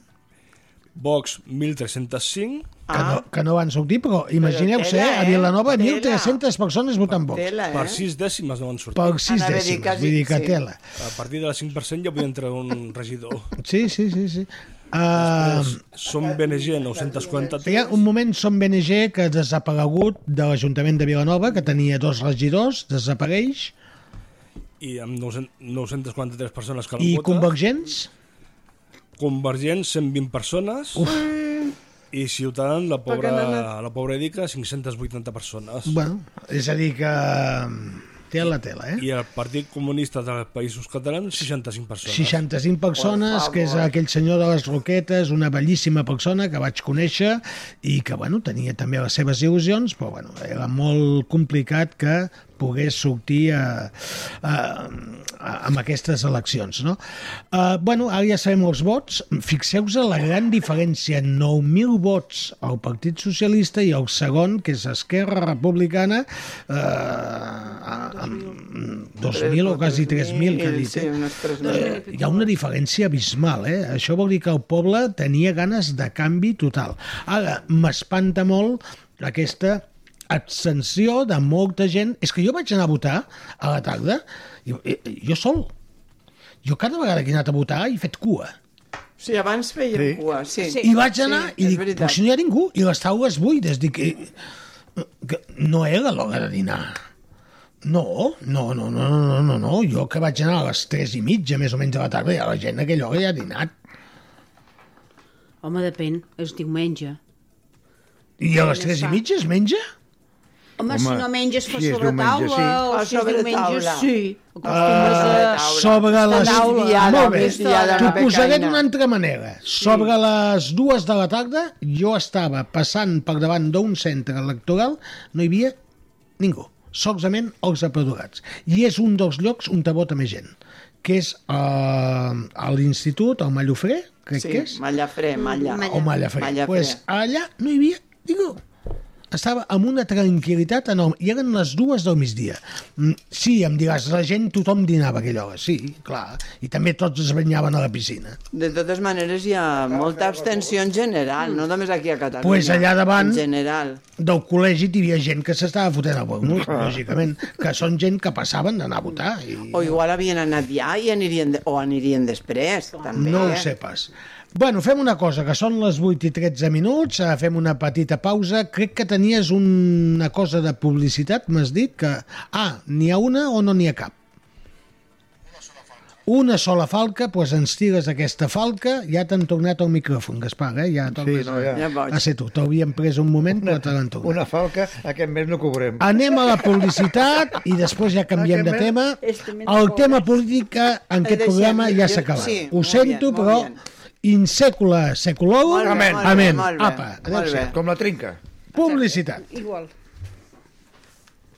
Speaker 10: Vox, 1.305.
Speaker 5: Que, no, que no van sortir, però imagineu ser
Speaker 10: tela,
Speaker 5: a
Speaker 10: eh?
Speaker 5: Vilanova
Speaker 10: Tela.
Speaker 5: 1.300 persones votant Vox.
Speaker 7: Eh.
Speaker 10: Per 6 dècimes no van sortir.
Speaker 5: Per sis Anava a dir dècimes, quasi- vull dir que sí. tela.
Speaker 10: A partir del 5% ja podia entrar un regidor.
Speaker 5: Sí, sí, sí. sí. Uh,
Speaker 10: Som BNG 943.
Speaker 5: hi ha un moment Som BNG que ha desaparegut de l'Ajuntament de Vilanova, que tenia dos regidors, desapareix,
Speaker 10: i amb 900 943 persones que el
Speaker 5: i
Speaker 10: voten.
Speaker 5: Convergents,
Speaker 10: Convergents, 120 persones. Uf. I Ciutadans, la pobra,
Speaker 5: Perquè han anat-
Speaker 10: la pobra Edica, 580 persones.
Speaker 5: bueno, és a dir que mm, té la tela, eh?
Speaker 10: I el Partit Comunista dels Països Catalans, 65 persones.
Speaker 5: 65 persones, que és aquell senyor de les Roquetes, una bellíssima persona que vaig conèixer i que, bueno, tenia també les seves il·lusions, però, bueno, era molt complicat que pogués sortir a, a, a, amb aquestes eleccions, no? Uh, bueno, ara ja sabem els vots. Fixeu-vos en la gran diferència. 9.000 vots al Partit Socialista i el segon, que és Esquerra Republicana, uh, amb 2.000 o quasi 3.000, que ha dit, eh?
Speaker 7: Doncs,
Speaker 5: Eh, hi ha una diferència abismal, eh? Això vol dir que el poble tenia ganes de canvi total. Ara, m'espanta molt aquesta abstenció de molta gent. És que jo vaig anar a votar a la tarda, jo, eh, jo sol. Jo cada vegada que he anat a votar he fet cua.
Speaker 7: Sí, abans feia
Speaker 5: Sí.
Speaker 7: cua, sí.
Speaker 5: I vaig anar i
Speaker 7: Sí, és
Speaker 5: dic, "Doncs,
Speaker 7: veritat.
Speaker 5: però si no hi ha ningú, i les taules buides, dic, eh, que no era l'hora de dinar. No, no, no, no, no, no, no, no, jo que vaig anar a les 3 i mitja, més o menys, de la tarda, ja la gent a aquella hora ja ha dinat.
Speaker 8: Home, depèn, és diumenge.
Speaker 5: I a les 3 i mitja es menja?
Speaker 8: Home,
Speaker 5: Home,
Speaker 8: si no menges per
Speaker 5: si és
Speaker 8: sobre
Speaker 5: diumenge,
Speaker 8: taula,
Speaker 5: sí.
Speaker 8: o si
Speaker 7: A
Speaker 8: és
Speaker 7: sobre
Speaker 8: diumenge,
Speaker 7: taula.
Speaker 8: sí.
Speaker 5: Ah, sobre les...
Speaker 8: taula.
Speaker 5: Molt bé,
Speaker 7: migdiada,
Speaker 5: t'ho
Speaker 7: Rebeca,
Speaker 5: posaré
Speaker 7: Aina.
Speaker 5: d'una altra manera. Sobre les dues de la tarda, jo estava passant per davant d'un centre electoral, no hi havia ningú, solament els apadurats. I és un dels llocs on te vota més gent, que és eh, a l'institut, al Mallofré, crec
Speaker 7: Sí,
Speaker 5: que és. Oh,
Speaker 7: Mallafré, Mm, Malla.
Speaker 5: O Mallafré. Mallafré. Pues allà no hi havia ningú. estava amb una tranquil·litat enorme. I eren les dues del migdia. Mm, Sí, em diràs, la gent, tothom dinava a aquella hora. Sí, clar. I també tots es banyaven a la piscina.
Speaker 7: De totes maneres, hi ha molta abstenció en general, no només aquí a Catalunya.
Speaker 5: Pues allà davant-
Speaker 7: En general.
Speaker 5: Del col·legi hi havia gent que s'estava fotent al bon lògicament, que són gent que passaven d'anar a votar. I...
Speaker 7: O igual havien anat ja i anirien de... o anirien després, també.
Speaker 5: No ho
Speaker 7: eh?
Speaker 5: sé pas. Bueno, fem una cosa, que són les 8 i 13 minuts, eh, fem una petita pausa. Crec que tenies una cosa de publicitat, m'has dit que... Ah, n'hi ha una o no n'hi ha cap? Una sola falca, doncs ens tires aquesta falca, ja t'han tornat al micròfon, Gaspar, eh? Ja tornes
Speaker 6: no, ja. Ja
Speaker 5: a,
Speaker 6: vaig.
Speaker 5: a ser tu. T'havíem pres un moment, però te l'han tornat.
Speaker 6: Una falca, aquest mes no cobrem.
Speaker 5: Anem a la publicitat i després ja canviem de
Speaker 6: Aquest
Speaker 5: tema.
Speaker 6: men- Este men
Speaker 5: El
Speaker 6: pobre.
Speaker 5: tema polític en aquest
Speaker 6: deixem,
Speaker 5: programa ja
Speaker 6: jo-
Speaker 5: s'ha acabat.
Speaker 6: sí,
Speaker 5: Ho
Speaker 6: molt
Speaker 5: sento,
Speaker 6: bien, molt
Speaker 5: però in secula seculorum,
Speaker 6: Molt bé,
Speaker 5: amen,
Speaker 6: molt bé,
Speaker 5: amen.
Speaker 6: molt bé.
Speaker 5: Apa,
Speaker 6: Molt bé.
Speaker 5: adéu-siau.
Speaker 6: Com la trinca.
Speaker 5: Publicitat.
Speaker 8: Igual.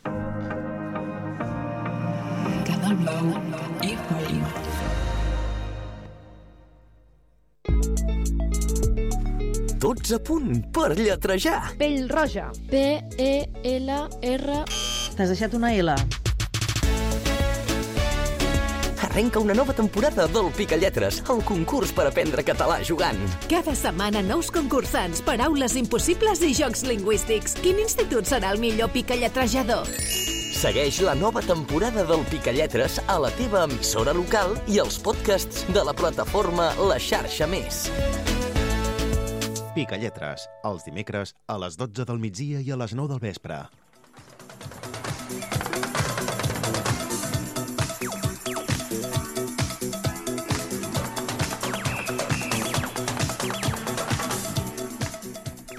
Speaker 14: Canal Blau i Hollywood.
Speaker 11: Tots a punt per lletrejar.
Speaker 12: Pell roja. P-E-L-R...
Speaker 15: T'has deixat una L.
Speaker 11: Arrenca una nova temporada del Picalletres, el concurs per aprendre català jugant.
Speaker 16: Cada setmana nous concursants, paraules impossibles i jocs lingüístics. Quin institut serà el millor picalletrejador?
Speaker 11: Segueix la nova temporada del Picalletres a la teva emissora local i els podcasts de la plataforma La Xarxa Més.
Speaker 17: Pica Lletres, els dimecres a les 12 del migdia i a les 9 del vespre.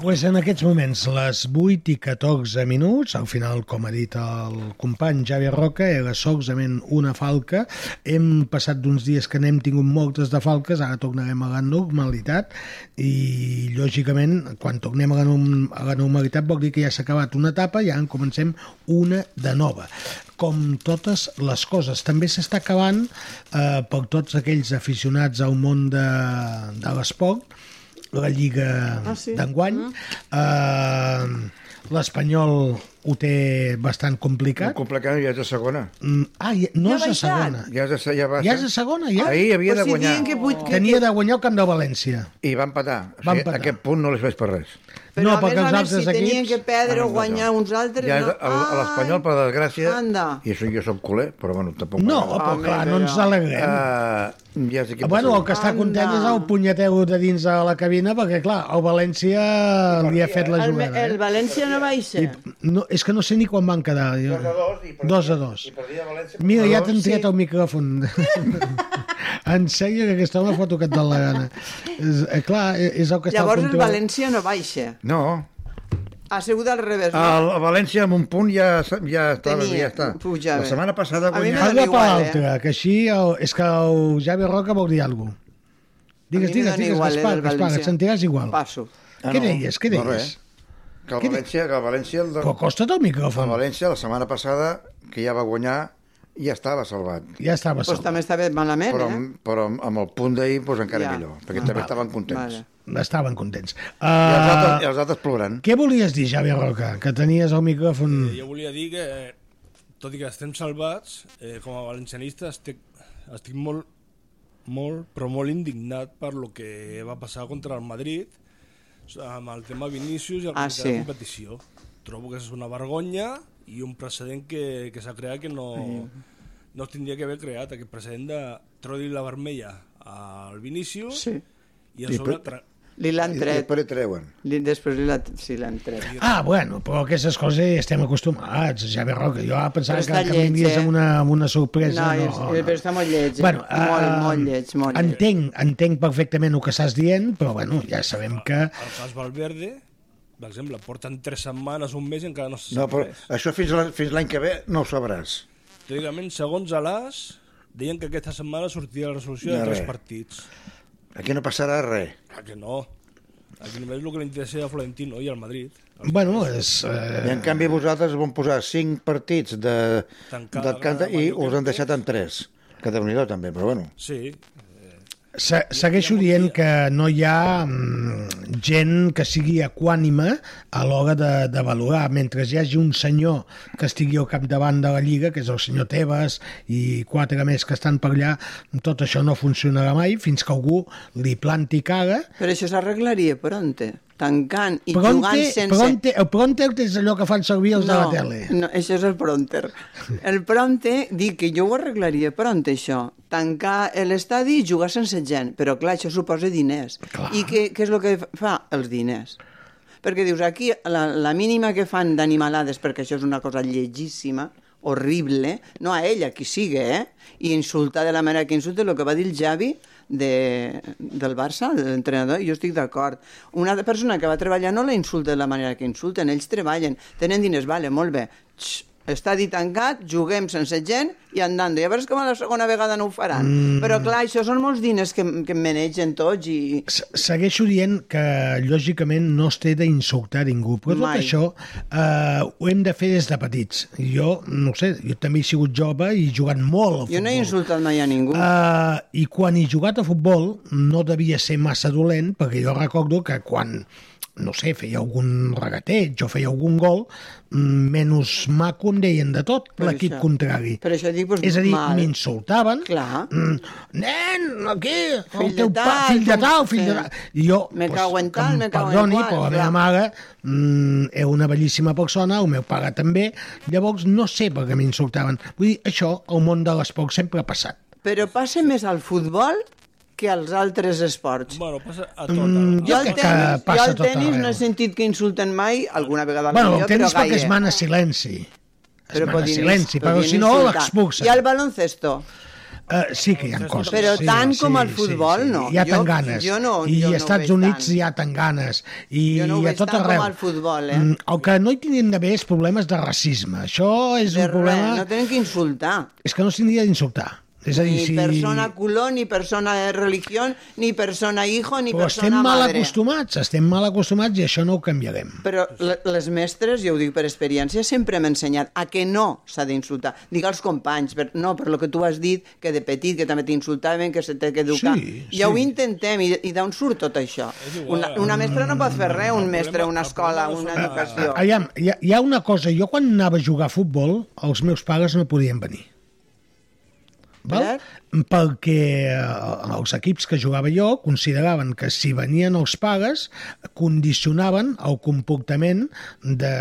Speaker 5: Pues en aquests moments, les 8 i 14 minuts, al final, com ha dit el company Javier Roca, era solament una falca. Hem passat d'uns dies que n'hem tingut moltes de falques, ara tornarem a la normalitat i, lògicament, quan tornem a la, norm a la normalitat vol dir que ja s'ha acabat una etapa i ara en comencem una de nova com totes les coses. També s'està acabant eh, per tots aquells aficionats al món de, de l'esport, la Lliga
Speaker 18: Ah, sí?
Speaker 5: d'enguany. Mm.
Speaker 7: Ah.
Speaker 5: Uh, L'Espanyol ho té bastant complicat.
Speaker 6: Complicant ja és de segona.
Speaker 5: Mm, Ah, ja, no
Speaker 6: Ja
Speaker 5: és a
Speaker 6: baixat.
Speaker 5: segona.
Speaker 6: Ja és de, ja va,
Speaker 5: Ja és a segona, ja.
Speaker 6: Ahir havia de guanyar.
Speaker 5: Tenia de guanyar el Camp de València.
Speaker 6: I va empatar. O
Speaker 5: Va
Speaker 6: sigui,
Speaker 5: empatar.
Speaker 6: Aquest punt no les veig per res.
Speaker 7: Però a més a més, si tenien que perdre o guanyar uns altres...
Speaker 6: Ja,
Speaker 7: no? Ah.
Speaker 6: el- L'Espanyol, per desgràcia...
Speaker 7: Anda.
Speaker 6: I això jo som culer, però bueno, tampoc...
Speaker 5: No, però clar, no ens alegrem.
Speaker 6: Uh, ja és equip de
Speaker 5: Bueno, el
Speaker 6: segona.
Speaker 5: que
Speaker 7: Ah,
Speaker 5: està content és el punyeteu de dins de la cabina, perquè, clar, el València li ha fet la
Speaker 7: El,
Speaker 5: jugada.
Speaker 7: el València no baixa.
Speaker 5: eh? No, és que no sé ni quan van quedar. Jo.
Speaker 6: Dos a dos i
Speaker 5: Dos a dos.
Speaker 6: perdia València per
Speaker 5: Mira,
Speaker 6: dos.
Speaker 5: ja t'han triat el micròfon. en sèrio que aquest home fot el que et dona la gana. És, eh, clar, és el que està
Speaker 7: Llavors
Speaker 5: al
Speaker 7: el
Speaker 5: control.
Speaker 7: València no baixa.
Speaker 6: No,
Speaker 7: Ha sigut al revés.
Speaker 6: el el València amb un punt ja, s- ja està.
Speaker 7: Tenia,
Speaker 6: ja està.
Speaker 7: pujava.
Speaker 6: La setmana passada
Speaker 7: A mi
Speaker 6: guanyava...
Speaker 5: Parla per
Speaker 6: eh?
Speaker 5: l'altre, que així... El, és que el Javi Roca vol dir alguna cosa. Digues,
Speaker 6: A mi
Speaker 5: digues,
Speaker 6: m'hi dona
Speaker 5: digues,
Speaker 6: igual, eh,
Speaker 5: Gaspar,
Speaker 6: del
Speaker 5: Gaspar,
Speaker 6: València.
Speaker 5: et sentiràs igual.
Speaker 7: Passo.
Speaker 5: Ah, Què deies, què
Speaker 6: Ah, No,
Speaker 5: deies?
Speaker 6: res. Que el València... Que el València el...
Speaker 5: Però acosta't al micròfon.
Speaker 6: El València, la setmana passada, que ja va guanyar, ja estava salvat.
Speaker 5: Ja estava
Speaker 7: Pues també està bé malament,
Speaker 6: Però,
Speaker 7: eh?
Speaker 6: amb- però amb- amb el punt d'ahir doncs, encara
Speaker 7: Ja.
Speaker 6: millor, perquè també estaven contents.
Speaker 7: Vale.
Speaker 5: Estaven contents. Uh,
Speaker 6: I, els altres, I els altres plorant.
Speaker 5: Què volies dir, Javi Roca? Que tenies el micròfon...
Speaker 10: Jo volia dir que, eh, tot i que estem salvats, eh, com a valencianista estic, estic molt, molt, però molt indignat per lo que va passar contra el Madrid amb el tema Vinícius i el
Speaker 7: Ah,
Speaker 10: comitè
Speaker 7: sí.
Speaker 10: de competició. Trobo que és una vergonya i un precedent que, que s'ha creat que no, no es tindria que haver creat, aquest precedent de trodi la vermella al Vinícius
Speaker 7: Sí.
Speaker 10: i a sobre... tra-
Speaker 7: Li l'han
Speaker 10: I- i
Speaker 7: tret.
Speaker 6: Però treuen.
Speaker 7: Li, després li la, sí, l'han tret.
Speaker 5: Ah, bueno, però aquestes coses ja estem acostumats, Javi Roca. Jo pensava
Speaker 7: Però
Speaker 5: que,
Speaker 7: està
Speaker 5: que
Speaker 7: lleig,
Speaker 5: venies
Speaker 7: eh?
Speaker 5: amb una, amb una sorpresa.
Speaker 7: no,
Speaker 5: No,
Speaker 7: és- però està molt lleig. eh?
Speaker 5: Bueno,
Speaker 7: molt,
Speaker 5: eh,
Speaker 7: molt lleig, molt lleig.
Speaker 5: Entenc, entenc perfectament el que estàs dient, però bueno, ja sabem que...
Speaker 10: El cas Valverde, per exemple, porten tres setmanes, un mes i encara no se sap
Speaker 6: No, però
Speaker 10: res.
Speaker 6: això fins la- fins l'any que ve no ho sabràs.
Speaker 10: Teòricament, segons l'AS, deien que aquesta setmana sortia la resolució
Speaker 6: No,
Speaker 10: de tres
Speaker 6: res.
Speaker 10: partits.
Speaker 6: Aquí no passarà res.
Speaker 10: A que no? A que només el que li interessa a Florentino i al Madrid.
Speaker 5: Bueno, és... Eh...
Speaker 6: I en canvi vosaltres vau posar cinc partits de,
Speaker 10: Tancar
Speaker 6: de
Speaker 10: la grada
Speaker 6: i us han deixat en tres. Que déu nhi també, però bueno.
Speaker 10: Sí, eh,
Speaker 5: Se segueixo dient que no hi ha mm, gent que sigui equànime a l'hora de, de valorar, mentre hi hagi un senyor que estigui al capdavant de la Lliga, que és el senyor Tebas, i quatre més que estan per allà, tot això no funcionarà mai fins que algú li planti cara
Speaker 7: Però això s'arreglaria pronte, tancant i jugant
Speaker 5: Pronte,
Speaker 7: sense...
Speaker 5: pronte, el pronter és allò que fan servir els de la tele.
Speaker 7: No, això és el pronter. El pronte, dic que jo ho arreglaria pronte, això. Tancar l'estadi i jugar sense gent. Però, clar, això suposa diners. Clar. I què, què és el que fa? Els diners. Perquè dius, aquí la, la mínima que fan d'animalades, perquè això és una cosa llegíssima, horrible, no a ella, qui sigue, eh? I insultar de la manera que insulta el que va dir el Javi de, del Barça, de l'entrenador, i jo estic d'acord. Una altra persona que va treballar no la insulta de la manera que insulten, ells treballen, tenen diners, vale, molt bé, Xx, estadi tancat, juguem sense gent i andando. I a veure com a la segona vegada no ho faran.
Speaker 5: Mm.
Speaker 7: Però clar, això són molts diners que, que menegen tots i...
Speaker 5: segueixo dient que lògicament no es té d'insultar ningú, però tot
Speaker 7: Mai.
Speaker 5: això eh, ho hem de fer des de petits. Jo, no ho sé, jo també he sigut jove i he jugat molt a
Speaker 7: Jo no he insultat mai a ningú.
Speaker 5: Uh, I quan he jugat a futbol no devia ser massa dolent, perquè jo recordo que quan no sé, feia algun regateig jo feia algun gol, mm, menys maco em deien de tot
Speaker 7: Per
Speaker 5: l'equip
Speaker 7: això.
Speaker 5: contrari.
Speaker 7: Per això dic, doncs,
Speaker 5: És a dir,
Speaker 7: mal.
Speaker 5: m'insultaven.
Speaker 7: Clar.
Speaker 5: Mm. Nen, aquí,
Speaker 7: Fill
Speaker 5: el teu
Speaker 7: de
Speaker 5: pa,
Speaker 7: tal,
Speaker 5: fill de
Speaker 7: com-
Speaker 5: tal, fill de
Speaker 7: sí.
Speaker 5: tal. I jo,
Speaker 7: Me cago en tal,
Speaker 5: que em
Speaker 7: me cago en
Speaker 5: perdoni,
Speaker 7: qual,
Speaker 5: però la
Speaker 7: clar.
Speaker 5: meva mare mm, era una bellíssima persona, el meu pare també, llavors no sé per què m'insultaven. Vull dir, això al món de l'esport sempre ha passat.
Speaker 7: Però passa més al futbol que als altres esports.
Speaker 10: Bueno, passa a
Speaker 5: tot, Mm, a- jo
Speaker 7: jo al
Speaker 5: crec que
Speaker 7: tenis,
Speaker 5: passa
Speaker 7: jo
Speaker 5: a
Speaker 7: al
Speaker 5: tot
Speaker 7: tenis
Speaker 5: arreu.
Speaker 7: no he sentit que insulten mai, alguna vegada
Speaker 5: bueno,
Speaker 7: millor,
Speaker 5: el tenis
Speaker 7: però
Speaker 5: fa que
Speaker 7: gaire.
Speaker 5: es mana silenci. Es
Speaker 7: Però
Speaker 5: mana
Speaker 7: podien-
Speaker 5: silenci, però
Speaker 7: podien
Speaker 5: si no
Speaker 7: insultar.
Speaker 5: l'expulsen.
Speaker 7: I al baloncesto?
Speaker 5: Eh, sí que hi ha coses.
Speaker 7: Però
Speaker 5: sí,
Speaker 7: tant com al
Speaker 5: sí,
Speaker 7: futbol,
Speaker 5: sí, sí.
Speaker 7: no.
Speaker 5: Hi ha
Speaker 7: Jo-
Speaker 5: tanganes.
Speaker 7: jo no-
Speaker 5: I
Speaker 7: jo no ho
Speaker 5: als Estats
Speaker 7: veig
Speaker 5: Units
Speaker 7: tant.
Speaker 5: hi ha tanganes. I,
Speaker 7: Jo no ho
Speaker 5: i a
Speaker 7: veig
Speaker 5: tot
Speaker 7: tant com
Speaker 5: arreu.
Speaker 7: al futbol, eh?
Speaker 5: Mm, El que no hi tindrien d'haver és problemes de racisme. Això és
Speaker 7: De
Speaker 5: un problema...
Speaker 7: res, no tenen que insultar.
Speaker 5: És que no s'hauria d'insultar. És a dir,
Speaker 7: Ni
Speaker 5: si...
Speaker 7: persona culón, ni persona de religión, ni persona hijo, ni
Speaker 5: Però estem
Speaker 7: persona
Speaker 5: mal
Speaker 7: madre.
Speaker 5: acostumats, estem mal acostumats i això no ho canviarem.
Speaker 7: Però le- les mestres, jo ho dic per experiència, sempre m'han ensenyat a que no s'ha d'insultar. Dic als companys, per, no, per lo que tu has dit, que de petit, que també t'insultaven, que se té que educar.
Speaker 5: Sí,
Speaker 7: Ja ho
Speaker 5: sí.
Speaker 7: intentem, i, i d'on surt tot això? Una, una mestra no pot fer res, un mestre, una escola, una educació.
Speaker 5: Aviam, hi ha, hi ha una cosa. Jo quan anava a jugar a futbol, els meus pares no podien venir. Val? Perquè eh, els equips que jugava jo consideraven que si venien els pares condicionaven el comportament de,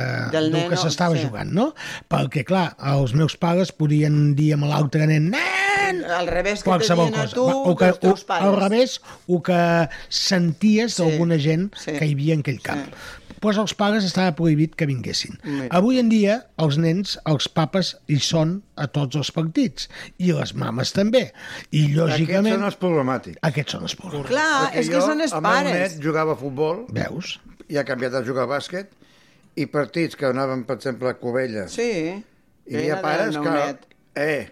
Speaker 5: del
Speaker 7: Del nen,
Speaker 5: que
Speaker 7: no?
Speaker 5: s'estava
Speaker 7: Sí.
Speaker 5: jugant, no? Perquè, clar, els meus pares podien dir a l'altre nen nen!
Speaker 7: Al revés que te
Speaker 5: qualsevol
Speaker 7: dient a
Speaker 5: cosa.
Speaker 7: tu,
Speaker 5: Va, o que,
Speaker 7: dels teus
Speaker 5: o,
Speaker 7: pares.
Speaker 5: al revés, o que senties d'alguna gent
Speaker 7: sí.
Speaker 5: que hi havia en aquell camp. Sí. Pues els pares estava prohibit que vinguessin.
Speaker 7: Mira.
Speaker 5: Avui en dia, els nens, els papes, hi són a tots els partits. I les mames també. I, lògicament...
Speaker 6: Aquests són els problemàtics.
Speaker 5: Aquests són els problemàtics.
Speaker 7: Clar, Ah, és que
Speaker 6: jo,
Speaker 7: són els
Speaker 6: El meu
Speaker 7: pares.
Speaker 6: net jugava a futbol.
Speaker 5: Veus?
Speaker 6: I ha canviat a jugar a bàsquet. I partits que anaven, per exemple, a Covella.
Speaker 7: Sí.
Speaker 6: I hi ha pares que... Eh,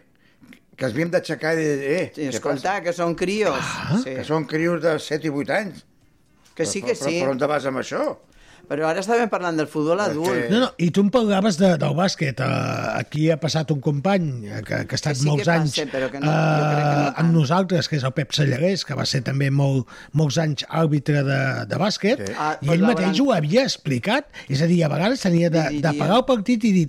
Speaker 6: que es havíem d'aixecar i dir... Eh,
Speaker 7: Sí,
Speaker 6: què
Speaker 7: escolta,
Speaker 6: passa?
Speaker 7: que són crios. sí.
Speaker 6: Ah, Que són crios de 7 i 8 anys.
Speaker 7: Que sí, que
Speaker 6: però,
Speaker 7: sí.
Speaker 6: Però, però on te vas amb això?
Speaker 7: Però ara estàvem parlant del futbol adult.
Speaker 5: No, no, i tu em parlaves de, del bàsquet. Uh, aquí ha passat un company eh, que, que ha estat
Speaker 7: Que sí que
Speaker 5: molts
Speaker 7: passa,
Speaker 5: anys
Speaker 7: però que no- jo crec que no
Speaker 5: eh, amb nosaltres, que és el Pep Sallarès, que va ser també molt, molts anys àrbitre de, de bàsquet,
Speaker 7: Sí. Ah,
Speaker 5: i ell
Speaker 7: doncs
Speaker 5: mateix ho havia explicat. És a dir, a vegades tenia de, de pagar el partit i dir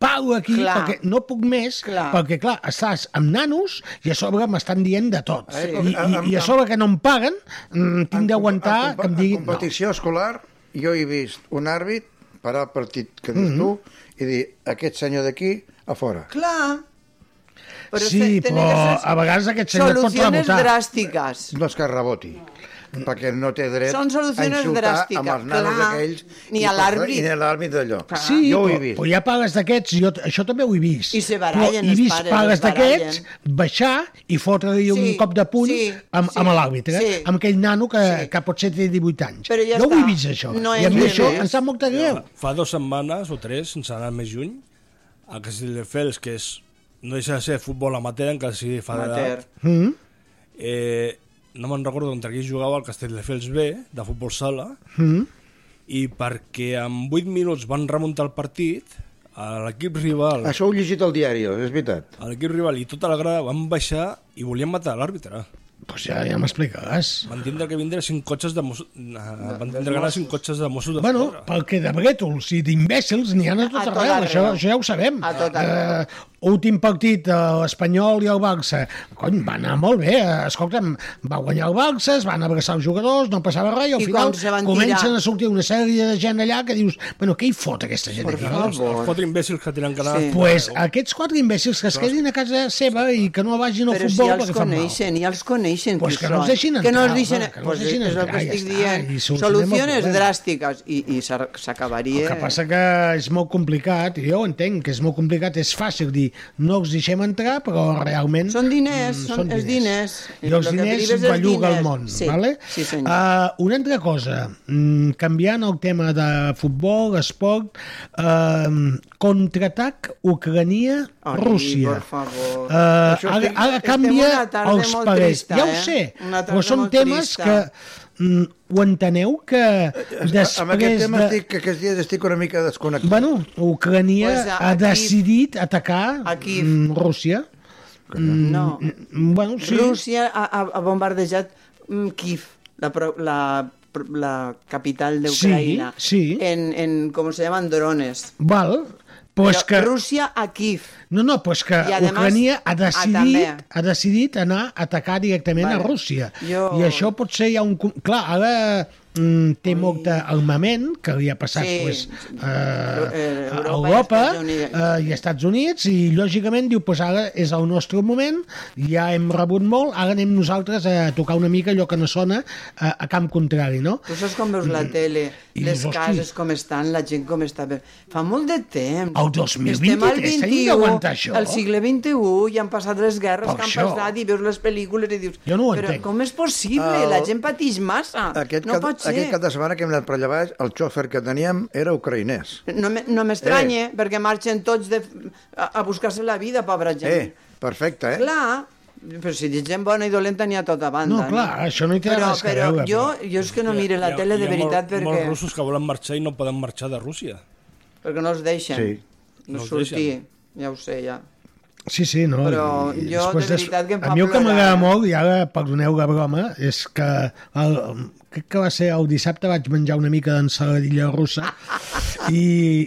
Speaker 5: pau aquí,
Speaker 7: Clar.
Speaker 5: perquè no puc més,
Speaker 7: Clar.
Speaker 5: perquè, clar, estàs amb nanos i a sobre m'estan dient de tot.
Speaker 6: Sí.
Speaker 5: I, i, I a sobre que no em paguen, mm, tinc d'aguantar que em diguin... No.
Speaker 6: Ah, Competició escolar, jo he vist un àrbit parar el partit que
Speaker 5: Mhm.
Speaker 6: dius mm -hmm. tu i dir, aquest senyor d'aquí, a fora.
Speaker 7: Clar. Però
Speaker 5: Sí,
Speaker 7: se- tenen
Speaker 5: però
Speaker 7: que ser
Speaker 5: a vegades aquest senyor pot
Speaker 7: soluciones
Speaker 5: rebotar.
Speaker 7: dràstiques.
Speaker 6: No és que reboti, perquè no té dret
Speaker 7: Són solucions
Speaker 6: a insultar
Speaker 7: dràstiques,
Speaker 6: amb els nanos
Speaker 7: clar.
Speaker 6: aquells
Speaker 7: Ni
Speaker 6: i
Speaker 7: a
Speaker 6: per-
Speaker 7: l'àrbit.
Speaker 6: I ni a l'àrbit d'allò.
Speaker 5: Sí,
Speaker 6: jo ho he
Speaker 5: però-
Speaker 6: vist.
Speaker 5: però hi ha pagues d'aquests, jo t- això també ho he vist.
Speaker 7: I se barallen,
Speaker 5: però he
Speaker 7: els
Speaker 5: vist
Speaker 7: pares
Speaker 5: pagues
Speaker 7: es barallen.
Speaker 5: d'aquests baixar i fotre-li un
Speaker 7: Sí,
Speaker 5: cop de puny
Speaker 7: sí,
Speaker 5: amb,
Speaker 7: sí,
Speaker 5: amb l'àrbitre,
Speaker 7: sí.
Speaker 5: amb aquell nano que, que potser té 18 anys.
Speaker 7: Però ja
Speaker 5: jo ho he
Speaker 7: està.
Speaker 5: vist, això.
Speaker 7: No
Speaker 5: I a
Speaker 7: és
Speaker 5: mi
Speaker 7: res
Speaker 5: això
Speaker 7: més.
Speaker 5: em sap molta greu.
Speaker 10: Fa dues setmanes o tres, sense anar més lluny, a Castelldefels, que és, no deixa de ser futbol amateur, encara sigui
Speaker 7: Amateur.
Speaker 10: federat,
Speaker 5: Mm?
Speaker 10: eh, no me'n recordo on aquí jugava el Castelldefels B, de futbol sala,
Speaker 5: Mm?
Speaker 10: i perquè en 8 minuts van remuntar el partit, a l'equip rival...
Speaker 6: Això ho he llegit al diari, és veritat.
Speaker 10: A l'equip rival i tota la grada van baixar i volien matar l'àrbitre.
Speaker 5: Pues Doncs ja, ja m'explicaràs.
Speaker 10: Van tindre que vindre cinc cotxes de Mossos... eh, Van tindre que anar cinc cotxes de Mossos d'Esquadra.
Speaker 5: Bueno, pel que de brètols i d'imbècils n'hi ha a tot
Speaker 10: A tot
Speaker 5: arreu,
Speaker 10: arreu.
Speaker 5: això, això ja ho sabem.
Speaker 10: A tot arreu.
Speaker 5: Eh, últim partit, eh, l'Espanyol i el Barça. Cony, va anar molt bé. eh, Escolta'm, va guanyar el Barça, es van abraçar els jugadors, no passava res, i al
Speaker 7: I
Speaker 5: final
Speaker 7: quan se van
Speaker 5: comencen
Speaker 7: tirar.
Speaker 5: a sortir una sèrie de gent allà que dius, bueno, què hi fot aquesta gent
Speaker 10: Per
Speaker 5: aquí? no?"
Speaker 10: favor. Els, els quatre imbècils que tenen que anar...
Speaker 5: Doncs pues, aquests quatre imbècils que es quedin a casa seva i que no vagin al
Speaker 7: Però si
Speaker 5: futbol
Speaker 7: ja els
Speaker 5: perquè fan mal.
Speaker 7: coneixen, ja els coneixen.
Speaker 5: Pues
Speaker 7: qui
Speaker 5: que no els
Speaker 7: són.
Speaker 5: deixin
Speaker 7: Que no els
Speaker 5: entrar,
Speaker 7: deixin,
Speaker 5: home, que no
Speaker 7: pues
Speaker 5: els deixin
Speaker 7: és el
Speaker 5: entrar,
Speaker 7: que
Speaker 5: ja
Speaker 7: estic
Speaker 5: està, i
Speaker 7: dient.
Speaker 5: solucionem el
Speaker 7: Soluciones
Speaker 5: problema.
Speaker 7: dràstiques i, i s'ar- s'acabaria.
Speaker 5: El que passa que és molt complicat, i jo ho entenc que és molt complicat, és fàcil dir no els deixem entrar, però realment... Mm, Són
Speaker 7: diners, són- els diners.
Speaker 5: I els
Speaker 7: Lo que
Speaker 5: diners
Speaker 7: prives és
Speaker 5: belluga el
Speaker 7: diners.
Speaker 5: món,
Speaker 7: Sí,
Speaker 5: vale?
Speaker 7: sí, senyor.
Speaker 5: Uh, una altra cosa, mm, canviant el tema de futbol, esport, uh, contraatac Ucrania-Rússia.
Speaker 7: per favor.
Speaker 5: Eh,
Speaker 7: Això
Speaker 5: ara,
Speaker 7: estic-
Speaker 5: ara
Speaker 7: estem
Speaker 5: canvia
Speaker 7: una tarda
Speaker 5: els
Speaker 7: molt
Speaker 5: parells.
Speaker 7: trista,
Speaker 5: ja ho
Speaker 7: eh?
Speaker 5: sé,
Speaker 7: Una tarda
Speaker 5: però són
Speaker 7: molt
Speaker 5: temes
Speaker 7: trista. Eh,
Speaker 5: que mm, ho enteneu que després
Speaker 6: Amb aquest tema
Speaker 5: de...
Speaker 6: estic, que aquests dies estic una mica desconnectat.
Speaker 5: Bueno, Ucrania
Speaker 6: Pues,
Speaker 5: pues
Speaker 6: a-
Speaker 5: ha
Speaker 6: aquí-
Speaker 5: decidit atacar
Speaker 7: Aquí-
Speaker 5: mm, Rússia.
Speaker 7: No.
Speaker 5: mm, Bueno, sí.
Speaker 7: Rússia ha, ha- ha bombardejat mm, Kiev, la, pro- la, la capital d'Ucraïna.
Speaker 5: Sí, sí.
Speaker 7: En, en, com se llaman, drones.
Speaker 5: Val, pues
Speaker 7: Però
Speaker 5: que...
Speaker 7: Rússia a Kiev.
Speaker 5: No, no, pues que
Speaker 7: I, además,
Speaker 5: Ucrania ha
Speaker 7: ah,
Speaker 5: decidit,
Speaker 7: també.
Speaker 5: ha decidit anar a atacar directament
Speaker 7: Vale.
Speaker 5: a Rússia.
Speaker 7: Jo-
Speaker 5: I això pot ser ja un... com- Clar, ara mm, té molt d'armament que li ha passat
Speaker 7: Sí.
Speaker 5: pues, eh,
Speaker 7: eh,
Speaker 5: a
Speaker 7: Europa
Speaker 5: Europa
Speaker 7: i Estats Units.
Speaker 5: eh, i Estats Units i lògicament diu pues ara és el nostre moment, ja hem rebut molt, ara anem nosaltres a tocar una mica allò que no sona eh, a, a camp contrari, no?
Speaker 7: Tu saps com veus la tele,
Speaker 5: Mm. I
Speaker 7: les
Speaker 5: dius, hosti.
Speaker 7: cases com estan, la gent com està... Fa molt de temps.
Speaker 5: El 2023
Speaker 7: Estem al
Speaker 5: s'ha
Speaker 7: XXI,
Speaker 5: d'aguantar això.
Speaker 7: al segle XXI, i han passat les guerres
Speaker 6: Per
Speaker 7: que han
Speaker 6: això.
Speaker 7: passat i veus les pel·lícules i dius...
Speaker 6: Jo no ho
Speaker 7: però
Speaker 6: entenc.
Speaker 7: com és possible?
Speaker 6: El-
Speaker 7: La gent patix massa.
Speaker 6: Aquest,
Speaker 7: no
Speaker 6: cap,
Speaker 7: pot ser.
Speaker 6: aquest cap de setmana que hem anat per allà baix, el xòfer que teníem era ucraïnès.
Speaker 7: No, me- no m'estranye,
Speaker 6: Eh.
Speaker 7: perquè marxen tots de, a, a buscar-se la vida, pobra gent.
Speaker 6: Eh, perfecte, eh?
Speaker 7: Clar, però si dic gent bona i dolenta n'hi ha a tota banda.
Speaker 5: No, clar, això no hi té
Speaker 7: però,
Speaker 5: res a
Speaker 7: però
Speaker 5: veure,
Speaker 7: Jo,
Speaker 5: però-
Speaker 7: jo és que no mire la tele de veritat
Speaker 10: Hi ha molts
Speaker 7: perquè,
Speaker 10: russos que volen marxar i no poden marxar de Rússia.
Speaker 7: perquè no els deixen.
Speaker 10: Sí. No
Speaker 7: No,
Speaker 10: els
Speaker 7: sortir,
Speaker 10: deixen.
Speaker 7: ja ho sé, ja.
Speaker 5: Sí, sí, no.
Speaker 7: Però
Speaker 5: i- i
Speaker 7: jo,
Speaker 5: després
Speaker 7: de veritat, que em fa
Speaker 5: A mi el que
Speaker 7: plorar,
Speaker 5: m'agrada
Speaker 7: eh?
Speaker 5: molt, i ara perdoneu la broma, és que el, crec que va ser el dissabte vaig menjar una mica d'ensaladilla russa i,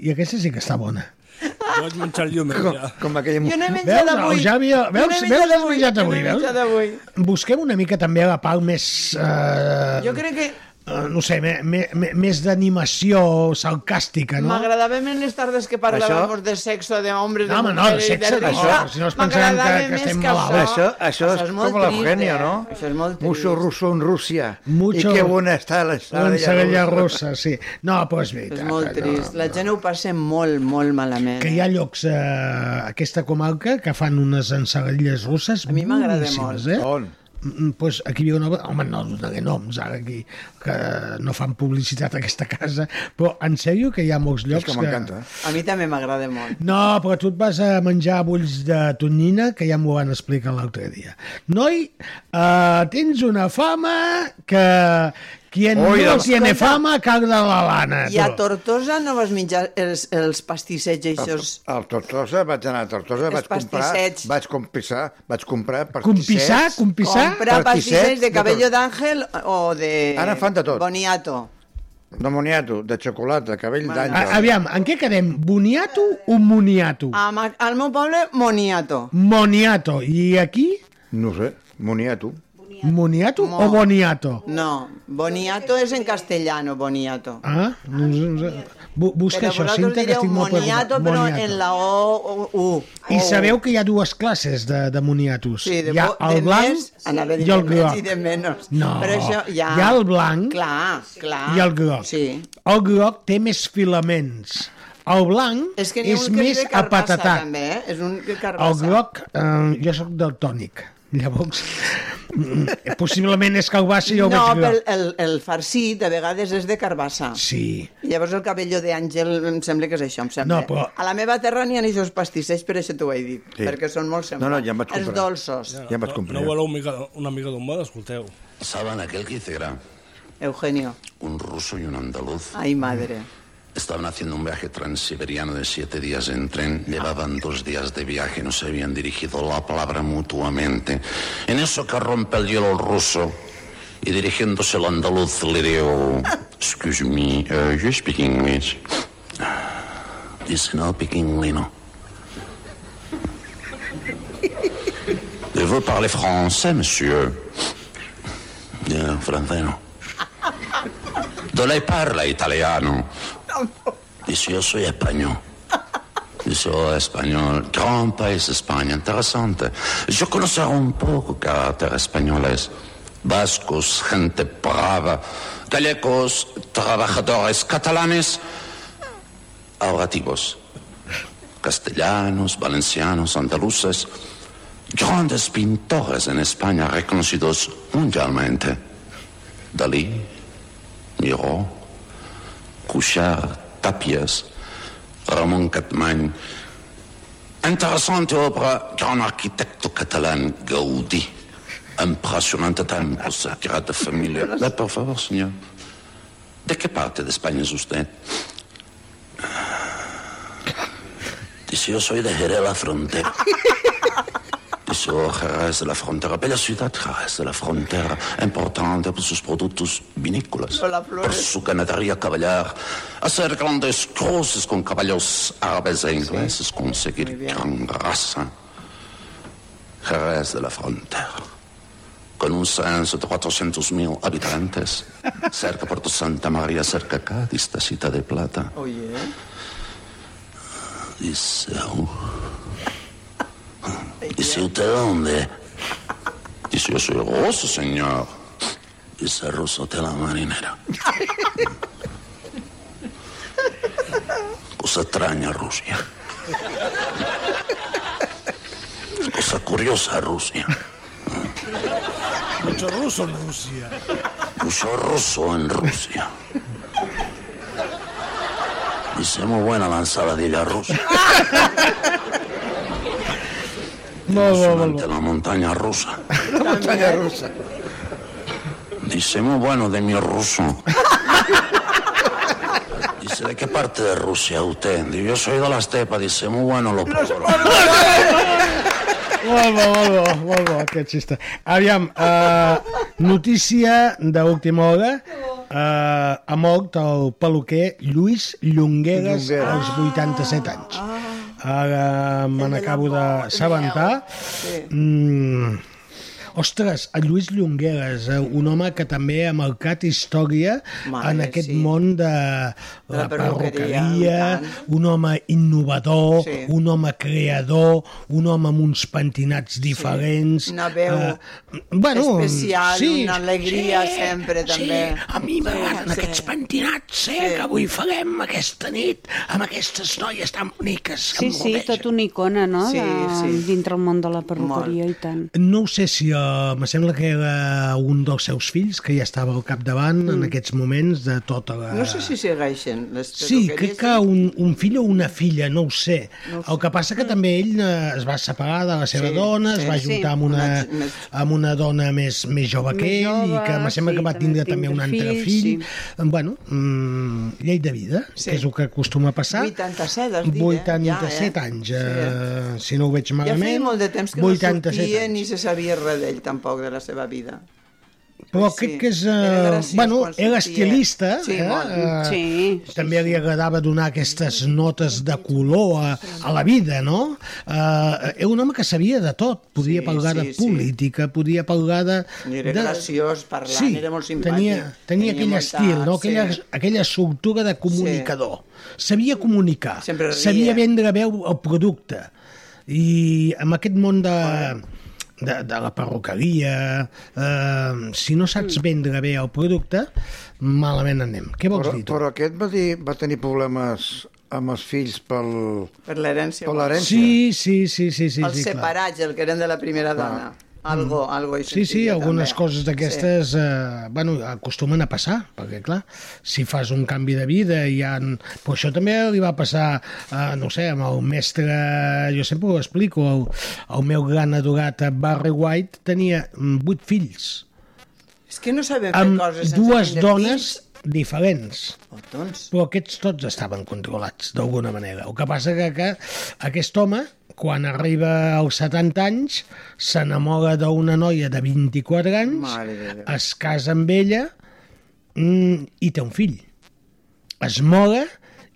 Speaker 5: i aquesta sí que està bona.
Speaker 10: Jo vaig menjar el llum, eh,
Speaker 6: Com, com aquell...
Speaker 7: Jo no he
Speaker 5: Veus,
Speaker 7: menjat avui.
Speaker 5: ja havia,
Speaker 7: Jo no he
Speaker 5: veus,
Speaker 7: menjat
Speaker 5: veus, has
Speaker 7: avui,
Speaker 5: menjat
Speaker 7: jo no
Speaker 5: avui,
Speaker 7: he
Speaker 5: veus?
Speaker 7: menjat avui.
Speaker 5: Busquem una mica també la part més... Eh,
Speaker 7: Jo crec que
Speaker 5: eh, no sé, me, me, me, més d'animació sarcàstica, Ah, no?
Speaker 7: m'agradaven en les tardes que parlàvem de sexo, de hombres,
Speaker 5: No, home,
Speaker 7: de
Speaker 5: no, de
Speaker 7: mujeres... i
Speaker 5: sexe, no,
Speaker 7: risa.
Speaker 5: si no es pensaran que-
Speaker 7: M'agradava
Speaker 5: que
Speaker 7: més
Speaker 5: estem
Speaker 7: això.
Speaker 5: malalts.
Speaker 6: Això, això,
Speaker 7: Això
Speaker 6: és,
Speaker 7: és molt
Speaker 6: com l'Eugenia,
Speaker 7: trist, eh?
Speaker 6: no?
Speaker 7: Això és molt
Speaker 6: Mucho ruso en Rússia.
Speaker 5: Mucho-
Speaker 6: I que bona està
Speaker 5: L'ensaladilla
Speaker 6: l'ensaladilla russa.
Speaker 5: russa, sí. No, doncs però és veritat.
Speaker 7: És molt
Speaker 5: no.
Speaker 7: trist. La gent ho passa molt, molt malament.
Speaker 5: que hi ha llocs eh, a aquesta comarca que fan unes ensaladilles russes a mi
Speaker 7: m'agrada
Speaker 5: Eh? On? Pues aquí viu una... Home, no donaré noms ara aquí, que no fan publicitat a aquesta casa, però en sèrio que hi ha molts llocs
Speaker 7: A mi també m'agrada molt.
Speaker 5: No, però tu et vas a menjar bulls de tonyina, que ja m'ho van explicar l'altre dia. Noi, eh, tens una fama que... Quien
Speaker 7: Oi,
Speaker 5: no
Speaker 7: doncs.
Speaker 5: tiene
Speaker 7: Escolta.
Speaker 5: fama, caga la lana.
Speaker 7: I a
Speaker 5: tu.
Speaker 7: Tortosa no vas menjar els, els pastissets eixos?
Speaker 6: Al Tortosa vaig anar a Tortosa,
Speaker 7: Els
Speaker 6: vaig comprar,
Speaker 7: pastissets.
Speaker 6: vaig comprar, vaig comprar
Speaker 5: Compissar,
Speaker 6: pastissets.
Speaker 5: compissar?
Speaker 7: Comprar pastissets de cabello d'àngel o de...
Speaker 6: Ara fan de tot.
Speaker 7: Boniato.
Speaker 6: De moniato, de xocolata, cabell
Speaker 5: A,
Speaker 6: d'àngel.
Speaker 5: aviam, en què quedem? Boniato o moniato?
Speaker 7: Am- Al meu poble, moniato.
Speaker 5: Moniato. I aquí?
Speaker 6: No sé, moniato.
Speaker 5: Moniato
Speaker 7: Mo-
Speaker 5: o boniato?
Speaker 7: No, boniato és en castellano, boniato.
Speaker 5: Ah, no sé, no sé. Bu- Busca això,
Speaker 7: vosaltres
Speaker 5: Cinta, que
Speaker 7: direu
Speaker 5: estic molt
Speaker 7: moniato,
Speaker 5: preocupat.
Speaker 7: però en la O, o U.
Speaker 5: I
Speaker 7: O,
Speaker 5: sabeu que hi ha dues classes de, de moniatos.
Speaker 7: Sí, de,
Speaker 5: hi ha
Speaker 7: bo-
Speaker 5: el
Speaker 7: de
Speaker 5: blanc
Speaker 7: més, anava a dir
Speaker 5: i el
Speaker 7: de més
Speaker 5: groc.
Speaker 7: I de menys.
Speaker 5: No,
Speaker 7: però això, ja.
Speaker 5: hi ha el blanc
Speaker 7: Clar, clar.
Speaker 5: I el groc.
Speaker 7: Sí.
Speaker 5: El groc té més filaments. El blanc
Speaker 7: És que n'hi ha
Speaker 5: és
Speaker 7: un que
Speaker 5: més
Speaker 7: ve carbassa,
Speaker 5: apatatat.
Speaker 7: també, eh? És un que
Speaker 5: El
Speaker 7: carbassa.
Speaker 5: groc, eh, jo sóc del tònic. Llavors, mm, possiblement és calbassa i jo ho
Speaker 7: no,
Speaker 5: veig
Speaker 7: però
Speaker 5: groc.
Speaker 7: el, el farcit de vegades és de carbassa.
Speaker 5: Sí.
Speaker 7: Llavors el cabello d'Àngel em sembla que és això, em sembla.
Speaker 5: No, però-
Speaker 7: A la meva terra n'hi ha aquests pastissets, per això t'ho he dit,
Speaker 10: Sí.
Speaker 7: perquè són molt semblants.
Speaker 10: No, no, ja em vaig
Speaker 7: Els
Speaker 10: comprar.
Speaker 7: dolços.
Speaker 10: No, No, no voleu una mica, una mica d'ombada? Escolteu.
Speaker 15: ¿Saben aquel que hiciera
Speaker 7: Eugenio.
Speaker 15: un ruso y un andaluz?
Speaker 7: Ai, madre.
Speaker 15: Estaban haciendo un viaje transiberiano de siete días en tren, llevaban dos días de viaje, no se habían dirigido la palabra mutuamente. En eso que rompe el hielo el ruso y dirigiéndose al andaluz le digo, excuse me, uh, you speak English? Dice, no, pequinlino. Vous parlez français, monsieur? Yo, francés no. No lei parla italiano. Dice, yo soy español. Dice, oh, español. Gran país España, interesante. Yo conocer un poco carácter españoles. Vascos, gente brava. Gallegos, trabajadores catalanes. Ahora tipos. Castellanos, valencianos, andaluces. Grandes pintores en España reconocidos mundialmente. Dalí, Miró, Cuixart, Tapies, Ramon Catmany. Interessante obra, gran arquitecto catalán, Gaudí. Impressionante tango, Sagrada Familia. Le, por favor, senyor. ¿De qué parte de España es usted? Dice, yo soy de Jerez la Frontera. Dice, oh, Jerez de la Frontera, bella ciudad Jerez de la Frontera, importante por sus productos vinícolas.
Speaker 7: Lola
Speaker 15: Por
Speaker 7: Flores.
Speaker 15: su ganadería caballar, hacer grandes cruces con caballos árabes e ingleses, conseguir gran raza. Jerez de la frontera, con un censo de 400.000 habitantes, cerca Puerto Santa María, cerca Cádiz, tacita de plata.
Speaker 7: Oye,
Speaker 15: Dice, "Uh". dice, ¿usted dónde? Dice, yo soy ruso, señor. Dice, ruso de la marinera. Cosa extraña, Rusia. Cosa curiosa, Rusia.
Speaker 10: Mucho ruso en Rússia.
Speaker 15: Mucho ruso en Rusia. Dice, muy buena la ensaladilla rusa.
Speaker 5: Molt bo, molt
Speaker 15: De la montaña rusa.
Speaker 6: La muntanya russa.
Speaker 15: Dice, muy bueno de mi ruso. Dice, ¿de qué parte de Rusia usted? Digo, yo soy de la estepa. Dice, muy bueno lo probaré.
Speaker 5: Molt bo, molt bo, molt bo aquest xista. Aviam, uh, notícia d'última hora. Uh, ha mort el peluquer Lluís Llongueres,
Speaker 6: Llongueres.
Speaker 5: als 87 anys. Ara me n'acabo d'assabentar.
Speaker 6: Sí.
Speaker 5: Mm. Ostres, el Lluís Llongueres, eh, un home que també ha marcat història
Speaker 7: Mare,
Speaker 5: en aquest sí. món de
Speaker 7: De la
Speaker 5: la
Speaker 7: perruqueria,
Speaker 5: perruqueria, un home innovador,
Speaker 7: Sí.
Speaker 5: sí. un home creador, un home amb uns pentinats diferents. eh,
Speaker 7: una veu
Speaker 5: bueno,
Speaker 7: especial,
Speaker 5: sí,
Speaker 7: una alegria
Speaker 5: sí,
Speaker 7: sempre,
Speaker 5: sí,
Speaker 7: també.
Speaker 5: a mi m'agraden
Speaker 7: Sí, sí.
Speaker 5: aquests pentinats eh,
Speaker 7: Sí.
Speaker 5: que avui farem aquesta nit amb aquestes noies tan boniques. que
Speaker 8: Sí,
Speaker 5: em
Speaker 8: sí,
Speaker 5: rodegen.
Speaker 8: tot una icona, no?
Speaker 5: Sí,
Speaker 8: Sí, de...
Speaker 5: sí.
Speaker 8: sí. Dintre el món de la perruqueria i tant.
Speaker 5: No ho sé si uh, me sembla que era un dels seus fills que ja estava al capdavant mm. en aquests moments de tota la...
Speaker 7: no sé si segueixen les
Speaker 5: Sí,
Speaker 7: perruqueries.
Speaker 5: crec que un, un fill o una filla, no ho sé.
Speaker 7: No ho Mm.
Speaker 5: El que passa que també ell eh, es va separar de la seva
Speaker 7: Sí,
Speaker 5: dona, es
Speaker 7: sí.
Speaker 5: va
Speaker 7: Sí.
Speaker 5: juntar amb
Speaker 7: Una ch-
Speaker 5: una,
Speaker 7: més-
Speaker 5: amb una dona més, més jove que
Speaker 7: Més
Speaker 5: ell i
Speaker 7: jove,
Speaker 5: que em sembla
Speaker 7: sí,
Speaker 5: que va
Speaker 7: també
Speaker 5: tindre
Speaker 7: tindre
Speaker 5: també un altre
Speaker 7: fills,
Speaker 5: fill.
Speaker 7: sí.
Speaker 5: Bueno, mm, llei de vida, que és el que acostuma a passar.
Speaker 7: 87, has dit, eh?
Speaker 5: 87
Speaker 7: Ja, eh?
Speaker 5: anys, eh, si no ho veig
Speaker 7: Ja
Speaker 5: malament.
Speaker 7: feia molt de temps que
Speaker 5: 87
Speaker 7: no sortia
Speaker 5: anys.
Speaker 7: ni se sabia res d'ell, tampoc, de la seva vida.
Speaker 5: Però sí. crec que és...
Speaker 7: Era
Speaker 5: Eh,
Speaker 7: graciós
Speaker 5: bueno,
Speaker 7: quan
Speaker 5: era
Speaker 7: sortia.
Speaker 5: estilista.
Speaker 7: Sí,
Speaker 5: eh?
Speaker 7: molt.
Speaker 5: Eh,
Speaker 7: Sí.
Speaker 5: També li agradava donar aquestes notes de color a, a la vida, no? Eh, era un home que sabia de tot. Podia
Speaker 7: Sí,
Speaker 5: parlar
Speaker 7: sí,
Speaker 5: de
Speaker 7: sí.
Speaker 5: política, podia parlar de...
Speaker 7: Era
Speaker 5: de...
Speaker 7: graciós parlant,
Speaker 5: Sí,
Speaker 7: era molt simpàtic.
Speaker 5: tenia, tenia aquell
Speaker 7: molta-
Speaker 5: estil, no? aquella,
Speaker 7: Sí.
Speaker 5: aquella estructura de comunicador. Sí. Sabia comunicar,
Speaker 7: Sempre ria.
Speaker 5: sabia vendre veu el producte. I amb aquest món de, de, de la perruqueria, eh, si no saps
Speaker 7: Mm.
Speaker 5: vendre bé el producte, malament anem. Què vols
Speaker 6: Però,
Speaker 5: dir tu?
Speaker 6: però aquest va, dir, va tenir problemes amb els fills pel...
Speaker 7: Per l'herència.
Speaker 6: Per l'herència.
Speaker 5: Sí, sí, sí, sí, sí,
Speaker 7: Els
Speaker 5: sí clar. Mm.
Speaker 7: separats, el que eren de la primera dona. Algo, algo hi
Speaker 5: Sí, sí,
Speaker 7: sentia,
Speaker 5: algunes
Speaker 7: també.
Speaker 5: coses d'aquestes eh, bueno, acostumen a passar, perquè clar, si fas un canvi de vida i ja... En... Però això també li va passar, eh, no ho sé, amb el mestre, jo sempre ho explico, el, el meu gran adorat eh, Barry White tenia mm, vuit fills
Speaker 7: És que no sabem fer
Speaker 5: amb
Speaker 7: coses sense
Speaker 5: dues
Speaker 7: tindre
Speaker 5: dones diferents. Però aquests tots estaven controlats, d'alguna manera. El que passa que, que aquest home, quan arriba als 70 anys, s'enamora d'una noia de 24 anys,
Speaker 7: Mare de Déu.
Speaker 5: es casa amb ella mm, i té un fill. Es mora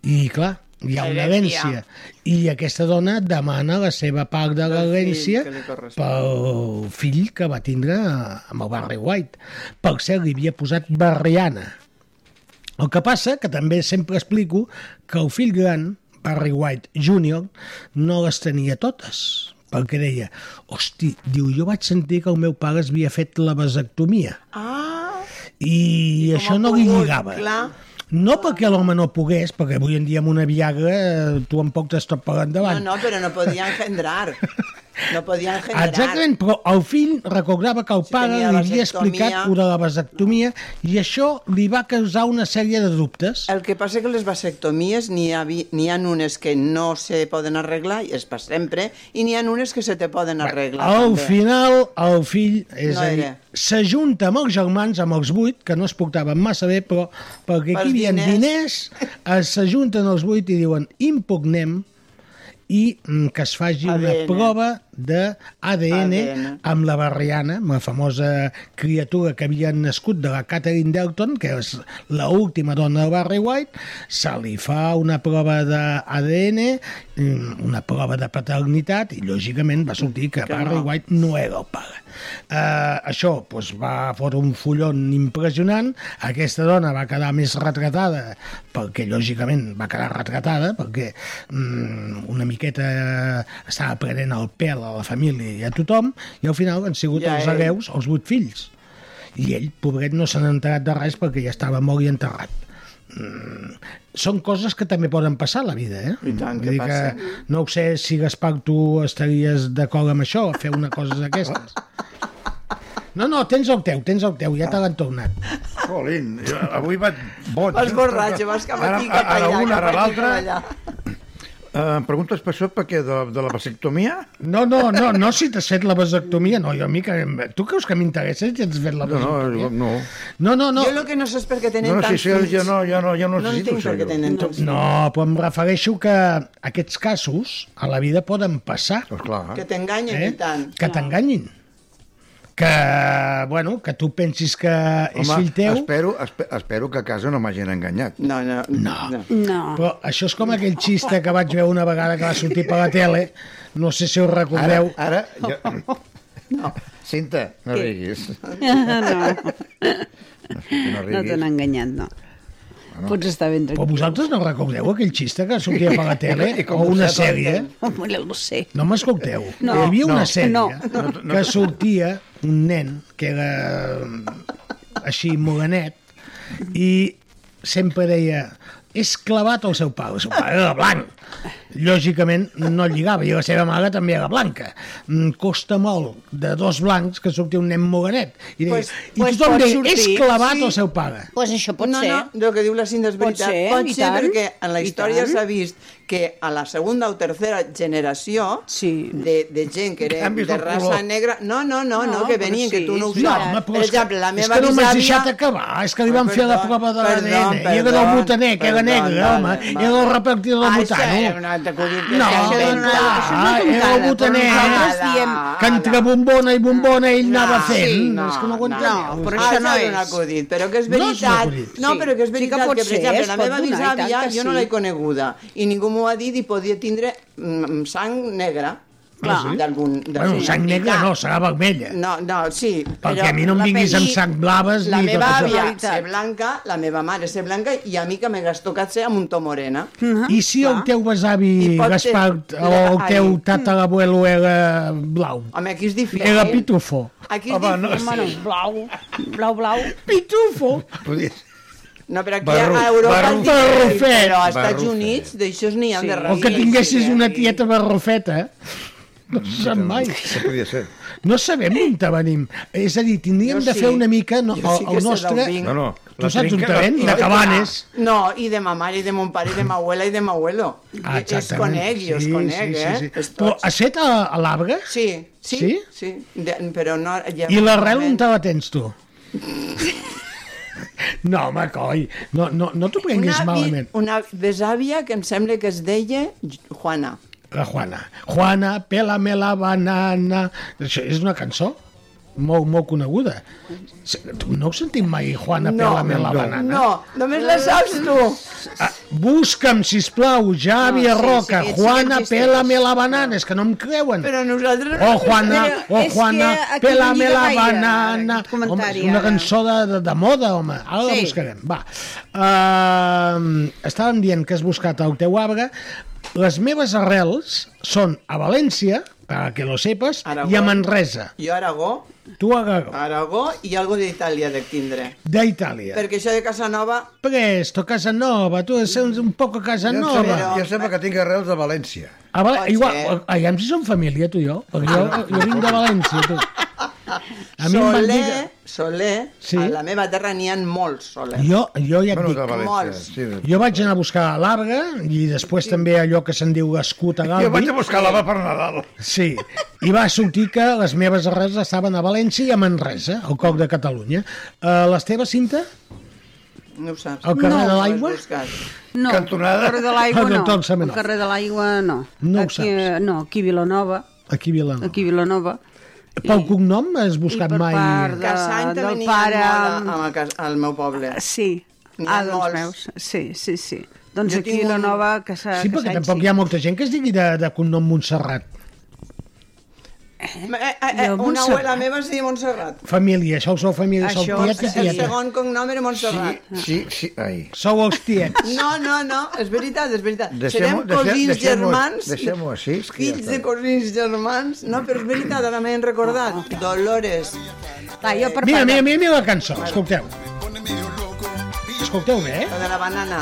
Speaker 5: i, clar, hi ha una
Speaker 7: Herència.
Speaker 5: herència. I aquesta dona demana la seva part de l'herència
Speaker 7: que li correspon.
Speaker 5: pel fill que va tindre amb el Barry White. Per cert, li havia posat Barriana. El que passa, que també sempre explico, que el fill gran, Barry White Jr., no les tenia totes, perquè deia, hosti, diu, jo vaig sentir que el meu pare es havia fet la vasectomia.
Speaker 7: Ah,
Speaker 5: I, I això no li lligava.
Speaker 7: clar.
Speaker 5: No perquè l'home no pogués, perquè avui en dia amb una Viagra eh, tu en poc t'estàs per
Speaker 7: No,
Speaker 5: endavant.
Speaker 7: no, però no podia engendrar. No podia engendrar.
Speaker 5: Exactament, però el fill recordava que el pare
Speaker 7: tenia
Speaker 5: li havia
Speaker 7: vasectomia.
Speaker 5: explicat una de la vasectomia i això li va causar una sèrie de dubtes.
Speaker 7: El que passa que les vasectomies n'hi ha, vi- n'hi ha unes que no se poden arreglar, i és per sempre, i n'hi ha unes que se te poden arreglar.
Speaker 5: Al
Speaker 7: també.
Speaker 5: final, el fill, és
Speaker 7: No
Speaker 5: a dir,
Speaker 7: era.
Speaker 5: s'ajunta amb els germans, amb els vuit, que no es portaven massa bé, però perquè
Speaker 7: Pels
Speaker 5: aquí hi havia
Speaker 7: diners.
Speaker 5: diners, eh, s'ajunten els vuit i diuen impugnem i mm, que es faci ADN. una
Speaker 7: ADN.
Speaker 5: prova d'ADN
Speaker 7: ADN.
Speaker 5: amb la Barriana, amb la famosa criatura que havia nascut de la Catherine Delton, que és la última dona de Barry White, se li fa una prova d'ADN, mm, una prova de paternitat, i lògicament va sortir que,
Speaker 18: Que
Speaker 5: Barry
Speaker 18: no.
Speaker 5: White no era el pare. Uh, això doncs, va fotre un fullon impressionant, aquesta dona va quedar més retratada, perquè lògicament va quedar retratada, perquè mm, una miqueta estava prenent el pèl a la família i a tothom, i al final han sigut
Speaker 7: Ja
Speaker 5: els
Speaker 7: ell.
Speaker 5: hereus, els vuit fills. I ell, pobret, no se n'ha enterat de res perquè ja estava mort i enterrat. Mm, són coses que també poden passar a la vida, eh? I tant,
Speaker 7: que passen.
Speaker 5: no ho sé si, Gaspar, tu estaries d'acord amb això, fer una cosa d'aquestes. No, no, tens el teu, tens el teu, ja te l'han tornat.
Speaker 6: Colin, jo avui vaig boig.
Speaker 5: Vas borratxo, vas cap aquí, cap
Speaker 6: ara,
Speaker 5: allà,
Speaker 6: Ara una,
Speaker 5: cap
Speaker 6: ara
Speaker 5: aquí,
Speaker 6: l'altra.
Speaker 5: cap allà.
Speaker 6: Eh, em preguntes per això, perquè de, de la vasectomia?
Speaker 5: No, no, no, no si t'has fet la vasectomia, no, jo a mi que... Tu creus que m'interessa si has fet la
Speaker 6: No, no,
Speaker 5: vasectomia?
Speaker 6: jo- no.
Speaker 5: no, no, no.
Speaker 7: Jo el que no sé és per què tenen
Speaker 6: No, no, sí,
Speaker 7: tants
Speaker 6: sí, jo,
Speaker 7: fills.
Speaker 6: jo no, jo no, jo no,
Speaker 7: No
Speaker 6: necessito
Speaker 7: entenc
Speaker 6: això.
Speaker 7: per què
Speaker 6: jo.
Speaker 7: tenen tants
Speaker 5: No, però em refereixo que aquests casos a la vida poden passar.
Speaker 6: Doncs
Speaker 5: Pues clar.
Speaker 7: Que t'enganyen,
Speaker 6: Eh?
Speaker 7: i tant.
Speaker 5: Eh? Que t'enganyin. Que, bueno, que tu pensis que és
Speaker 6: Home,
Speaker 5: fill teu...
Speaker 6: espero, espe- espero que a casa no m'hagin enganyat.
Speaker 7: No, no.
Speaker 6: No.
Speaker 8: No.
Speaker 5: Però això és com aquell xiste que vaig veure una vegada que va sortir per la tele. No sé si us recordeu.
Speaker 6: Ara, ara jo... No. Cinta, no
Speaker 8: Què?
Speaker 6: riguis.
Speaker 8: no,
Speaker 6: No
Speaker 8: no
Speaker 6: riguis.
Speaker 8: t'han enganyat, no. Pots estar ben
Speaker 5: Però
Speaker 8: tranquil.
Speaker 5: vosaltres no recordeu aquell xiste que sortia per la tele?
Speaker 8: I com
Speaker 5: o
Speaker 8: ho
Speaker 5: una
Speaker 8: saps,
Speaker 5: sèrie?
Speaker 8: Home, no ho sé.
Speaker 5: No m'escolteu.
Speaker 8: No.
Speaker 5: Hi havia una
Speaker 8: No.
Speaker 5: sèrie
Speaker 8: No.
Speaker 5: que sortia un nen que era eh, així morenet i sempre deia és clavat al seu pare, el seu pare era blanc. Lògicament no lligava, i la seva mare també era blanca. Mm, Costa molt de dos blancs que surti un nen morenet. I, deia,
Speaker 7: Pues-
Speaker 5: i
Speaker 7: pues
Speaker 5: tothom
Speaker 7: pot
Speaker 5: deia,
Speaker 7: sortir,
Speaker 5: és clavat
Speaker 7: sí.
Speaker 5: al seu pare.
Speaker 8: Pues això pot
Speaker 7: no,
Speaker 8: ser.
Speaker 7: No, el que diu la Cinta és
Speaker 8: Pot
Speaker 7: veritat.
Speaker 8: ser,
Speaker 7: pot
Speaker 8: i
Speaker 7: ser
Speaker 8: tant,
Speaker 7: perquè en la
Speaker 8: i
Speaker 7: història
Speaker 8: tant.
Speaker 7: s'ha vist que a la segona o tercera generació sí. de, de gent que era
Speaker 5: Canvis
Speaker 7: de
Speaker 5: de
Speaker 7: raça
Speaker 5: color.
Speaker 7: negra... No, no, no, no,
Speaker 5: No,
Speaker 7: que
Speaker 5: però
Speaker 7: venien, que
Speaker 5: sí,
Speaker 7: tu no ho
Speaker 5: és
Speaker 7: saps.
Speaker 5: veritat.
Speaker 7: per exemple, la meva
Speaker 5: és que no m'has deixat
Speaker 7: bisàvia...
Speaker 5: acabar, és que li van
Speaker 7: Ah,
Speaker 5: fer la
Speaker 7: perdó,
Speaker 5: prova de
Speaker 7: perdó,
Speaker 5: l'ADN, i era
Speaker 7: perdó,
Speaker 5: del botaner, que era
Speaker 7: perdó,
Speaker 5: negre,
Speaker 7: vale,
Speaker 5: home,
Speaker 7: vale.
Speaker 5: era el repartidor del
Speaker 7: Ah, això
Speaker 5: botano.
Speaker 7: era un altre curit que
Speaker 5: No,
Speaker 7: s'ha inventat.
Speaker 5: ah, era el botaner,
Speaker 7: Nosaltres diem-
Speaker 5: que
Speaker 7: Ah,
Speaker 5: entre bombona i bombona ell anava fent. és que Ah, no ho enteneu.
Speaker 7: no, Ah, però això no és un acudit, però que és
Speaker 5: No és un
Speaker 7: veritat.
Speaker 5: acudit.
Speaker 7: No,
Speaker 5: Sí.
Speaker 7: però que és
Speaker 5: Sí que
Speaker 7: veritat
Speaker 5: pot
Speaker 7: que, per
Speaker 5: ser,
Speaker 7: exemple,
Speaker 5: es
Speaker 7: la
Speaker 5: pot
Speaker 7: meva
Speaker 5: donar, i tant
Speaker 7: bisàvia
Speaker 5: que
Speaker 7: jo no
Speaker 5: sí.
Speaker 7: l'he coneguda i ningú m'ho ha dit i podia tindre mm, sang negra.
Speaker 5: Ah, sí?
Speaker 7: d'algun...
Speaker 5: Bueno, sang negre no, serà vermella.
Speaker 7: No, no, sí.
Speaker 5: Perquè a mi no em vinguis amb sang blaves
Speaker 7: la
Speaker 5: ni
Speaker 7: meva
Speaker 5: tot això.
Speaker 7: àvia ser blanca, la meva mare ser blanca i a mi que me gastó que ser amb un to morena.
Speaker 5: I si el teu besavi
Speaker 7: I pot ser-
Speaker 5: Gaspar o el
Speaker 7: Ai.
Speaker 5: teu tatarabuelo era blau?
Speaker 7: Home, aquí és difícil.
Speaker 5: Era pitufo.
Speaker 7: Aquí
Speaker 5: Home,
Speaker 7: Home,
Speaker 5: no,
Speaker 7: no,
Speaker 5: Ah, sí.
Speaker 7: blau, blau, blau.
Speaker 5: Pitufo.
Speaker 7: No, però aquí
Speaker 5: Barru-
Speaker 7: a Europa
Speaker 5: barru-
Speaker 7: és difícil,
Speaker 5: barrufet.
Speaker 7: però als Estats
Speaker 5: Barrufet.
Speaker 7: Units d'això n'hi ha
Speaker 5: Sí.
Speaker 7: de eh?
Speaker 5: O
Speaker 7: res.
Speaker 5: que tinguessis una tieta barrofeta. No se sap mai.
Speaker 6: Això podia ser.
Speaker 5: No sabem on te venim. És a dir, tindríem
Speaker 7: Jo
Speaker 5: de
Speaker 7: sí.
Speaker 5: fer una mica no,
Speaker 7: Jo sí
Speaker 5: el,
Speaker 7: que
Speaker 5: el
Speaker 7: sé
Speaker 5: nostre...
Speaker 7: d'on vinc.
Speaker 6: No, no, la
Speaker 5: Tu saps on
Speaker 6: trinca-
Speaker 5: te ven?
Speaker 6: la-
Speaker 5: De Cabanes.
Speaker 7: No, i de ma mare, i de mon pare, i de ma abuela, i de ma abuelo.
Speaker 5: Ah,
Speaker 7: I es
Speaker 5: exactament.
Speaker 7: conec, jo es
Speaker 5: Sí,
Speaker 7: conec,
Speaker 5: sí, sí, sí.
Speaker 7: eh? Es-
Speaker 5: Però has fet a, a l'arbre?
Speaker 7: Sí, sí,
Speaker 5: Sí?
Speaker 7: sí. De, però no... Ja
Speaker 5: I l'arrel on te la tens, tu? No, home, coi, no, no, no t'ho prenguis
Speaker 7: vi-
Speaker 5: malament.
Speaker 7: una besàvia que em sembla que es deia Juana.
Speaker 5: La Juana. Juana, pela-me la banana... Això és una cançó molt, molt coneguda. Se- No heu sentit mai Juana,
Speaker 7: No,
Speaker 5: pela-me la
Speaker 7: no,
Speaker 5: banana?
Speaker 7: no, només la saps tu.
Speaker 5: Ah, busca'm, sisplau, Javi
Speaker 7: No,
Speaker 5: no,
Speaker 7: sí,
Speaker 5: Roca,
Speaker 7: sí, sí,
Speaker 5: Juana,
Speaker 7: existeix.
Speaker 5: pela-me la banana, és que no em creuen.
Speaker 7: Però nosaltres...
Speaker 5: Oh, Juana,
Speaker 7: Però
Speaker 5: oh,
Speaker 7: és que
Speaker 5: Juana,
Speaker 7: aquí no
Speaker 5: pela-me
Speaker 7: lliga
Speaker 5: la
Speaker 7: gaire,
Speaker 5: banana.
Speaker 7: aquest
Speaker 5: Home,
Speaker 7: comentari,
Speaker 5: és una
Speaker 7: ara.
Speaker 5: cançó de, de, de moda, home. Ara la
Speaker 7: Sí.
Speaker 5: buscarem, va. Uh, estàvem dient que has buscat el teu arbre. Les meves arrels són a València, perquè lo sepas, i a Manresa.
Speaker 7: Jo Aragó,
Speaker 5: Tu a Garó,
Speaker 7: Aragó i algo d'Itàlia de tindre.
Speaker 5: d'Itàlia.
Speaker 7: Perquè això de Casanova...
Speaker 5: Presto, Casanova, tu ets un- un poc a Casanova.
Speaker 6: Jo sembla que tinc arrels de València.
Speaker 5: A Val...
Speaker 6: Pot
Speaker 5: Ah, Igual, eh,
Speaker 6: ser.
Speaker 5: aviam si som família, tu i jo. Perquè jo, jo vinc de València, tu. A mi em van dir
Speaker 7: Soler,
Speaker 5: que-
Speaker 7: Soler,
Speaker 5: Sí?
Speaker 7: sí? a la meva terra n'hi ha molts Soler.
Speaker 5: Jo, jo ja et
Speaker 7: Bueno,
Speaker 5: dic...
Speaker 7: de València, Molts. sí, de-
Speaker 5: Jo vaig anar a buscar l'arbre i després també allò que se'n diu escut a Galbi.
Speaker 6: Jo vaig a buscar l'arbre per Nadal.
Speaker 5: Sí, i va sortir que les meves arrels estaven a València i a Manresa, al Coc de Catalunya. Uh, les teves, Cinta?
Speaker 7: No ho saps.
Speaker 5: El carrer de l'aigua?
Speaker 8: No,
Speaker 5: Cantonada?
Speaker 8: el carrer de l'aigua
Speaker 5: Ah,
Speaker 8: no.
Speaker 5: doctor
Speaker 8: El
Speaker 5: Semenov.
Speaker 8: carrer de l'aigua no.
Speaker 5: No ho
Speaker 8: aquí, saps. No, aquí a Vilanova.
Speaker 5: Aquí a Vilanova.
Speaker 8: Aquí a Vilanova.
Speaker 5: Pel cognom has buscat
Speaker 8: per
Speaker 5: mai...
Speaker 8: part de-
Speaker 7: Casany
Speaker 8: del
Speaker 7: també n'hi
Speaker 8: pare-
Speaker 7: ha molt a- a, cas- al meu poble.
Speaker 8: Ah, Sí.
Speaker 7: N'hi ha
Speaker 8: Ah, doncs
Speaker 7: molts.
Speaker 8: veus. Sí, sí, sí. Doncs
Speaker 7: Jo
Speaker 8: aquí
Speaker 7: tinc
Speaker 8: a
Speaker 7: un-
Speaker 8: Vilanova, que s'ha...
Speaker 5: Sí,
Speaker 8: que
Speaker 5: perquè
Speaker 8: s'ha-
Speaker 5: tampoc hi ha molta gent que es digui de, de cognom Montserrat.
Speaker 7: Eh, eh, eh,
Speaker 8: Jo,
Speaker 7: una
Speaker 8: Montserrat.
Speaker 7: abuela meva es deia Montserrat.
Speaker 5: Família, sou, sou família, sou
Speaker 7: Això,
Speaker 5: tiet i
Speaker 7: el
Speaker 5: tieta.
Speaker 7: segon cognom era Montserrat.
Speaker 6: Sí, sí, ai.
Speaker 5: Sou els tiets.
Speaker 7: No, no, no, és veritat, és veritat.
Speaker 6: Deixem-ho-
Speaker 7: Serem
Speaker 6: deixem-
Speaker 7: cosins
Speaker 6: deixem-ho-
Speaker 7: germans,
Speaker 6: deixem-ho així, és que ja
Speaker 7: fills
Speaker 6: està.
Speaker 7: de cosins germans. No, però és veritat, ara m'he
Speaker 8: Ah,
Speaker 7: recordat. Dolores.
Speaker 8: Va, jo per
Speaker 5: Mira, mira, mira, mira la cançó, escolteu. Escolteu bé, eh?
Speaker 7: La de la banana.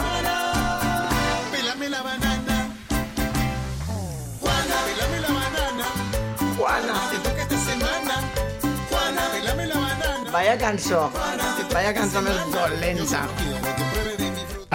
Speaker 13: Pélame la banana. Juana, pélame la banana.
Speaker 7: Juana.
Speaker 13: Te toca esta semana. Juana, pélame la banana.
Speaker 7: Vaya cançó. Vaya cançó més dolenta.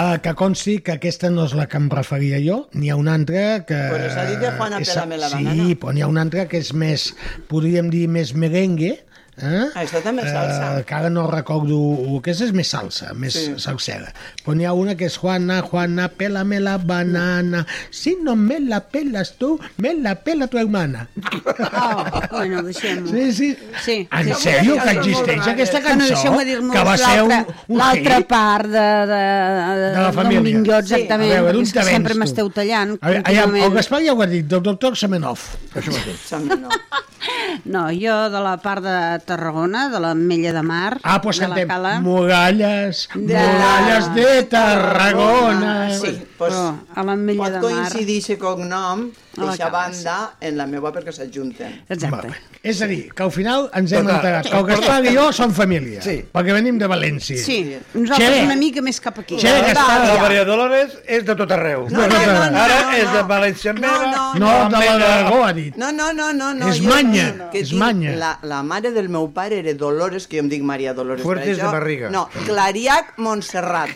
Speaker 5: Uh, que consti que aquesta no és la que em referia jo, n'hi ha una altra que...
Speaker 7: Però s'ha dit de Juana
Speaker 5: és-
Speaker 7: Pélame la
Speaker 5: Sí,
Speaker 7: banana.
Speaker 5: però n'hi ha una altra que és més, podríem dir, més merengue, eh?
Speaker 7: Ah, Això també és
Speaker 5: Eh,
Speaker 7: salsa.
Speaker 5: que ara no recordo... uh, Aquesta és més salsa, més sí.
Speaker 7: Sí.
Speaker 5: salsera. Però n'hi ha una que és Juana, Juana, pélame la banana. Si no me la pelas tu, me la pela tu hermana.
Speaker 8: Ah, bueno, deixem-ho.
Speaker 5: Sí, sí.
Speaker 8: Sí.
Speaker 5: En
Speaker 8: sí.
Speaker 5: sèrio que existeix aquesta
Speaker 8: Bueno,
Speaker 5: cançó?
Speaker 8: deixeu-me dir-nos
Speaker 5: Que va ser un,
Speaker 8: l'altra-
Speaker 5: un
Speaker 8: L'altra
Speaker 5: hit?
Speaker 8: part de, de, de,
Speaker 5: De la família.
Speaker 8: Del Minguió, exactament,
Speaker 5: Sí. A veure,
Speaker 8: perquè és
Speaker 5: d'on
Speaker 8: que
Speaker 5: te
Speaker 8: sempre
Speaker 5: vens, tu?
Speaker 8: m'esteu tallant.
Speaker 5: A veure, allà, el Gaspar ja ho ha dit, del doctor Semenov. Això
Speaker 8: No, jo de la part de Tarragona, de l'Ametlla de Mar,
Speaker 5: Ah, doncs
Speaker 8: de la
Speaker 5: cantem.
Speaker 8: Cala...
Speaker 5: Muralles,
Speaker 8: De-
Speaker 5: muralles de Tarragona.
Speaker 7: Sí, pues,
Speaker 8: Però a l'Ametlla
Speaker 7: pot
Speaker 8: de Mar...
Speaker 7: coincidir aquest cognom
Speaker 5: Ah,
Speaker 8: A la
Speaker 7: d'aquesta
Speaker 8: cama,
Speaker 7: banda en la meva perquè s'adjunten.
Speaker 8: Exacte.
Speaker 5: És a dir, que al final ens hem
Speaker 6: Total.
Speaker 5: enterat que el Gaspar i jo som família, Tota- sí. perquè venim de València.
Speaker 8: Sí, nosaltres
Speaker 5: Xere.
Speaker 8: una mica més cap aquí.
Speaker 5: Xere,
Speaker 8: Va,
Speaker 5: Gaspar.
Speaker 8: ja.
Speaker 6: La Maria Dolores és de tot arreu.
Speaker 5: No, no, no, no,
Speaker 6: Ara
Speaker 5: no,
Speaker 6: és de València no,
Speaker 5: no, no, de la d'Aragó, ha dit.
Speaker 7: No, no, no, no. no
Speaker 5: És
Speaker 7: jo-
Speaker 5: manya,
Speaker 7: no, no, que
Speaker 5: és
Speaker 7: tinc-
Speaker 5: manya.
Speaker 7: La, la mare del meu pare era Dolores, que jo em dic Maria Dolores.
Speaker 6: Fuertes
Speaker 7: per això.
Speaker 6: de barriga.
Speaker 7: No, Clariac Montserrat.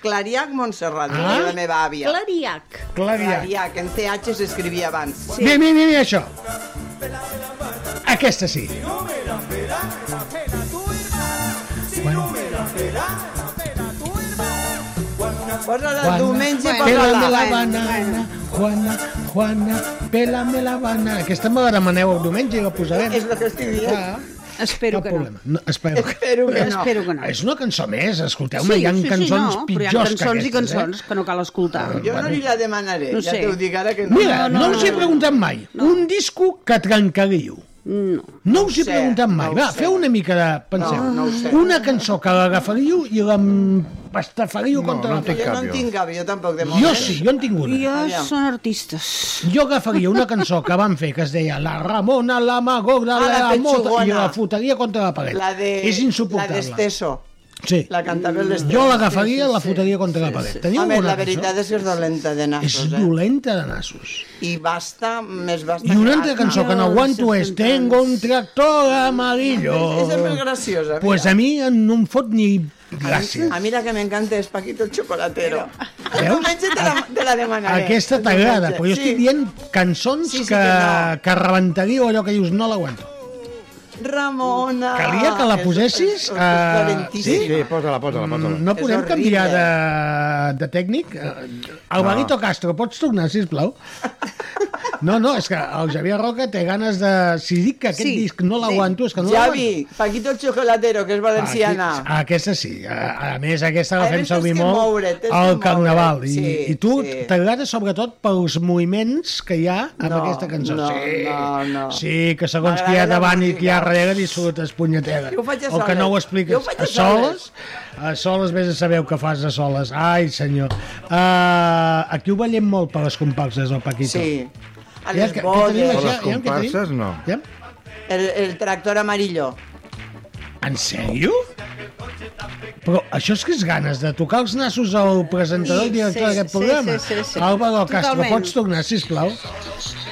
Speaker 7: Clariac Montserrat,
Speaker 5: Ah?
Speaker 7: ah? la meva àvia.
Speaker 8: Clariac.
Speaker 5: Clariac.
Speaker 7: Clariac, en TH s'escrivia abans.
Speaker 5: Sí. Mira, mira, mira això. Aquesta sí. Bueno,
Speaker 7: Posa-la
Speaker 5: Juana,
Speaker 7: diumenge,
Speaker 5: pélame la
Speaker 7: posa-la.
Speaker 5: banana, Juana, Juana, pélame la banana. Aquesta me la demaneu el diumenge i la posarem. Ah,
Speaker 7: És el que estic dient.
Speaker 8: Espero
Speaker 5: Cap
Speaker 8: que
Speaker 5: problema. No, espero,
Speaker 7: Espero que no.
Speaker 8: Espero que no.
Speaker 5: És una cançó més, escolteu-me, hi ha cançons
Speaker 8: no, però hi
Speaker 5: pitjors
Speaker 8: ha cançons
Speaker 5: que aquestes, eh? Ah.
Speaker 8: i cançons que no cal escoltar.
Speaker 7: Jo no li la demanaré,
Speaker 8: No
Speaker 7: ja
Speaker 8: sé.
Speaker 7: t'ho dic ara que
Speaker 5: Eh?
Speaker 7: no.
Speaker 5: Mira, no, us he preguntat mai. Un disco que trencaríeu.
Speaker 8: No.
Speaker 5: No us he
Speaker 7: sé,
Speaker 5: preguntat mai.
Speaker 7: no ho
Speaker 5: Va,
Speaker 7: sé.
Speaker 5: feu una mica de... Penseu.
Speaker 7: No, no ho sé.
Speaker 5: Una cançó que l'agafaríeu i l'empastafaríeu contra la
Speaker 7: jo no en tinc cap, jo tampoc de moment.
Speaker 5: Jo sí, jo en tinc una.
Speaker 8: Jo són artistes.
Speaker 5: Jo agafaria una cançó que van fer que es deia La Ramona, la Magora,
Speaker 7: Ah, la
Speaker 5: la, Mota i
Speaker 7: petxugona.
Speaker 5: la fotaria contra la paret.
Speaker 7: La de...
Speaker 5: És insuportable.
Speaker 7: La d'Esteso.
Speaker 5: Sí.
Speaker 7: La cantava l'Esteso.
Speaker 5: Jo l'agafaria i la fotaria contra la paret. Teniu
Speaker 7: Home,
Speaker 5: alguna
Speaker 7: la veritat és que és dolenta de
Speaker 5: És
Speaker 7: nassos, eh?
Speaker 5: dolenta de nassos.
Speaker 7: I basta, més basta
Speaker 5: I una
Speaker 7: que
Speaker 5: altra
Speaker 7: basta.
Speaker 5: cançó que no aguanto és Tengo un tractor amarillo.
Speaker 7: Mm. És la més graciosa, mira.
Speaker 5: Pues a mi no em fot ni gràcia.
Speaker 7: A mi la que m'encanta és Paquito el Chocolatero.
Speaker 5: Veus?
Speaker 7: Diumenge te la, te la demanaré.
Speaker 5: Aquesta t'agrada, però jo estic dient cançons
Speaker 7: doncs Sí, sí
Speaker 5: que,
Speaker 7: que
Speaker 5: que rebentaríeu allò que dius no l'aguanto.
Speaker 7: Ramona!
Speaker 5: Calia que la posessis?
Speaker 7: és
Speaker 5: Uh,
Speaker 7: dolentíssima.
Speaker 6: Sí, posa-la, posa-la, posa-la.
Speaker 5: Mm, No
Speaker 6: És
Speaker 5: podem
Speaker 6: horrible.
Speaker 5: canviar de, de tècnic? Alvarito no. Castro, pots tornar, sisplau? No, no, és que el Javier Roca té ganes de... Si dic que aquest sí, disc no l'aguanto, és que no
Speaker 7: Javi, Paquito el Chocolatero, que és valenciana.
Speaker 5: Ah, Aquí- Aquesta sí. A, a més, aquesta la
Speaker 7: A
Speaker 5: fem
Speaker 7: més,
Speaker 5: servir
Speaker 7: tens que
Speaker 5: molt
Speaker 7: moure't, tens
Speaker 5: al
Speaker 7: que
Speaker 5: Carnaval.
Speaker 7: moure't,
Speaker 5: I,
Speaker 7: sí,
Speaker 5: I tu
Speaker 7: sí.
Speaker 5: t'agrada sobretot pels moviments que hi ha amb
Speaker 7: No,
Speaker 5: aquesta cançó.
Speaker 7: no,
Speaker 5: sí,
Speaker 7: no, no.
Speaker 5: sí, que segons qui hi
Speaker 7: M'agrada
Speaker 5: ha
Speaker 7: la
Speaker 5: davant i qui hi ha
Speaker 7: música.
Speaker 5: darrere li surt espunyetera.
Speaker 7: Jo ho faig a
Speaker 5: o que no ho
Speaker 7: soles. Jo ho
Speaker 5: expliques.
Speaker 7: faig a
Speaker 5: a soles? A soles vés a saber què fas a soles. Ai, senyor. Uh, aquí ho ballem molt per les comparses, el Ah, Paquito. Sí.
Speaker 7: A les
Speaker 5: que- que
Speaker 7: bodes.
Speaker 5: tenim
Speaker 6: Per les
Speaker 5: això, ja, ja, que tenim.
Speaker 6: comparses, no.
Speaker 7: El, el tractor amarillo.
Speaker 5: En sèrio? Però això és que és ganes de tocar els nassos al presentador i
Speaker 7: Sí,
Speaker 5: director
Speaker 7: sí,
Speaker 5: d'aquest
Speaker 7: sí,
Speaker 5: programa.
Speaker 7: sí, sí, sí.
Speaker 5: Álvaro Castro,
Speaker 7: Totalment.
Speaker 5: pots tornar, sisplau?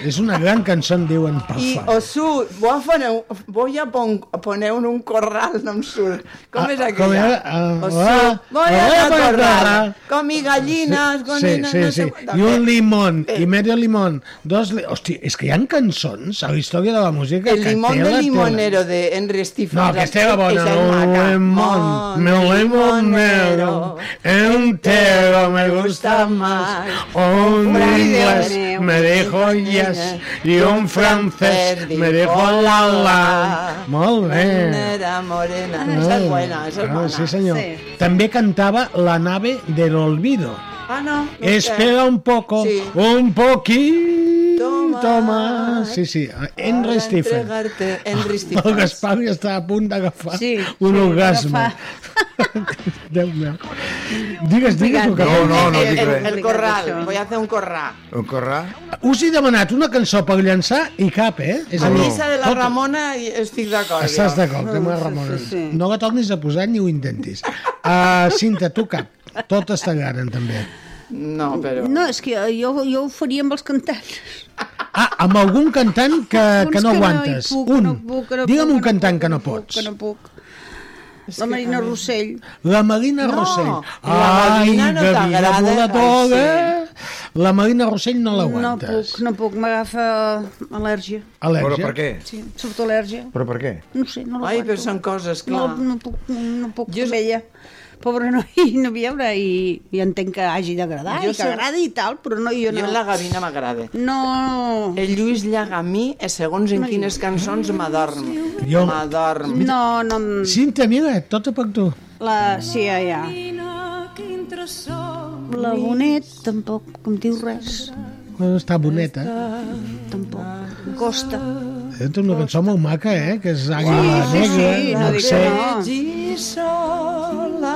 Speaker 5: És una gran cançó, em diuen, per
Speaker 7: I
Speaker 5: favor.
Speaker 7: Osu, voy a poner, voy a pon, poner un, un corral, no em surt. Com
Speaker 5: Ah,
Speaker 7: és
Speaker 5: com era?
Speaker 7: aquella?
Speaker 5: Ah,
Speaker 7: Osu,
Speaker 5: ah,
Speaker 7: voy a
Speaker 5: ah,
Speaker 7: poner
Speaker 5: voy a
Speaker 7: un corral,
Speaker 5: corral.
Speaker 7: con mis gallinas, con
Speaker 5: Sí,
Speaker 7: no-
Speaker 5: sí,
Speaker 7: no sé Eh.
Speaker 5: sí.
Speaker 7: quantes.
Speaker 5: I un limón, i medio limón. Dos li... Hòstia, és que hi ha cançons a la història de la música
Speaker 7: El
Speaker 5: que
Speaker 7: limón
Speaker 5: té
Speaker 7: de
Speaker 5: la
Speaker 7: limonero de Henry Stephens.
Speaker 5: No, aquesta era bona.
Speaker 7: Esa és
Speaker 5: Un
Speaker 7: maca.
Speaker 5: limón, mi limonero, entero me gusta más. Un inglés me dijo yes i un francès me dijo la la. Molt bé.
Speaker 7: Morena, morena. Esa Ah, és buena, esa és
Speaker 5: Ah,
Speaker 7: bona.
Speaker 5: sí, senyor. Sí. També cantava La nave del olvido.
Speaker 7: Ah, no. no sé.
Speaker 5: Espera un poco, sí. un poquito más. Sí, sí, Henry Stephen.
Speaker 7: Entregarte, Henry
Speaker 5: El
Speaker 7: Stephens.
Speaker 5: Gaspar ja està a punt d'agafar
Speaker 7: Sí,
Speaker 5: un
Speaker 7: sí,
Speaker 5: orgasme. Déu meu. Digues, digues el que
Speaker 6: No, no, no dic
Speaker 7: el,
Speaker 5: eh?
Speaker 6: res.
Speaker 7: el corral, voy a hacer un corral.
Speaker 6: Un corral?
Speaker 5: Us he demanat una cançó per llançar i cap, eh? És
Speaker 7: A
Speaker 5: dir,
Speaker 7: missa de la
Speaker 5: tot-
Speaker 7: Ramona i estic d'acord. jo.
Speaker 5: Estàs d'acord, tema Ramon. No la tornis a posar ni ho intentis. Uh, Cinta, tu cap. Totes t'agraden, també.
Speaker 7: No, però...
Speaker 8: No, és que jo, jo, jo ho faria amb els cantants.
Speaker 5: Ah, amb algun cantant que, Eh, que
Speaker 8: Uns
Speaker 5: no
Speaker 8: que no hi
Speaker 5: aguantes.
Speaker 8: puc,
Speaker 5: un.
Speaker 8: no puc, no
Speaker 5: Digue'm
Speaker 8: puc,
Speaker 5: un cantant que no pots.
Speaker 8: Que no puc. La Marina Rossell.
Speaker 5: La Marina
Speaker 8: No,
Speaker 5: Rossell.
Speaker 8: la Marina no
Speaker 5: gavina
Speaker 8: t'agrada.
Speaker 5: voladora.
Speaker 8: Ai,
Speaker 5: La Marina Rossell no
Speaker 8: No
Speaker 5: l'aguanta.
Speaker 8: puc, no puc, m'agafa al·lèrgia.
Speaker 5: Al·lèrgia?
Speaker 6: Però per què?
Speaker 8: Sí, em surt al·lèrgia.
Speaker 6: Però per què?
Speaker 8: No ho sé, no l'aguanto.
Speaker 7: Ai, però són coses, clar.
Speaker 8: No, no puc, no, no puc jo... amb ella. Pobre noi, no viure i, i entenc que hagi d'agradar i
Speaker 7: Jo
Speaker 8: que
Speaker 7: sóc-
Speaker 8: agrada i tal, però no, jo
Speaker 7: Jo
Speaker 8: no.
Speaker 7: la gavina m'agrada.
Speaker 8: No.
Speaker 7: El Lluís Llagamí, eh, segons en quines cançons, m'adorm.
Speaker 5: Jo-
Speaker 7: M'adorm.
Speaker 8: No, no... em-
Speaker 5: Cinta, mira, tota per tu.
Speaker 8: La... Sí, ja, ja. La Bonet tampoc em diu res.
Speaker 5: No està eh? boneta.
Speaker 8: Tampoc. Costa.
Speaker 5: Eh, Té una cançó molt maca, eh? Que és
Speaker 8: Ah,
Speaker 5: Àguila
Speaker 8: sí, sí,
Speaker 5: Negra,
Speaker 8: no
Speaker 5: no
Speaker 8: dic que
Speaker 5: sé.
Speaker 8: no.
Speaker 7: I sola,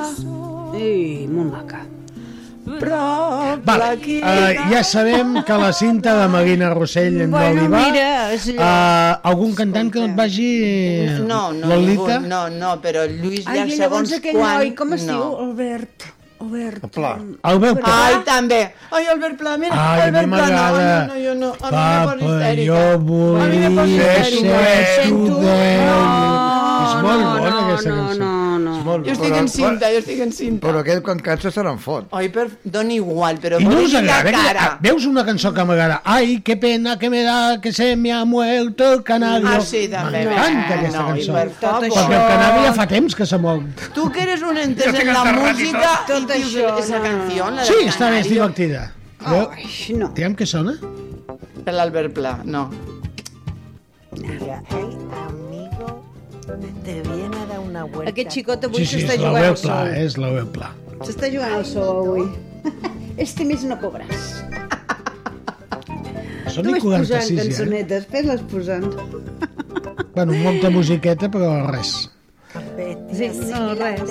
Speaker 8: Sí, molt maca.
Speaker 7: però...
Speaker 5: Vale, uh, ja sabem que la cinta de Marina Rossell en
Speaker 8: Bueno,
Speaker 5: Doli va.
Speaker 8: mira, és
Speaker 5: uh, algun cantant que no et vagi...
Speaker 7: No, no, ningú,
Speaker 5: Eh, Lolita?
Speaker 7: no, no, però el Lluís
Speaker 8: Ai,
Speaker 7: ja
Speaker 8: i
Speaker 7: segons
Speaker 8: llavors aquell
Speaker 7: quan...
Speaker 8: noi, com es
Speaker 7: no.
Speaker 8: diu? Albert. Albert.
Speaker 5: Pla. Albert Pla.
Speaker 7: Ai, també. Ai, Albert Pla, mira,
Speaker 5: Ai, a mi
Speaker 7: Albert Pla, no,
Speaker 5: m'agrada.
Speaker 7: no, no, jo no. A mi em posa
Speaker 5: Papa,
Speaker 7: histèrica.
Speaker 5: jo volia
Speaker 7: histèrica.
Speaker 5: ser tu
Speaker 7: Sento-
Speaker 5: Déu. És molt
Speaker 7: no,
Speaker 5: bona
Speaker 7: no,
Speaker 5: aquesta
Speaker 7: no,
Speaker 5: cançó.
Speaker 8: no.
Speaker 5: És molt
Speaker 7: Jo estic en cinta, jo estic en cinta.
Speaker 6: Però aquell quan cansa se n'en fot.
Speaker 7: Ai, per... dona igual, però
Speaker 5: I no
Speaker 7: posi
Speaker 5: us
Speaker 7: la
Speaker 5: agrada?
Speaker 7: cara.
Speaker 5: aquella- Veus una cançó que m'agrada? Ai, qué pena que me da que se me ha muerto el canario.
Speaker 7: Ah, sí, també.
Speaker 5: M'encanta
Speaker 7: No,
Speaker 5: aquesta
Speaker 7: no,
Speaker 5: cançó.
Speaker 7: i per favor.
Speaker 5: Perquè el canario ja fa temps que s'ha mort.
Speaker 7: Tu que eres un entès
Speaker 5: Jo sé
Speaker 7: en
Speaker 5: que
Speaker 7: la
Speaker 5: està
Speaker 7: música
Speaker 5: ratito.
Speaker 7: i dius esa canció, la
Speaker 5: Sí,
Speaker 7: del
Speaker 5: està bé, és
Speaker 7: canario.
Speaker 5: divertida. Veu?
Speaker 8: no.
Speaker 5: Diguem què sona?
Speaker 7: Per l'Albert Pla, no.
Speaker 18: Te viene a dar una vuelta.
Speaker 8: Aquest xicot
Speaker 5: Sí,
Speaker 8: avui
Speaker 5: sí,
Speaker 8: s'està
Speaker 5: és la
Speaker 8: jugant
Speaker 5: veu
Speaker 8: al
Speaker 5: pla,
Speaker 8: sol.
Speaker 5: és la veu pla.
Speaker 8: S'està jugant al sol avui. Este mes no cobres.
Speaker 5: Són
Speaker 8: tu
Speaker 5: i
Speaker 8: ves posant
Speaker 5: 46 ja. eh?
Speaker 8: cançonetes, fes-les posant.
Speaker 5: Bueno, un moc de musiqueta, però res.
Speaker 8: Sí, no, res.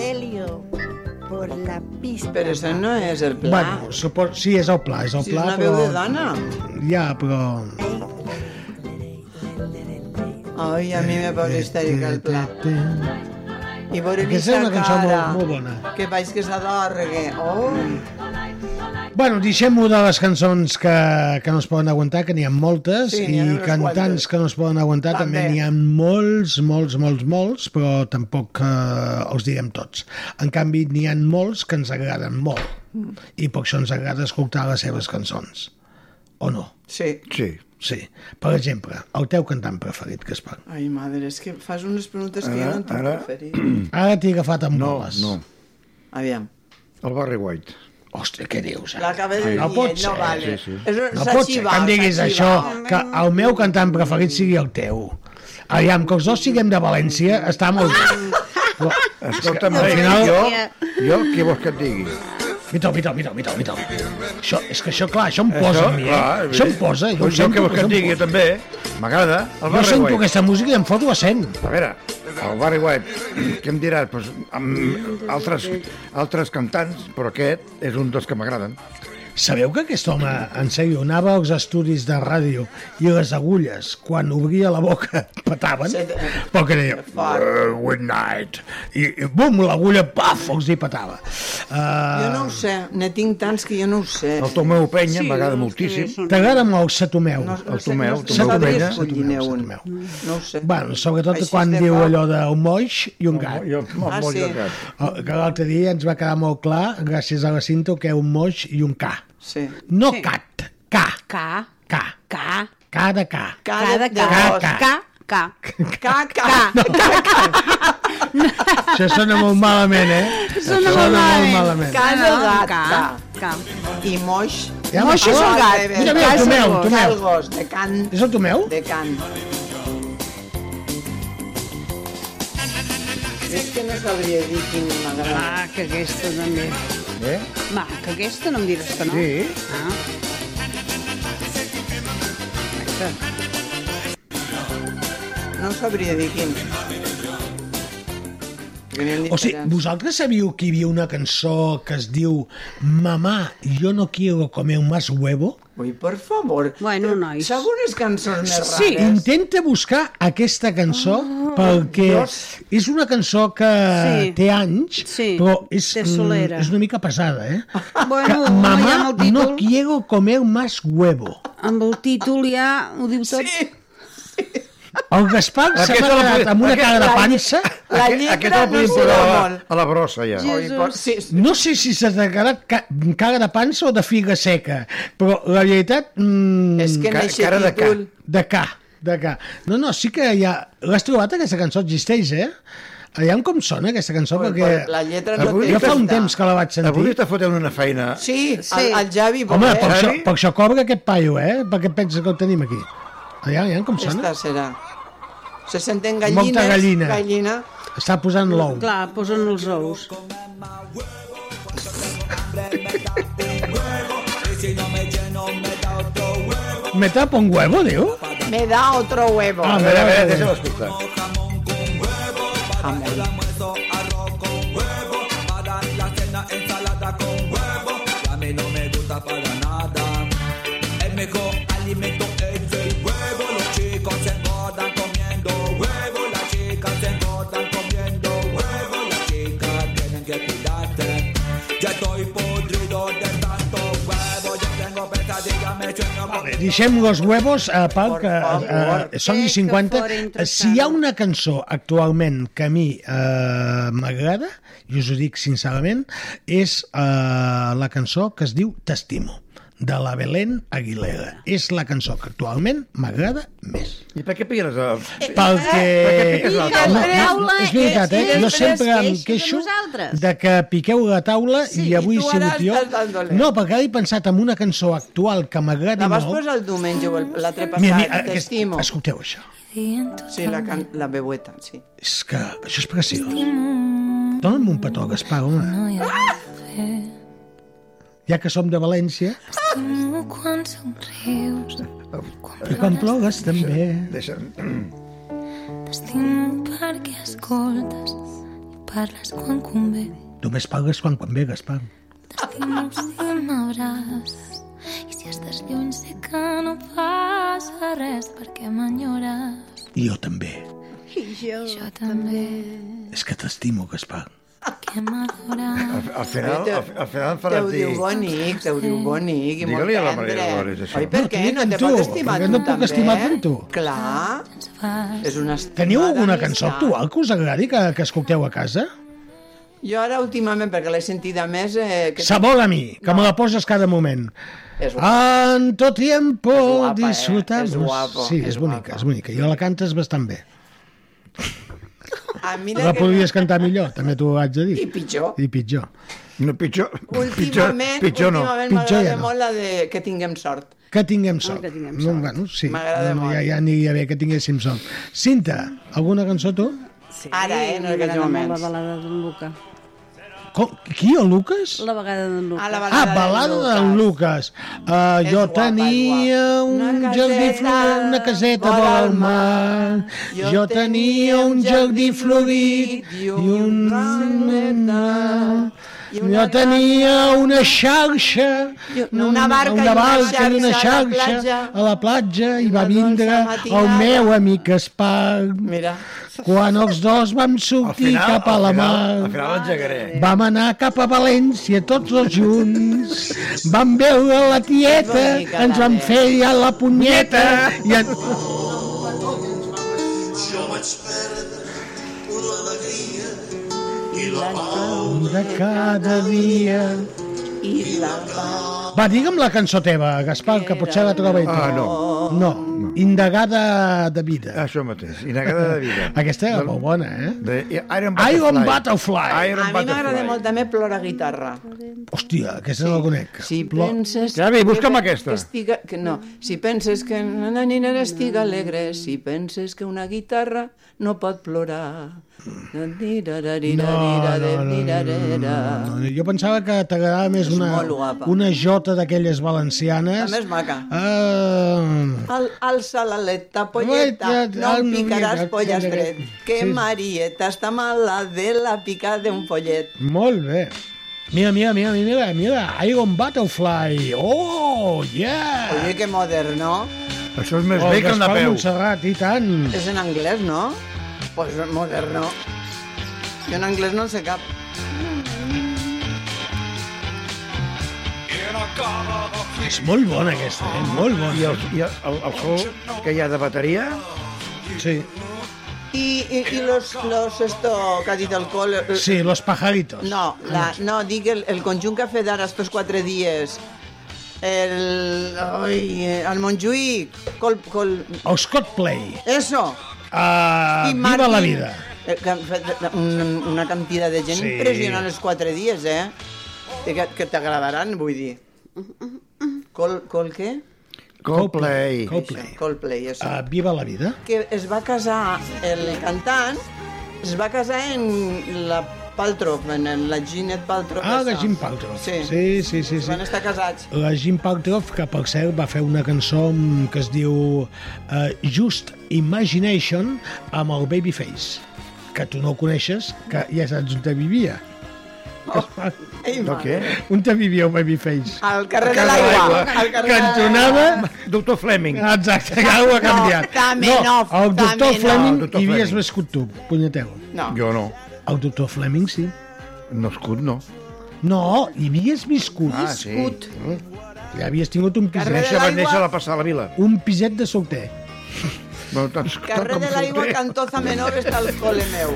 Speaker 18: Por la pista.
Speaker 7: Però això no és el Pla.
Speaker 5: Bueno, supos... sí, és el pla, és el
Speaker 7: Si és
Speaker 5: pla,
Speaker 7: una
Speaker 5: però...
Speaker 7: veu de dona.
Speaker 5: Ja, però...
Speaker 7: Ai, a mi me posa histèrica el Pla. I veure
Speaker 5: Aquesta
Speaker 7: aquesta
Speaker 5: és una cançó
Speaker 7: cara.
Speaker 5: molt, molt bona.
Speaker 7: Que vaig que s'adorgue. Oh,
Speaker 5: Bueno, deixem-ho de les cançons que, que no es poden aguantar, que n'hi ha moltes,
Speaker 7: Sí,
Speaker 5: i
Speaker 7: n'hi ha unes
Speaker 5: cantants
Speaker 7: quantes.
Speaker 5: que no es poden aguantar també,
Speaker 7: També.
Speaker 5: n'hi ha molts, molts, molts, molts, però tampoc eh, els direm tots. En canvi, n'hi ha molts que ens agraden molt, i per això ens agrada escoltar les seves cançons. o no?
Speaker 7: Sí.
Speaker 5: Sí. Sí. Per exemple, el teu cantant preferit, Gaspar.
Speaker 7: Ai, madre, és que fas unes preguntes que
Speaker 5: Ara,
Speaker 7: ja no tinc
Speaker 5: ara.
Speaker 7: preferit.
Speaker 5: Ara t'he agafat amb
Speaker 6: Mm. No,
Speaker 5: boles.
Speaker 6: no.
Speaker 7: Aviam.
Speaker 6: El Barry White.
Speaker 5: Hòstia, què dius? eh?
Speaker 7: L'acabes de
Speaker 5: Sí.
Speaker 7: dir,
Speaker 5: No pot ser.
Speaker 7: no vale.
Speaker 5: Sí, sí.
Speaker 7: És un-
Speaker 5: No
Speaker 7: s'ha
Speaker 5: pot ser que
Speaker 7: xivat,
Speaker 5: em diguis
Speaker 7: s'ha
Speaker 5: això,
Speaker 7: xivat.
Speaker 5: que el meu cantant preferit sigui el teu. Aviam, que els dos siguem de València, està molt bé. Però,
Speaker 6: Escolta'm,
Speaker 5: al final...
Speaker 6: jo, jo, què vols que et digui?
Speaker 5: Mira, mira, mira, mira, mira. Això, és que això, clar, això em posa
Speaker 6: Això,
Speaker 5: a mi, eh?
Speaker 6: clar,
Speaker 5: això em posa, jo,
Speaker 6: jo
Speaker 5: ho sento.
Speaker 6: què vols que
Speaker 5: això
Speaker 6: et
Speaker 5: em
Speaker 6: digui,
Speaker 5: posa.
Speaker 6: també? M'agrada. El
Speaker 5: Jo
Speaker 6: Barry
Speaker 5: sento
Speaker 6: White.
Speaker 5: aquesta música i em foto a 100.
Speaker 6: A veure, el Barry White, què em diràs? Pues, amb altres, altres cantants, però aquest és un dels que m'agraden.
Speaker 5: Sabeu que aquest home, en sèrio, anava als estudis de ràdio i les agulles, quan obria la boca, petaven, però que deia, "Eh, good night, i, i bum, l'agulla, paf, els hi petava.
Speaker 7: Jo no
Speaker 5: Uh,
Speaker 7: ho sé, ne tinc tants que jo no ho sé.
Speaker 5: El Tomeu Penya Sí, m'agrada no,
Speaker 6: moltíssim.
Speaker 5: T'agrada molt el Satomeu?
Speaker 7: No, no
Speaker 5: el
Speaker 7: sé, Tomeu, no sé, Tomeu sabria Penya. escollir-ne un. No ho sé.
Speaker 5: Bueno, sobretot
Speaker 7: Així
Speaker 5: quan
Speaker 7: de
Speaker 5: diu
Speaker 7: clar.
Speaker 5: allò d'un moix i un gat.
Speaker 6: jo- un Ah, moix i un sí. gat.
Speaker 5: El- Que l'altre dia ens va quedar molt clar, gràcies a la cinta, que un moix i un ca.
Speaker 7: Sí.
Speaker 5: No sí. cat, ca,
Speaker 8: K,
Speaker 5: ca,
Speaker 8: K,
Speaker 5: ca de ca.
Speaker 8: K de K, K,
Speaker 5: Ca, ca.
Speaker 8: K.
Speaker 7: K, K.
Speaker 8: No,
Speaker 5: Això sona molt malament, eh?
Speaker 8: Sona
Speaker 5: molt
Speaker 8: molt
Speaker 5: malament.
Speaker 8: malament. K de
Speaker 7: Ca.
Speaker 8: K.
Speaker 7: I moix...
Speaker 5: Ja, Moix és un gat. Mira, mira, el Tomeu,
Speaker 7: Gos,
Speaker 5: Tomeu.
Speaker 7: El gos, de can.
Speaker 5: És el Tomeu?
Speaker 7: De can. És que no sabria dir quin m'agrada.
Speaker 8: Ah, que aquesta també.
Speaker 6: Eh?
Speaker 8: Va, que aquesta no em diràs que no.
Speaker 6: Sí.
Speaker 8: Ah.
Speaker 7: No sabria dir quin.
Speaker 5: O sigui, vosaltres sabíeu que hi havia una cançó que es diu Mamà, yo no quiero comer más huevo?
Speaker 7: Ui, per favor.
Speaker 8: Bueno, nois.
Speaker 7: Sap unes cançons més rares?
Speaker 5: Sí, intenta buscar aquesta cançó oh, perquè
Speaker 7: Dios.
Speaker 5: és una cançó que
Speaker 8: Ah, Sí.
Speaker 5: té anys,
Speaker 8: Sí,
Speaker 5: però és,
Speaker 8: té
Speaker 5: mm,
Speaker 8: solera.
Speaker 5: és una mica pesada, eh?
Speaker 8: Bueno,
Speaker 5: que
Speaker 8: ja
Speaker 5: mamá
Speaker 8: amb el títol,
Speaker 5: no quiero comer más huevo.
Speaker 8: amb el títol ja ho diu tot. Sí.
Speaker 5: El Gaspar se
Speaker 6: Aquesta
Speaker 5: m'ha
Speaker 6: la
Speaker 5: quedat
Speaker 6: podem-
Speaker 5: amb una
Speaker 6: aquesta-
Speaker 5: cara de
Speaker 6: la-
Speaker 5: pansa.
Speaker 6: La lletra Aquest el podem posar a la, a la brossa, ja.
Speaker 5: Jesús.
Speaker 7: Sí,
Speaker 5: No sé si se t'ha quedat ca cara de pansa o de figa seca, però la veritat... Mm,
Speaker 7: És que en Ca- eixe cara de ca. títol-
Speaker 5: De ca, de ca. No, no, sí que ja... L'has trobat, aquesta cançó existeix, eh? Aviam com sona aquesta cançó,
Speaker 7: Bueno,
Speaker 5: perquè...
Speaker 7: però la lletra no
Speaker 5: Avui-
Speaker 7: té
Speaker 5: jo fa un
Speaker 7: tanta.
Speaker 5: temps que la vaig sentir.
Speaker 6: Avui t'ha fotent una feina.
Speaker 7: Sí, sí. El, el Javi
Speaker 5: Home,
Speaker 7: Bonet.
Speaker 5: per això, per això cobra aquest paio, eh? Per què et penses que el tenim aquí? Aviam, aviam com sona.
Speaker 7: Esta serà. Se senten gallines.
Speaker 5: Molta gallina.
Speaker 7: Gallina.
Speaker 5: Està posant l'ou.
Speaker 8: Clar, posen els ous.
Speaker 5: Me tapo un huevo, diu?
Speaker 7: Me da otro huevo.
Speaker 5: Ah, A veure, a veure, deixa'm
Speaker 6: escoltar.
Speaker 5: Deixem los huevos a part que eh, són i 50. Si hi ha una cançó actualment que a mi eh, m'agrada, i us ho dic sincerament, és eh, la cançó que es diu T'estimo, de la Belén Aguilera. És la cançó que actualment m'agrada més.
Speaker 6: I per què pilles el...
Speaker 5: Perquè...
Speaker 6: Per què piques la taula?
Speaker 5: és veritat, eh? Jo sempre em queixo de que piqueu la taula
Speaker 7: Sí,
Speaker 5: i avui
Speaker 7: i
Speaker 5: he
Speaker 7: tu ara
Speaker 5: sigut jo.
Speaker 7: estàs tan dolent.
Speaker 5: No, perquè ara he pensat en una cançó actual que m'agradi
Speaker 7: La vas
Speaker 5: molt.
Speaker 7: posar el diumenge o el- l'altre passat.
Speaker 5: Mira, mira, aquest-
Speaker 7: T'estimo.
Speaker 5: Escolteu això.
Speaker 7: Sí, la, can... la beueta, sí.
Speaker 5: És que això és preciós. Dóna'm un petó, Gaspar, home. Ja que som de València,
Speaker 9: Quan somrius,
Speaker 5: i quan plogues també.
Speaker 6: Deixa'm.
Speaker 9: t'estimo perquè escoltes i parles quan convé.
Speaker 5: Només pagues quan, quan ve, Gaspar.
Speaker 9: T'estimo si m'abraces i si estàs lluny sé que no passa res perquè m'enyores.
Speaker 5: I jo també.
Speaker 9: I jo, I jo també.
Speaker 5: És que t'estimo, Gaspar.
Speaker 9: Que m'adores.
Speaker 6: Al final, al, al final em
Speaker 7: Te
Speaker 6: faràs
Speaker 7: ho
Speaker 6: dir...
Speaker 7: diu bonic, te ho diu bonic i molt
Speaker 6: Digue-li a la
Speaker 7: tendre.
Speaker 6: Maria Dolores, això.
Speaker 7: Oi, per
Speaker 6: No,
Speaker 7: què?
Speaker 6: t'ho dic
Speaker 7: No
Speaker 6: amb
Speaker 7: te
Speaker 6: tu,
Speaker 7: pot estimar
Speaker 5: perquè
Speaker 7: tu
Speaker 5: no em puc
Speaker 7: també?
Speaker 5: estimar amb tu.
Speaker 7: Clar. És una
Speaker 5: Teniu alguna cançó actual que us agradi que, que escolteu a casa?
Speaker 7: Jo ara últimament, perquè l'he sentida més... Eh, que
Speaker 5: Sabol a mi, que me la poses cada moment.
Speaker 7: És
Speaker 5: En tot tiempo
Speaker 7: guapa, eh?
Speaker 5: disfrutar-nos.
Speaker 7: És guapo,
Speaker 5: sí,
Speaker 7: és
Speaker 5: és, bonica, és bonica. I la cantes bastant bé.
Speaker 7: A mi
Speaker 5: La podries cantar millor, també t'ho haig de dir.
Speaker 7: I pitjor.
Speaker 5: I pitjor.
Speaker 6: No, pitjor,
Speaker 7: Últimament, pitjor, últimament
Speaker 5: pitjor
Speaker 7: m'agrada
Speaker 5: ja no.
Speaker 7: molt la de que tinguem sort.
Speaker 5: Que tinguem sort.
Speaker 7: Ah, que tinguem
Speaker 5: No, bueno, sí.
Speaker 7: M'agrada
Speaker 5: no, ja, ja aniria bé que tinguéssim sort. Cinta, alguna cançó tu?
Speaker 8: Sí,
Speaker 7: Ara, eh, en
Speaker 8: m'agrada
Speaker 7: aquests
Speaker 8: molt
Speaker 7: moments.
Speaker 8: La balada d'en Luca.
Speaker 5: Com, qui, el Lucas?
Speaker 8: La vegada d'en Luca.
Speaker 7: Ah, la
Speaker 5: Ah, balada d'en Lucas. Uh, jo tenia un jardí florit, una caseta vora al mar. Jo tenia un jardí florit i un... Jo tenia una xarxa,
Speaker 7: una barca
Speaker 5: una
Speaker 7: i una
Speaker 5: barca i una
Speaker 7: xarxa a la
Speaker 5: xarxa
Speaker 7: platja.
Speaker 5: a la platja i va vindre el
Speaker 7: matinada.
Speaker 5: meu amic Espar.
Speaker 7: Mira.
Speaker 5: Quan els dos vam sortir
Speaker 6: final-
Speaker 5: cap a
Speaker 6: al
Speaker 5: la
Speaker 6: final-
Speaker 5: mar.
Speaker 6: al final l'engegaré.
Speaker 5: Vam anar cap a València tots dos junts, vam veure la tieta, ens vam fer ja la punyeta i en...
Speaker 9: Jo vaig perdre l'alegria i la
Speaker 5: de cada dia.
Speaker 7: I la pau.
Speaker 5: Va, digue'm la cançó teva, Gaspar, que potser la trobo
Speaker 6: Ah, no.
Speaker 5: No, indagada de vida.
Speaker 6: Això mateix, indagada de vida.
Speaker 5: Aquesta era
Speaker 6: Del-
Speaker 5: molt bona, eh?
Speaker 6: De Iron Butterfly.
Speaker 5: Iron Butterfly.
Speaker 7: A mi m'agrada molt també plora guitarra.
Speaker 5: Hòstia, aquesta no la conec.
Speaker 7: Si penses...
Speaker 6: Xavi, busca'm
Speaker 7: que-
Speaker 6: aquesta.
Speaker 7: Que estiga, que no, si penses que una nina estiga alegre, si penses que una guitarra no pot plorar... No,
Speaker 5: No, jo pensava que t'agradava més
Speaker 7: És
Speaker 5: una,
Speaker 7: molt guapa.
Speaker 5: una jota d'aquelles valencianes.
Speaker 7: També és maca.
Speaker 5: Ah,
Speaker 7: Al, alça l'aleta, polleta,
Speaker 5: Polleta,
Speaker 7: no
Speaker 5: no,
Speaker 7: em picaràs
Speaker 5: mira,
Speaker 7: pollas
Speaker 5: mira,
Speaker 7: dret, que
Speaker 5: sí.
Speaker 7: Marieta està mala de la pica d'un follet.
Speaker 5: molt bé. Mira, mira, mira, mira, mira, Iron Butterfly. Oh, yeah!
Speaker 7: Oye, que modern, no?
Speaker 6: Això és més
Speaker 5: Oh,
Speaker 6: bé que el de
Speaker 5: Gaspar
Speaker 6: peu.
Speaker 5: Montserrat, i tant.
Speaker 7: És en anglès, no? Pues modern, no. Jo en anglès no en sé cap.
Speaker 5: És molt bona aquesta, eh? Molt bona.
Speaker 6: I el, i el, el, el sol que hi ha de bateria...
Speaker 5: Sí.
Speaker 7: I, i, i los, los esto que ha dit el col... eh,
Speaker 5: Sí, Los Pajaritos.
Speaker 7: No, la, no, dic el, el conjunt que ha fet ara estos quatre dies. El... Ai, eh, el Montjuïc. Col, col...
Speaker 5: El Scott Play.
Speaker 7: Eso.
Speaker 5: Uh,
Speaker 7: I
Speaker 5: viva
Speaker 7: Martin,
Speaker 5: la vida.
Speaker 7: eh, Que han fet una, una quantitat de gent
Speaker 5: Sí.
Speaker 7: sí. impressionant els quatre dies, eh? I Que, que t'agradaran, vull dir. Col, col què?
Speaker 6: Coldplay.
Speaker 5: Coldplay.
Speaker 7: Coldplay, això.
Speaker 5: Uh, viva la vida.
Speaker 7: que es va casar el cantant, es va casar en la Paltrow, en el- la Gwyneth Paltrow.
Speaker 5: Ah,
Speaker 7: aquesta.
Speaker 5: de Jim Paltrow.
Speaker 7: Sí.
Speaker 5: sí, sí, sí.
Speaker 7: Es
Speaker 5: sí.
Speaker 7: van estar casats.
Speaker 5: La Jim Paltrow, que per cert va fer una cançó mm, que es diu eh, Just Imagination amb el Babyface, que tu no el coneixes, que ja saps on te vivia. Oh,
Speaker 7: ei,
Speaker 5: no, què? On te vivia el Babyface?
Speaker 7: Al carrer de l'aigua. Al Ah, carrer de l'aigua.
Speaker 5: Cantonada...
Speaker 6: Doctor Fleming.
Speaker 5: Exacte, que ho ha
Speaker 7: No,
Speaker 5: canviat.
Speaker 7: també no,
Speaker 5: el doctor
Speaker 7: també no.
Speaker 5: Fleming
Speaker 6: El doctor
Speaker 5: hi havies
Speaker 6: Fleming.
Speaker 5: viscut tu, punyeteu.
Speaker 7: No.
Speaker 6: Jo no.
Speaker 5: El doctor Fleming, sí.
Speaker 6: Nascut, no.
Speaker 5: No, hi havies viscut.
Speaker 6: Ah, sí. Viscut.
Speaker 5: Ja havies tingut un
Speaker 6: Vaig
Speaker 5: piset.
Speaker 6: néixer, vaig néixer a la passar a la vila.
Speaker 5: Un piset de solter.
Speaker 6: Bueno, doncs, tant,
Speaker 7: Carrer de l'aigua, cantoza menor, està el col·le meu.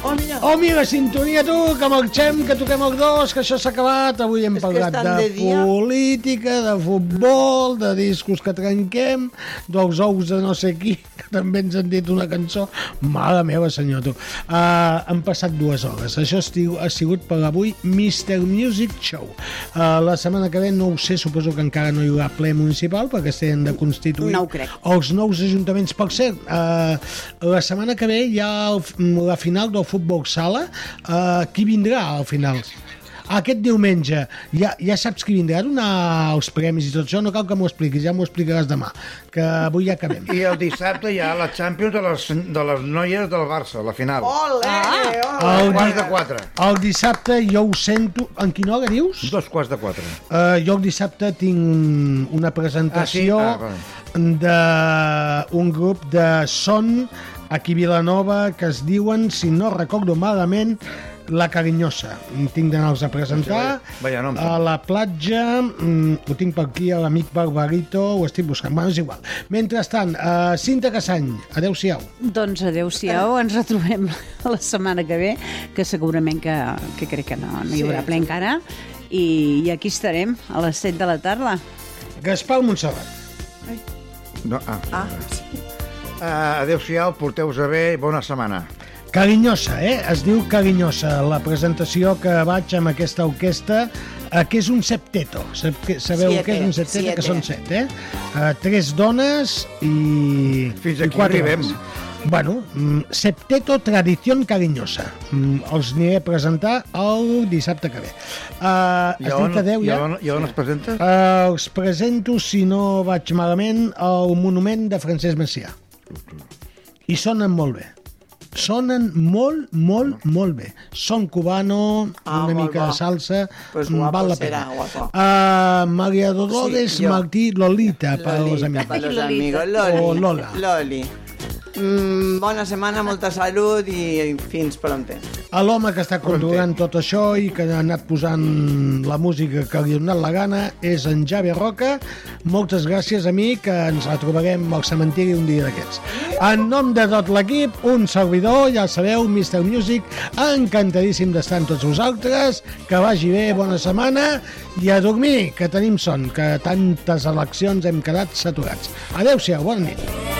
Speaker 7: Oh, mira,
Speaker 5: Oh, mira, sintonia tu, que marxem, que toquem els dos, que això s'ha acabat. Avui hem
Speaker 7: És que
Speaker 5: parlat
Speaker 7: estan
Speaker 5: de,
Speaker 7: de dia.
Speaker 5: política, de futbol, de discos que trenquem, dels ous de no sé qui, que també ens han dit una cançó. Mare meva, senyor, tu. Uh, han passat dues hores. Això estiu, ha sigut per avui Mr. Music Show. Uh, la setmana que ve, no ho sé, suposo que encara no hi haurà ple municipal, perquè s'han de constituir
Speaker 3: No ho crec.
Speaker 5: els nous ajuntaments. Per cert, eh, la setmana que ve hi ha el, la final del futbol sala. Eh, qui vindrà al final? Aquest diumenge ja, ja saps qui vindrà a donar els premis i tot això, no cal que m'ho expliquis, ja m'ho explicaràs demà, que avui ja acabem.
Speaker 6: I el dissabte hi ha la Champions de les, de les noies del Barça, la final.
Speaker 7: Ole,
Speaker 5: Ah.
Speaker 7: ole.
Speaker 5: Ole.
Speaker 6: Quarts de quatre.
Speaker 5: El dissabte jo ho sento... En quina hora dius?
Speaker 6: Dos quarts de quatre.
Speaker 5: Uh, jo el dissabte tinc una presentació
Speaker 6: Ah,
Speaker 5: ah, sí? ah, d'un grup de son aquí a Vilanova que es diuen, si no recordo malament, La Carinyosa. Tinc d'anar-los a presentar.
Speaker 6: Vaja, no em
Speaker 5: A la platja, mm, ho tinc per aquí, a l'amic Barbarito, ho estic buscant, bueno, és igual. Mentrestant, uh, Cinta Cassany, adeu-siau.
Speaker 8: Doncs adeu-siau, ens retrobem la setmana que ve, que segurament que, que crec que no, no hi haurà
Speaker 5: Sí.
Speaker 8: ple encara, i, i aquí estarem a les 7 de la tarda.
Speaker 5: Gaspar Montserrat.
Speaker 6: No, ah. ah. Uh, Adéu-siau, porteu-vos a bé i bona setmana.
Speaker 5: Carinyosa, eh? Es diu Carinyosa, la presentació que vaig amb aquesta orquestra, eh, que és un septeto. Sap, que, sabeu
Speaker 6: Siete,
Speaker 5: què és un septeto?
Speaker 6: siete.
Speaker 5: Que són set, eh? eh? Tres dones i... Fins
Speaker 6: aquí arribem.
Speaker 5: Bueno, mm, septeto tradición carinyosa. Mm, Els aniré a presentar el dissabte que ve. Uh,
Speaker 6: I
Speaker 5: has
Speaker 6: on-
Speaker 5: dit adeu,
Speaker 6: i
Speaker 5: ja?
Speaker 6: on- i on es presenta?
Speaker 5: Uh, els presento, si no vaig malament, al monument de Francesc Macià. I sonen molt bé. Sonen molt, molt,
Speaker 7: Mm.
Speaker 5: molt bé. Són cubano, ah, una mica de salsa,
Speaker 7: Pues
Speaker 5: mm,
Speaker 7: guapo
Speaker 5: val la
Speaker 7: serà,
Speaker 5: pena.
Speaker 7: guapo.
Speaker 5: Uh, Maria Dolores
Speaker 7: Sí, jo.
Speaker 5: Martí Lolita, per als amics.
Speaker 7: Per los amigos. Loli.
Speaker 5: O Lola.
Speaker 7: Loli. Mm, bona setmana, molta salut i fins pronte.
Speaker 5: a l'home que està controlant tot això i que ha anat posant la música que li ha donat la gana és en Javi Roca. Moltes gràcies, amic, que ens retrobarem al cementiri un dia d'aquests. En nom de tot l'equip, un servidor, ja sabeu, Mr. Music, encantadíssim d'estar amb tots vosaltres, que vagi bé, bona setmana, i a dormir, que tenim son, que tantes eleccions hem quedat saturats. Adeu-siau, bona nit.